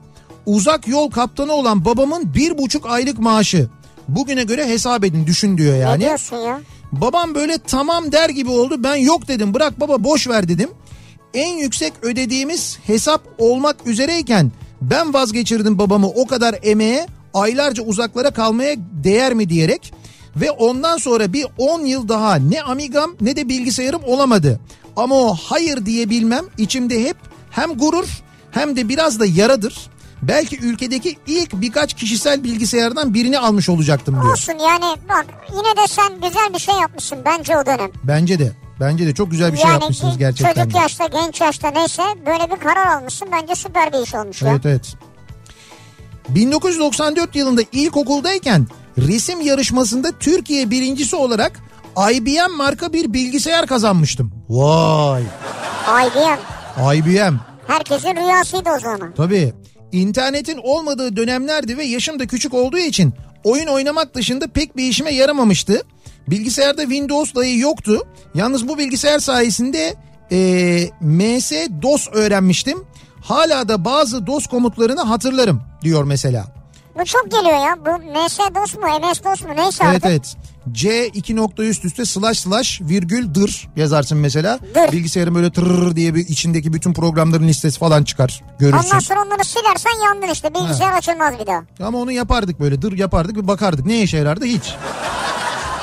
[SPEAKER 1] Uzak yol kaptanı olan babamın bir buçuk aylık maaşı. Bugüne göre hesap edin düşün diyor yani.
[SPEAKER 2] Ne diyorsun ya?
[SPEAKER 1] Babam böyle tamam der gibi oldu. Ben yok dedim bırak baba boş ver dedim. En yüksek ödediğimiz hesap olmak üzereyken ben vazgeçirdim babamı o kadar emeğe aylarca uzaklara kalmaya değer mi diyerek ve ondan sonra bir 10 yıl daha ne amigam ne de bilgisayarım olamadı. Ama o hayır diyebilmem içimde hep hem gurur hem de biraz da yaradır. Belki ülkedeki ilk birkaç kişisel bilgisayardan birini almış olacaktım diyor.
[SPEAKER 2] Olsun yani bak yine de sen güzel bir şey yapmışsın bence o dönem.
[SPEAKER 1] Bence de. Bence de çok güzel bir şey
[SPEAKER 2] yani
[SPEAKER 1] yapmışsınız
[SPEAKER 2] ki-
[SPEAKER 1] gerçekten.
[SPEAKER 2] Çocuk
[SPEAKER 1] de.
[SPEAKER 2] yaşta genç yaşta neyse böyle bir karar almışsın bence süper bir iş olmuş ya.
[SPEAKER 1] Evet evet. 1994 yılında ilkokuldayken resim yarışmasında Türkiye birincisi olarak IBM marka bir bilgisayar kazanmıştım. Vay!
[SPEAKER 2] IBM
[SPEAKER 1] IBM.
[SPEAKER 2] herkesin rüyasıydı o zaman.
[SPEAKER 1] Tabii. İnternetin olmadığı dönemlerdi ve yaşım da küçük olduğu için oyun oynamak dışında pek bir işime yaramamıştı. Bilgisayarda Windows dahi yoktu. Yalnız bu bilgisayar sayesinde e, eee MS-DOS öğrenmiştim. Hala da bazı DOS komutlarını hatırlarım diyor mesela.
[SPEAKER 2] Bu çok geliyor ya. Bu MS DOS mu MS DOS mu neyse
[SPEAKER 1] Evet
[SPEAKER 2] artık.
[SPEAKER 1] evet. C iki nokta üst üste slash slash virgül dır yazarsın mesela.
[SPEAKER 2] Dır.
[SPEAKER 1] Bilgisayarın böyle tırrrr diye bir içindeki bütün programların listesi falan çıkar. Görürsün.
[SPEAKER 2] Ondan sonra onları silersen yandın işte. Bilgisayar açılmaz bir daha.
[SPEAKER 1] Ama onu yapardık böyle dır yapardık bir bakardık. Ne işe yarardı hiç.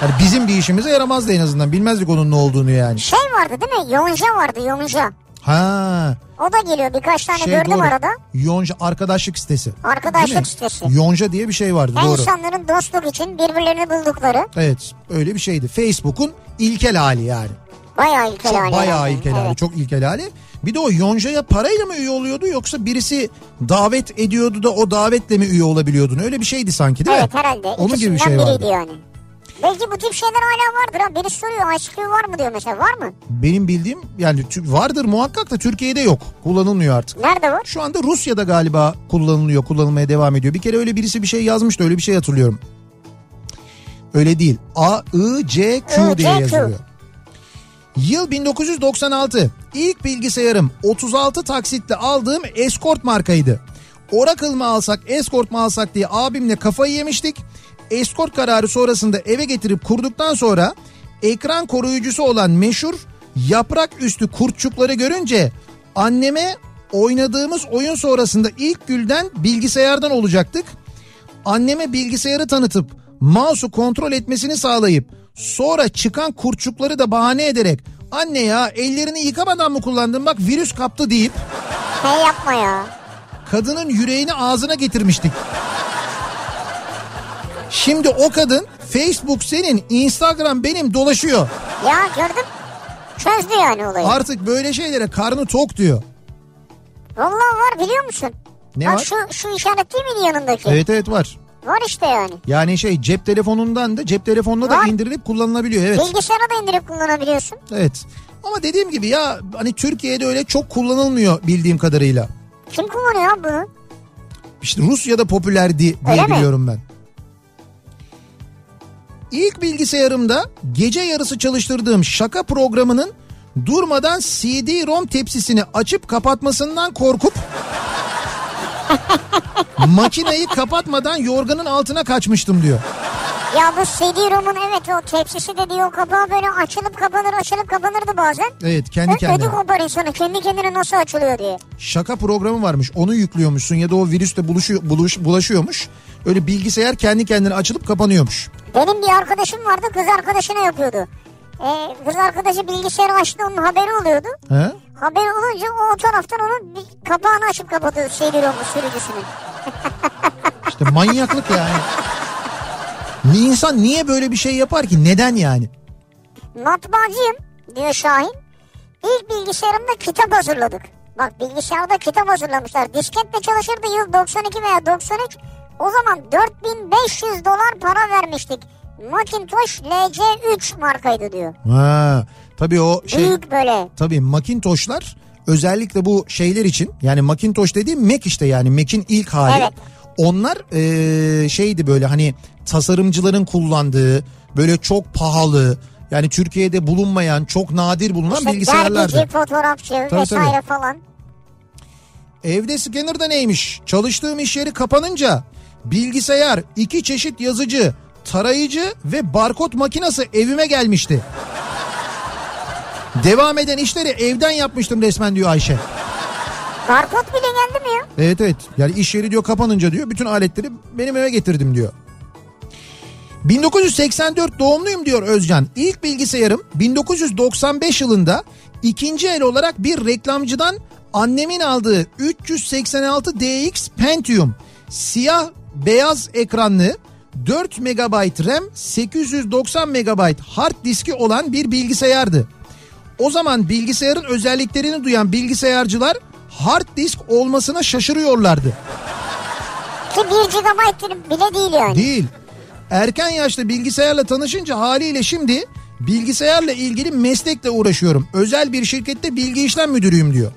[SPEAKER 1] Yani bizim bir işimize yaramazdı en azından. Bilmezdik onun ne olduğunu yani.
[SPEAKER 2] Şey vardı değil mi? Yonca vardı yonca.
[SPEAKER 1] Ha.
[SPEAKER 2] O da geliyor birkaç tane gördüm
[SPEAKER 1] Şey, doğru.
[SPEAKER 2] arada.
[SPEAKER 1] Yonca arkadaşlık sitesi.
[SPEAKER 2] Arkadaşlık
[SPEAKER 1] Değil mi?
[SPEAKER 2] sitesi.
[SPEAKER 1] Yonca diye bir şey vardı
[SPEAKER 2] Yani
[SPEAKER 1] doğru.
[SPEAKER 2] insanların dostluk için birbirlerini buldukları
[SPEAKER 1] Evet öyle bir şeydi. Facebook'un ilkel hali yani.
[SPEAKER 2] bayağı ilkel hali.
[SPEAKER 1] Çok Şey, bayağı
[SPEAKER 2] yani.
[SPEAKER 1] ilkel hali.
[SPEAKER 2] Evet.
[SPEAKER 1] Çok ilkel hali. Bir de o Yonca'ya parayla mı üye oluyordu yoksa birisi davet ediyordu da o davetle mi üye olabiliyordun? Öyle bir şeydi sanki değil
[SPEAKER 2] Evet
[SPEAKER 1] mi?
[SPEAKER 2] herhalde.
[SPEAKER 1] Onun gibi bir
[SPEAKER 2] İkisinden
[SPEAKER 1] şey
[SPEAKER 2] biriydi
[SPEAKER 1] vardı.
[SPEAKER 2] yani. Belki bu tip şeyler hala vardır ha. Biri soruyor ICQ var mı diyor mesela. Var mı?
[SPEAKER 1] Benim bildiğim yani tü- vardır muhakkak da Türkiye'de yok. Kullanılmıyor artık.
[SPEAKER 2] Nerede var?
[SPEAKER 1] Şu anda Rusya'da galiba kullanılıyor, kullanılmaya devam ediyor. Bir kere öyle birisi bir şey yazmıştı, öyle bir şey hatırlıyorum. Öyle değil. A, I, C, Q
[SPEAKER 2] I,
[SPEAKER 1] diye
[SPEAKER 2] C, Q.
[SPEAKER 1] yazılıyor. Yıl 1996. İlk bilgisayarım 36 taksitle aldığım Escort markaydı. Oracle mı alsak, Escort mu alsak diye abimle kafayı yemiştik. Escort kararı sonrasında eve getirip kurduktan sonra ekran koruyucusu olan meşhur yaprak üstü kurtçukları görünce anneme oynadığımız oyun sonrasında ilk gülden bilgisayardan olacaktık. Anneme bilgisayarı tanıtıp mouse'u kontrol etmesini sağlayıp sonra çıkan kurçukları da bahane ederek anne ya ellerini yıkamadan mı kullandın bak virüs kaptı deyip
[SPEAKER 2] Hey Şey yapma ya.
[SPEAKER 1] kadının yüreğini ağzına getirmiştik. Şimdi o kadın Facebook senin Instagram benim dolaşıyor.
[SPEAKER 2] Ya gördüm. Çözdü yani olayı.
[SPEAKER 1] Artık böyle şeylere karnı tok diyor.
[SPEAKER 2] Vallahi var biliyor musun?
[SPEAKER 1] Ne
[SPEAKER 2] Bak
[SPEAKER 1] var?
[SPEAKER 2] Şu, şu işaret değil miydi yanındaki?
[SPEAKER 1] Evet evet var.
[SPEAKER 2] Var işte yani.
[SPEAKER 1] Yani şey cep telefonundan da cep telefonuna da
[SPEAKER 2] Var.
[SPEAKER 1] indirilip kullanılabiliyor evet.
[SPEAKER 2] Bilgisayara da indirip kullanabiliyorsun.
[SPEAKER 1] Evet. Ama dediğim gibi ya hani Türkiye'de öyle çok kullanılmıyor bildiğim kadarıyla.
[SPEAKER 2] Kim kullanıyor abi bunu?
[SPEAKER 1] İşte Rusya'da popülerdi diye
[SPEAKER 2] Öyle mi?
[SPEAKER 1] biliyorum ben. İlk bilgisayarımda gece yarısı çalıştırdığım şaka programının durmadan CD-ROM tepsisini açıp kapatmasından korkup makineyi kapatmadan yorganın altına kaçmıştım diyor.
[SPEAKER 2] Ya bu CD-ROM'un evet o tepsisi de diyor kapağı böyle açılıp kapanır açılıp kapanırdı bazen.
[SPEAKER 1] Evet kendi
[SPEAKER 2] Ö-
[SPEAKER 1] kendine.
[SPEAKER 2] ödü kopar insanı kendi kendine nasıl açılıyor diye.
[SPEAKER 1] şaka programı varmış. Onu yüklüyormuşsun ya da o virüste buluşuyor, buluş, bulaşıyormuş. Öyle bilgisayar kendi kendine açılıp kapanıyormuş.
[SPEAKER 2] Benim bir arkadaşım vardı kız arkadaşına yapıyordu. Ee, kız arkadaşı bilgisayarı açtı onun haberi oluyordu.
[SPEAKER 1] He?
[SPEAKER 2] Haberi olunca o, o taraftan onun bir kapağını açıp kapatıyordu CD-ROM'un sürücüsünün.
[SPEAKER 1] İşte manyaklık yani. Ni- İnsan niye böyle bir şey yapar ki? Neden yani?
[SPEAKER 2] Matbaacıyım diyor Şahin. İlk bilgisayarımda kitap hazırladık. Bak bilgisayarda kitap hazırlamışlar. Disketle çalışırdı yıl 92 veya 93. O zaman 4500 dolar para vermiştik. Macintosh LC3 markaydı diyor.
[SPEAKER 1] Ha, tabii o şey
[SPEAKER 2] Büyük böyle.
[SPEAKER 1] tabii Macintosh'lar özellikle bu şeyler için yani Macintosh dediğim Mac işte yani Mac'in ilk hali.
[SPEAKER 2] Evet.
[SPEAKER 1] Onlar eee, şeydi böyle hani tasarımcıların kullandığı böyle çok pahalı yani Türkiye'de bulunmayan çok nadir bulunan
[SPEAKER 2] İşte
[SPEAKER 1] bilgisayarlardı.
[SPEAKER 2] dergici, fotoğrafçı
[SPEAKER 1] tabii.
[SPEAKER 2] vesaire falan.
[SPEAKER 1] Evde scanner da neymiş? Çalıştığım iş yeri kapanınca bilgisayar, iki çeşit yazıcı, tarayıcı ve barkod makinası evime gelmişti. Devam eden işleri evden yapmıştım resmen diyor Ayşe.
[SPEAKER 2] Barkod bile geldi mi ya?
[SPEAKER 1] Evet evet. Yani iş yeri diyor kapanınca diyor bütün aletleri benim eve getirdim diyor. 1984 doğumluyum diyor Özcan. İlk bilgisayarım 1995 yılında ikinci el olarak bir reklamcıdan annemin aldığı 386 DX Pentium siyah beyaz ekranlı 4 MB RAM 890 MB hard diski olan bir bilgisayardı. O zaman bilgisayarın özelliklerini duyan bilgisayarcılar hard disk olmasına şaşırıyorlardı.
[SPEAKER 2] Ki 1 GB bile değil yani.
[SPEAKER 1] Değil. Erken yaşta bilgisayarla tanışınca haliyle şimdi bilgisayarla ilgili meslekle uğraşıyorum. Özel bir şirkette bilgi işlem müdürüyüm diyor.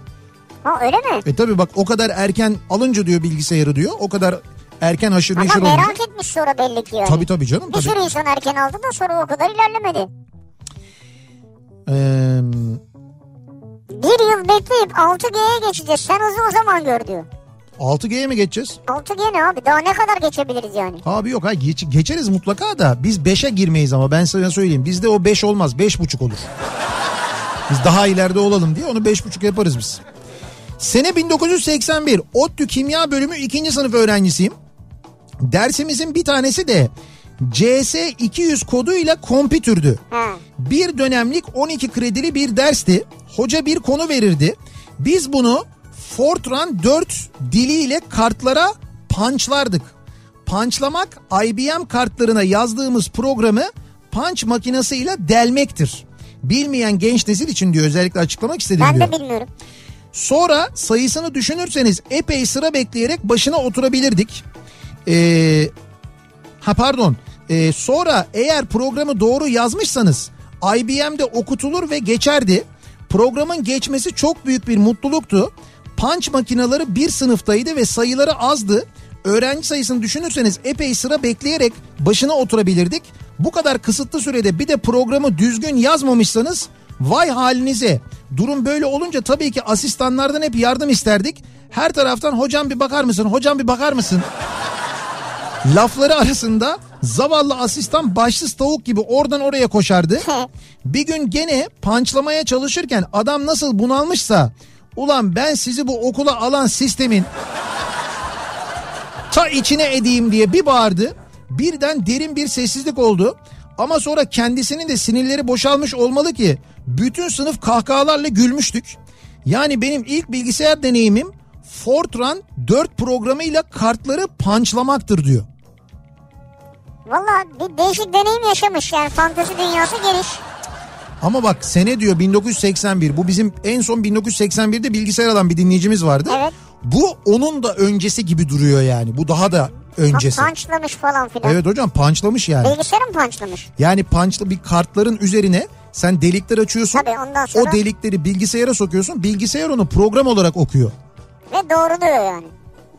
[SPEAKER 2] Ha öyle mi?
[SPEAKER 1] E tabi bak o kadar erken alınca diyor bilgisayarı diyor. O kadar erken haşır neşir
[SPEAKER 2] Ama
[SPEAKER 1] olunca.
[SPEAKER 2] merak etmiş sonra belli ki yani.
[SPEAKER 1] Tabii tabii canım
[SPEAKER 2] Bir
[SPEAKER 1] tabii.
[SPEAKER 2] sürü insan erken aldı da sonra o kadar ilerlemedi.
[SPEAKER 1] Ee,
[SPEAKER 2] Bir yıl bekleyip 6G'ye geçeceğiz. Sen hızı o zaman gör diyor.
[SPEAKER 1] 6G'ye mi geçeceğiz?
[SPEAKER 2] 6G ne abi daha ne kadar geçebiliriz yani?
[SPEAKER 1] Abi yok ha geç- geçeriz mutlaka da biz 5'e girmeyiz ama ben sana söyleyeyim. Bizde o 5 olmaz 5,5 olur. Biz daha ileride olalım diye onu 5,5 yaparız biz. Sene 1981 ODTÜ Kimya Bölümü 2. sınıf öğrencisiyim. Dersimizin bir tanesi de CS200 koduyla kompütürdü.
[SPEAKER 2] Ha.
[SPEAKER 1] Bir dönemlik 12 kredili bir dersti. Hoca bir konu verirdi. Biz bunu Fortran 4 diliyle kartlara punchlardık. Punch'lamak IBM kartlarına yazdığımız programı punch makinesiyle delmektir. Bilmeyen genç nesil için diyor özellikle açıklamak istedim
[SPEAKER 2] Ben
[SPEAKER 1] diyor.
[SPEAKER 2] de bilmiyorum.
[SPEAKER 1] Sonra sayısını düşünürseniz epey sıra bekleyerek başına oturabilirdik. Ee, ha pardon. Ee, sonra eğer programı doğru yazmışsanız IBM'de okutulur ve geçerdi. Programın geçmesi çok büyük bir mutluluktu. Punch makineleri bir sınıftaydı ve sayıları azdı. Öğrenci sayısını düşünürseniz epey sıra bekleyerek başına oturabilirdik. Bu kadar kısıtlı sürede bir de programı düzgün yazmamışsanız vay halinize. Durum böyle olunca tabii ki asistanlardan hep yardım isterdik. Her taraftan hocam bir bakar mısın, hocam bir bakar mısın Lafları arasında zavallı asistan başsız tavuk gibi oradan oraya koşardı. Bir gün gene pançlamaya çalışırken adam nasıl bunalmışsa ulan ben sizi bu okula alan sistemin ta içine edeyim diye bir bağırdı. Birden derin bir sessizlik oldu. Ama sonra kendisinin de sinirleri boşalmış olmalı ki bütün sınıf kahkahalarla gülmüştük. Yani benim ilk bilgisayar deneyimim Fortran 4 programıyla kartları punch'lamaktır diyor.
[SPEAKER 2] Valla bir değişik deneyim yaşamış yani fantezi dünyası geniş.
[SPEAKER 1] Ama bak sene diyor 1981. Bu bizim en son 1981'de bilgisayar alan bir dinleyicimiz vardı.
[SPEAKER 2] Evet.
[SPEAKER 1] Bu onun da öncesi gibi duruyor yani. Bu daha da öncesi.
[SPEAKER 2] Punch'lamış falan filan.
[SPEAKER 1] Evet hocam punch'lamış yani.
[SPEAKER 2] Bilgisayarı mı punch'lamış?
[SPEAKER 1] Yani punchlı bir kartların üzerine sen delikler açıyorsun.
[SPEAKER 2] Tabii ondan sonra-
[SPEAKER 1] O delikleri bilgisayara sokuyorsun. Bilgisayar onu program olarak okuyor.
[SPEAKER 2] Ve doğru diyor yani.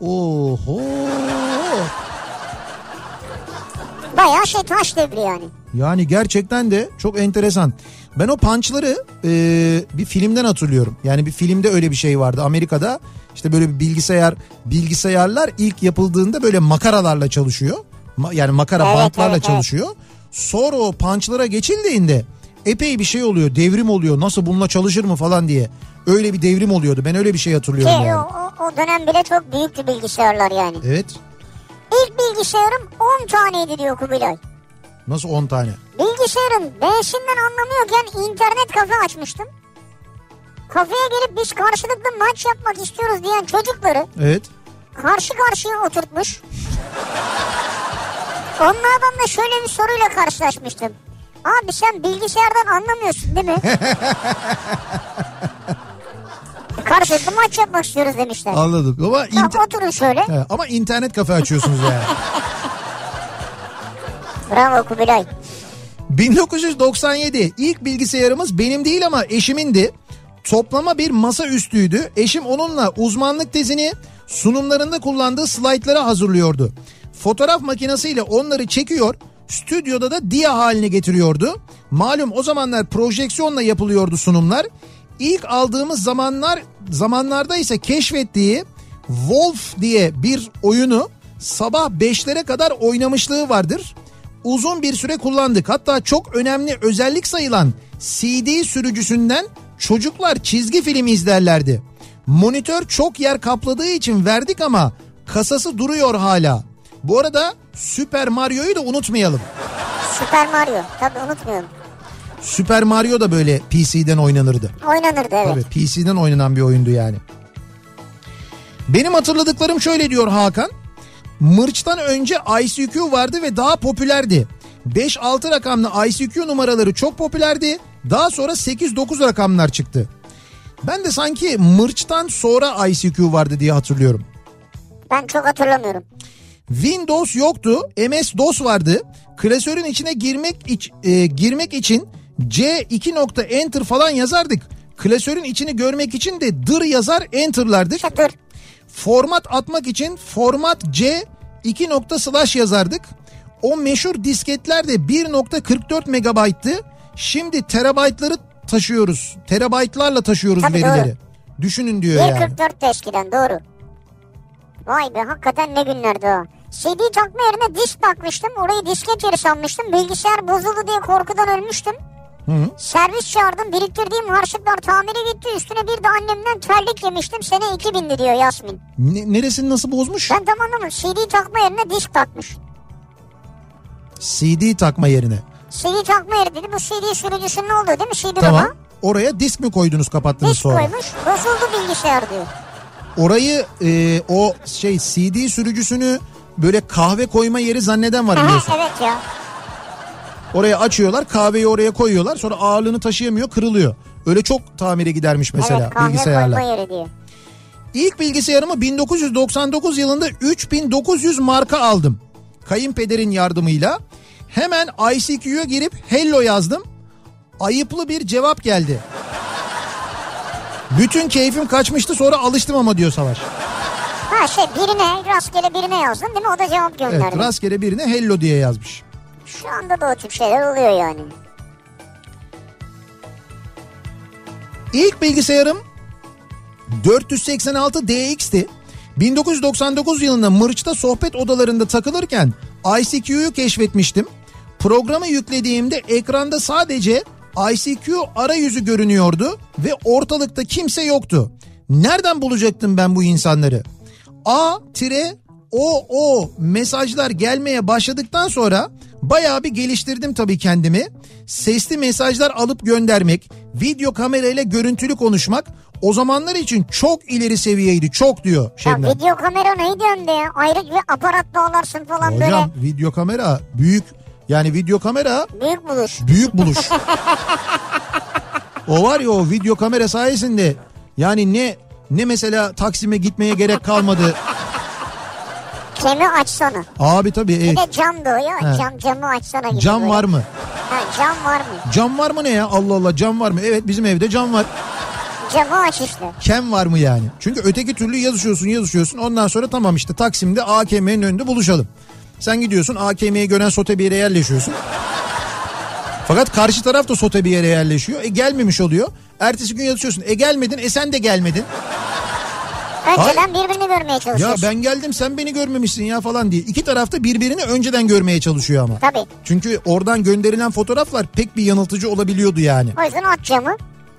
[SPEAKER 1] Oho.
[SPEAKER 2] Bayağı şey taş devri yani.
[SPEAKER 1] Yani gerçekten de çok enteresan. Ben o punchları e, bir filmden hatırlıyorum. Yani bir filmde öyle bir şey vardı. Amerika'da işte böyle bir bilgisayar bilgisayarlar ilk yapıldığında böyle makaralarla çalışıyor. Ma- yani makara
[SPEAKER 2] Evet,
[SPEAKER 1] bantlarla
[SPEAKER 2] evet, evet.
[SPEAKER 1] çalışıyor. Sonra o punchlara geçildiğinde epey bir şey oluyor. Devrim oluyor. Nasıl bununla çalışır mı falan diye. Öyle bir devrim oluyordu. Ben öyle bir şey
[SPEAKER 2] Ki
[SPEAKER 1] hatırlıyorum
[SPEAKER 2] o,
[SPEAKER 1] yani.
[SPEAKER 2] o, o dönem bile çok büyüktü bilgisayarlar yani.
[SPEAKER 1] Evet.
[SPEAKER 2] İlk bilgisayarım 10 taneydi diyor Kubilay.
[SPEAKER 1] Nasıl 10 tane?
[SPEAKER 2] Bilgisayarın B'sinden anlamıyorken internet kafe açmıştım. Kafeye gelip biz karşılıklı maç yapmak istiyoruz diyen çocukları
[SPEAKER 1] Evet.
[SPEAKER 2] karşı karşıya oturtmuş. Onlardan da şöyle bir soruyla karşılaşmıştım. Abi sen bilgisayardan anlamıyorsun değil mi? karşılıklı maç yapmak istiyoruz demişler.
[SPEAKER 1] Anladım. Ama
[SPEAKER 2] Tamam
[SPEAKER 1] inter-
[SPEAKER 2] oturun şöyle.
[SPEAKER 1] He, ama internet kafe açıyorsunuz yani.
[SPEAKER 2] Bravo Kubilay.
[SPEAKER 1] 1997 ilk bilgisayarımız benim değil ama eşimindi. Toplama bir masa üstüydü. Eşim onunla uzmanlık tezini sunumlarında kullandığı slaytlara hazırlıyordu. Fotoğraf makinesiyle onları çekiyor, stüdyoda da dia haline getiriyordu. Malum o zamanlar projeksiyonla yapılıyordu sunumlar. İlk aldığımız zamanlar zamanlarda ise keşfettiği Wolf diye bir oyunu sabah 5'lere kadar oynamışlığı vardır uzun bir süre kullandık. Hatta çok önemli özellik sayılan CD sürücüsünden çocuklar çizgi film izlerlerdi. Monitör çok yer kapladığı için verdik ama kasası duruyor hala. Bu arada Super Mario'yu da unutmayalım.
[SPEAKER 2] Süper Mario. Tabii unutmayalım.
[SPEAKER 1] Super Mario da böyle PC'den oynanırdı.
[SPEAKER 2] Oynanırdı evet.
[SPEAKER 1] Tabii PC'den oynanan bir oyundu yani. Benim hatırladıklarım şöyle diyor Hakan. Mırç'tan önce ICQ vardı ve daha popülerdi. 5-6 rakamlı ICQ numaraları çok popülerdi. Daha sonra 8-9 rakamlar çıktı. Ben de sanki Mırç'tan sonra ICQ vardı diye hatırlıyorum.
[SPEAKER 2] Ben çok hatırlamıyorum.
[SPEAKER 1] Windows yoktu. MS-DOS vardı. Klasörün içine girmek iç- e, girmek için C2 nokta enter falan yazardık. Klasörün içini görmek için de dır yazar enterlardık.
[SPEAKER 2] İşte dur.
[SPEAKER 1] Format atmak için format C 2 nokta slash yazardık. O meşhur disketler de 1.44 megabayttı. Şimdi terabaytları taşıyoruz. Terabaytlarla taşıyoruz
[SPEAKER 2] Tabii
[SPEAKER 1] verileri. Düşünün diyor yani.
[SPEAKER 2] 1.44 de eskiden doğru. Vay be hakikaten ne günlerdi o. CD takma yerine disk takmıştım. Orayı disket yeri sanmıştım. Bilgisayar bozuldu diye korkudan ölmüştüm. Servis çağırdım. Biriktirdiğim harçlıklar tamiri gitti. Üstüne bir de annemden terlik yemiştim. Sene 2000'di diyor Yasmin.
[SPEAKER 1] Ne- neresini nasıl bozmuş?
[SPEAKER 2] Ben tam anlamadım. CD takma yerine disk takmış.
[SPEAKER 1] CD takma yerine.
[SPEAKER 2] CD takma yeri dedi. Bu CD sürücüsünün olduğu değil mi? CD
[SPEAKER 1] Tamam.
[SPEAKER 2] Baba.
[SPEAKER 1] Oraya disk mi koydunuz kapattınız
[SPEAKER 2] Disk
[SPEAKER 1] sonra?
[SPEAKER 2] koymuş. Bozuldu bilgisayar diyor.
[SPEAKER 1] Orayı e, o şey CD sürücüsünü böyle kahve koyma yeri zanneden var
[SPEAKER 2] Aha,
[SPEAKER 1] biliyorsun.
[SPEAKER 2] evet ya.
[SPEAKER 1] Oraya açıyorlar kahveyi oraya koyuyorlar sonra ağırlığını taşıyamıyor kırılıyor. Öyle çok tamire gidermiş mesela
[SPEAKER 2] evet kahve
[SPEAKER 1] bilgisayarlar.
[SPEAKER 2] koyma yeri diyor.
[SPEAKER 1] İlk bilgisayarımı 1999 yılında 3900 marka aldım. Kayınpederin yardımıyla. Hemen ICQ'ya girip hello yazdım. Ayıplı bir cevap geldi. Bütün keyfim kaçmıştı sonra alıştım ama diyor Savaş.
[SPEAKER 2] Ha şey birine rastgele birine yazdın değil mi? O da cevap
[SPEAKER 1] Evet
[SPEAKER 2] gönderdi.
[SPEAKER 1] rastgele birine hello diye yazmış.
[SPEAKER 2] Şu anda da o tür şeyler oluyor yani.
[SPEAKER 1] İlk bilgisayarım 486 DX'ti. 1999 yılında Mırç'ta sohbet odalarında takılırken ICQ'yu keşfetmiştim. Programı yüklediğimde ekranda sadece ICQ arayüzü görünüyordu ve ortalıkta kimse yoktu. Nereden bulacaktım ben bu insanları? A tire o o mesajlar gelmeye başladıktan sonra bayağı bir geliştirdim tabii kendimi. Sesli mesajlar alıp göndermek, video kamerayla görüntülü konuşmak o zamanlar için çok ileri seviyeydi. Çok diyor
[SPEAKER 2] Ya
[SPEAKER 1] Şebnem.
[SPEAKER 2] video kamera neydi önde ya? Ayrı bir aparat bağlarsın falan
[SPEAKER 1] Hocam video kamera büyük yani video kamera
[SPEAKER 2] böyle. Büyük buluş.
[SPEAKER 1] büyük buluş. o var ya o video kamera sayesinde yani ne ne mesela Taksim'e gitmeye gerek kalmadı.
[SPEAKER 2] Kemi açsana.
[SPEAKER 1] Abi tabii e,
[SPEAKER 2] Bir de cam doğuyor.
[SPEAKER 1] He.
[SPEAKER 2] Cam camı açsana gibi.
[SPEAKER 1] cam
[SPEAKER 2] böyle.
[SPEAKER 1] var mı?
[SPEAKER 2] Ha, cam var mı?
[SPEAKER 1] Cam var mı ne ya? Allah Allah cam var mı? Evet bizim evde cam var.
[SPEAKER 2] Camı aç işte.
[SPEAKER 1] Kem var mı yani? Çünkü öteki türlü yazışıyorsun yazışıyorsun. Ondan sonra tamam işte Taksim'de AKM'nin önünde buluşalım. Sen gidiyorsun AKM'yi gören sote bir yere yerleşiyorsun. Fakat karşı taraf da sote bir yere yerleşiyor. E gelmemiş oluyor. Ertesi gün yazışıyorsun. E gelmedin e sen de gelmedin.
[SPEAKER 2] Önceden birbirini görmeye
[SPEAKER 1] Ya
[SPEAKER 2] çalışıyorsun.
[SPEAKER 1] ben geldim sen beni görmemişsin ya falan diye. İki tarafta birbirini önceden görmeye çalışıyor ama.
[SPEAKER 2] Tabii.
[SPEAKER 1] Çünkü oradan gönderilen fotoğraflar pek bir yanıltıcı olabiliyordu yani.
[SPEAKER 2] O yüzden at camı.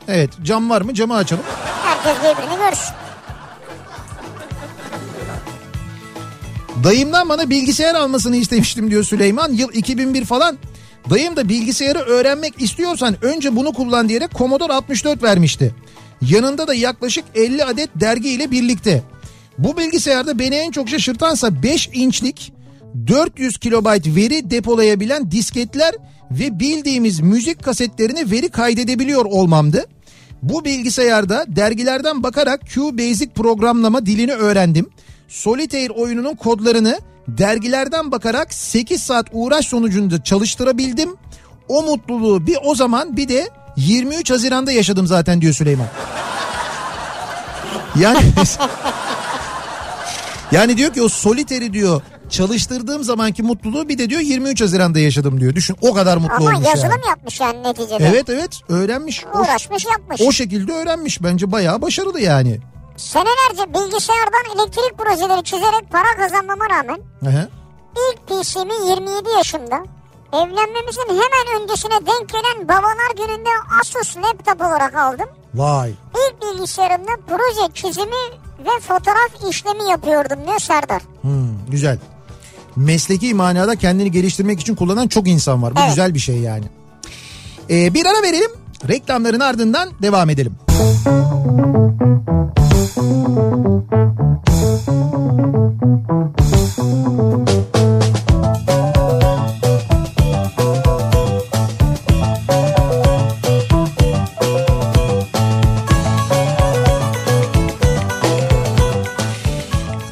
[SPEAKER 1] Evet cam var mı camı açalım.
[SPEAKER 2] Herkes birbirini görsün.
[SPEAKER 1] Dayımdan bana bilgisayar almasını istemiştim diyor Süleyman. Yıl 2001 falan. Dayım da bilgisayarı öğrenmek istiyorsan önce bunu kullan diyerek Commodore 64 vermişti. Yanında da yaklaşık 50 adet dergi ile birlikte. Bu bilgisayarda beni en çok şaşırtansa 5 inçlik 400 kilobayt veri depolayabilen disketler ve bildiğimiz müzik kasetlerini veri kaydedebiliyor olmamdı. Bu bilgisayarda dergilerden bakarak QBasic programlama dilini öğrendim. Solitaire oyununun kodlarını dergilerden bakarak 8 saat uğraş sonucunda çalıştırabildim. O mutluluğu bir o zaman bir de 23 Haziran'da yaşadım zaten diyor Süleyman. Yani yani diyor ki o soliteri diyor çalıştırdığım zamanki mutluluğu bir de diyor 23 Haziran'da yaşadım diyor. Düşün o kadar mutlu
[SPEAKER 2] Ama
[SPEAKER 1] olmuş
[SPEAKER 2] yazılım
[SPEAKER 1] yani.
[SPEAKER 2] yapmış yani neticede.
[SPEAKER 1] Evet evet öğrenmiş. O-
[SPEAKER 2] Uğraşmış yapmış.
[SPEAKER 1] o şekilde öğrenmiş. Bence bayağı başarılı yani.
[SPEAKER 2] Senelerce bilgisayardan elektrik projeleri çizerek para kazanmama rağmen
[SPEAKER 1] Aha.
[SPEAKER 2] İlk PC'mi 27 yaşımda evlenmemizin hemen öncesine denk gelen babalar gününde Asus laptop olarak aldım.
[SPEAKER 1] Vay.
[SPEAKER 2] İlk bilgisayarımda proje çizimi ve fotoğraf işlemi yapıyordum diyor Serdar.
[SPEAKER 1] Hmm, güzel. Mesleki manada kendini geliştirmek için kullanan çok insan var. Bu
[SPEAKER 2] Evet.
[SPEAKER 1] güzel bir şey yani. Ee, bir ara verelim. Reklamların ardından devam edelim.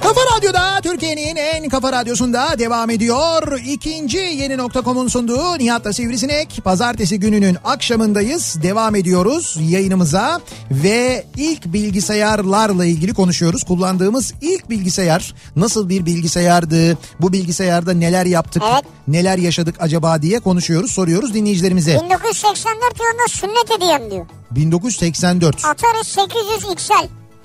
[SPEAKER 1] Kafa Radyo'da Türkiye'nin en kafa radyosunda devam ediyor. İkinci yeni nokta.com'un sunduğu Nihat'la Sivrisinek. Pazartesi gününün akşamındayız. Devam ediyoruz yayınımıza ve ilk bilgisayarlarla ilgili konuşuyoruz. Kullandığımız ilk bilgisayar nasıl bir bilgisayardı? Bu bilgisayarda neler yaptık?
[SPEAKER 2] Evet.
[SPEAKER 1] Neler yaşadık acaba diye konuşuyoruz, soruyoruz dinleyicilerimize.
[SPEAKER 2] 1984 yılında sünnet hediyem diyor.
[SPEAKER 1] 1984.
[SPEAKER 2] Atari 800 XL.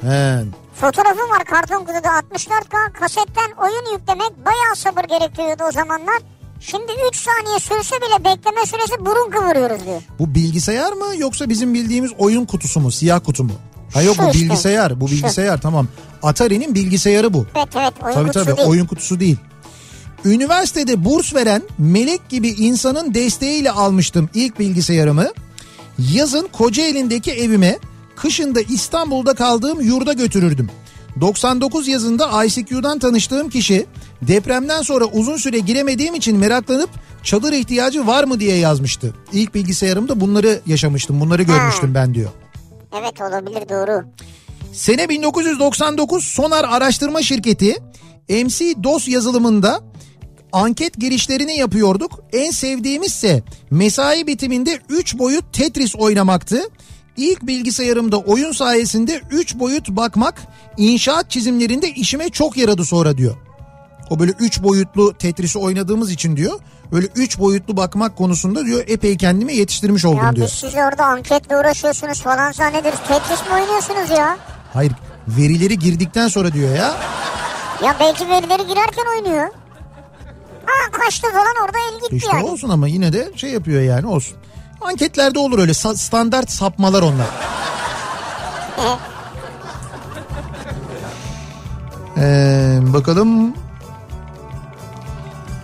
[SPEAKER 1] He.
[SPEAKER 2] Fotoğrafım var karton kutuda 64K kasetten oyun yüklemek bayağı sabır gerektiriyordu o zamanlar. Şimdi 3 saniye sürse bile bekleme süresi burun kıvırıyoruz diyor.
[SPEAKER 1] Bu bilgisayar mı yoksa bizim bildiğimiz oyun kutusu mu? Siyah kutu mu? Ha yok
[SPEAKER 2] Şu
[SPEAKER 1] bu
[SPEAKER 2] işte.
[SPEAKER 1] bilgisayar. Bu
[SPEAKER 2] Şu.
[SPEAKER 1] bilgisayar tamam. Atari'nin bilgisayarı bu.
[SPEAKER 2] Evet evet oyun
[SPEAKER 1] Tabii
[SPEAKER 2] kutusu
[SPEAKER 1] tabii
[SPEAKER 2] değil.
[SPEAKER 1] oyun kutusu değil. Üniversitede burs veren melek gibi insanın desteğiyle almıştım ilk bilgisayarımı. Yazın Kocaeli'ndeki evime, kışın da İstanbul'da kaldığım yurda götürürdüm. 99 yazında ICQ'dan tanıştığım kişi depremden sonra uzun süre giremediğim için meraklanıp çadır ihtiyacı var mı diye yazmıştı. İlk bilgisayarımda bunları yaşamıştım, bunları görmüştüm ben diyor.
[SPEAKER 2] Evet olabilir doğru.
[SPEAKER 1] Sene 1999 Sonar Araştırma Şirketi MC DOS yazılımında anket girişlerini yapıyorduk. En sevdiğimizse mesai bitiminde 3 boyut Tetris oynamaktı. İlk bilgisayarımda oyun sayesinde 3 boyut bakmak inşaat çizimlerinde işime çok yaradı sonra diyor. O böyle 3 boyutlu Tetris'i oynadığımız için diyor. Böyle 3 boyutlu bakmak konusunda diyor epey kendimi yetiştirmiş oldum
[SPEAKER 2] Ya
[SPEAKER 1] diyor.
[SPEAKER 2] biz siz orada anketle uğraşıyorsunuz falan zannederiz. Tetris mi oynuyorsunuz ya?
[SPEAKER 1] Hayır verileri girdikten sonra diyor ya.
[SPEAKER 2] Ya belki verileri girerken oynuyor. Aa kaçtı falan orada el gitti
[SPEAKER 1] İşte
[SPEAKER 2] yani.
[SPEAKER 1] olsun ama yine de şey yapıyor yani olsun. Anketlerde olur öyle sa- standart sapmalar onlar. Ee, bakalım.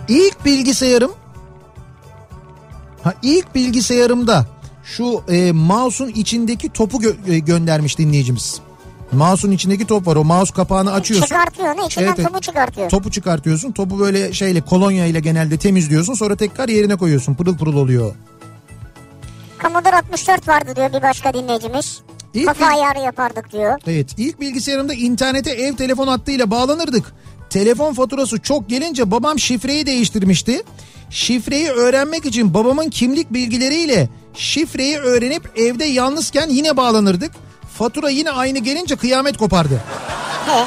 [SPEAKER 1] İlk bilgisayarım ha ilk bilgisayarımda şu e, mouse'un içindeki topu gö- e, göndermiş dinleyicimiz. Mouse'un içindeki top var. O mouse kapağını açıyorsun.
[SPEAKER 2] Çıkartıyor ne? İçinden
[SPEAKER 1] Evet, evet.
[SPEAKER 2] topu çıkartıyor.
[SPEAKER 1] Topu çıkartıyorsun. Topu böyle şeyle kolonya ile genelde temizliyorsun. Sonra tekrar yerine koyuyorsun. Pırıl pırıl oluyor.
[SPEAKER 2] Commodore 64 vardı diyor bir başka dinleyicimiz.
[SPEAKER 1] İlk
[SPEAKER 2] Kafa
[SPEAKER 1] bir-
[SPEAKER 2] ayarı yapardık diyor.
[SPEAKER 1] Evet ilk bilgisayarımda internete ev telefon hattıyla bağlanırdık. Telefon faturası çok gelince babam şifreyi değiştirmişti. Şifreyi öğrenmek için babamın kimlik bilgileriyle şifreyi öğrenip evde yalnızken yine bağlanırdık. Fatura yine aynı gelince kıyamet kopardı.
[SPEAKER 2] He.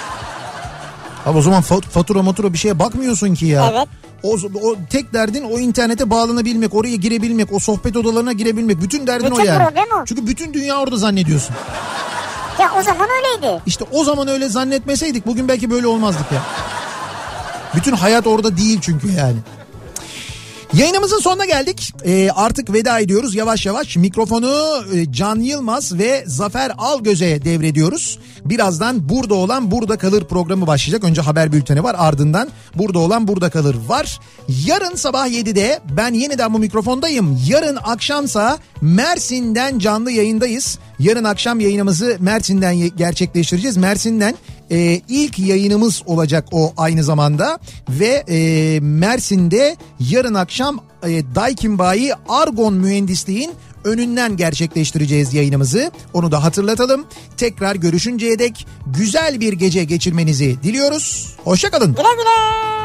[SPEAKER 1] Abi o zaman fa- fatura matura bir şeye bakmıyorsun ki ya.
[SPEAKER 2] Evet.
[SPEAKER 1] O, o tek derdin o internete bağlanabilmek, oraya girebilmek, o sohbet odalarına girebilmek. Bütün derdin o
[SPEAKER 2] Bütün
[SPEAKER 1] yani.
[SPEAKER 2] problem o.
[SPEAKER 1] Çünkü bütün dünya orada zannediyorsun.
[SPEAKER 2] Ya o zaman öyleydi.
[SPEAKER 1] İşte o zaman öyle zannetmeseydik bugün belki böyle olmazdık ya. Bütün hayat orada değil çünkü yani. Yayınımızın sonuna geldik. Ee, artık veda ediyoruz yavaş yavaş. Mikrofonu e, Can Yılmaz ve Zafer Algöz'e devrediyoruz. Birazdan burada olan burada kalır programı başlayacak. Önce haber bülteni var ardından burada olan burada kalır var. Yarın sabah 7'de ben yeniden bu mikrofondayım. Yarın akşamsa Mersin'den canlı yayındayız. Yarın akşam yayınımızı Mersin'den ye- gerçekleştireceğiz. Mersin'den e, ilk yayınımız olacak o aynı zamanda ve e, Mersin'de yarın akşam e, Daikinbayi Argon Mühendisliğin önünden gerçekleştireceğiz yayınımızı. Onu da hatırlatalım. Tekrar görüşünceye dek güzel bir gece geçirmenizi diliyoruz. Hoşçakalın.
[SPEAKER 2] Güle güle.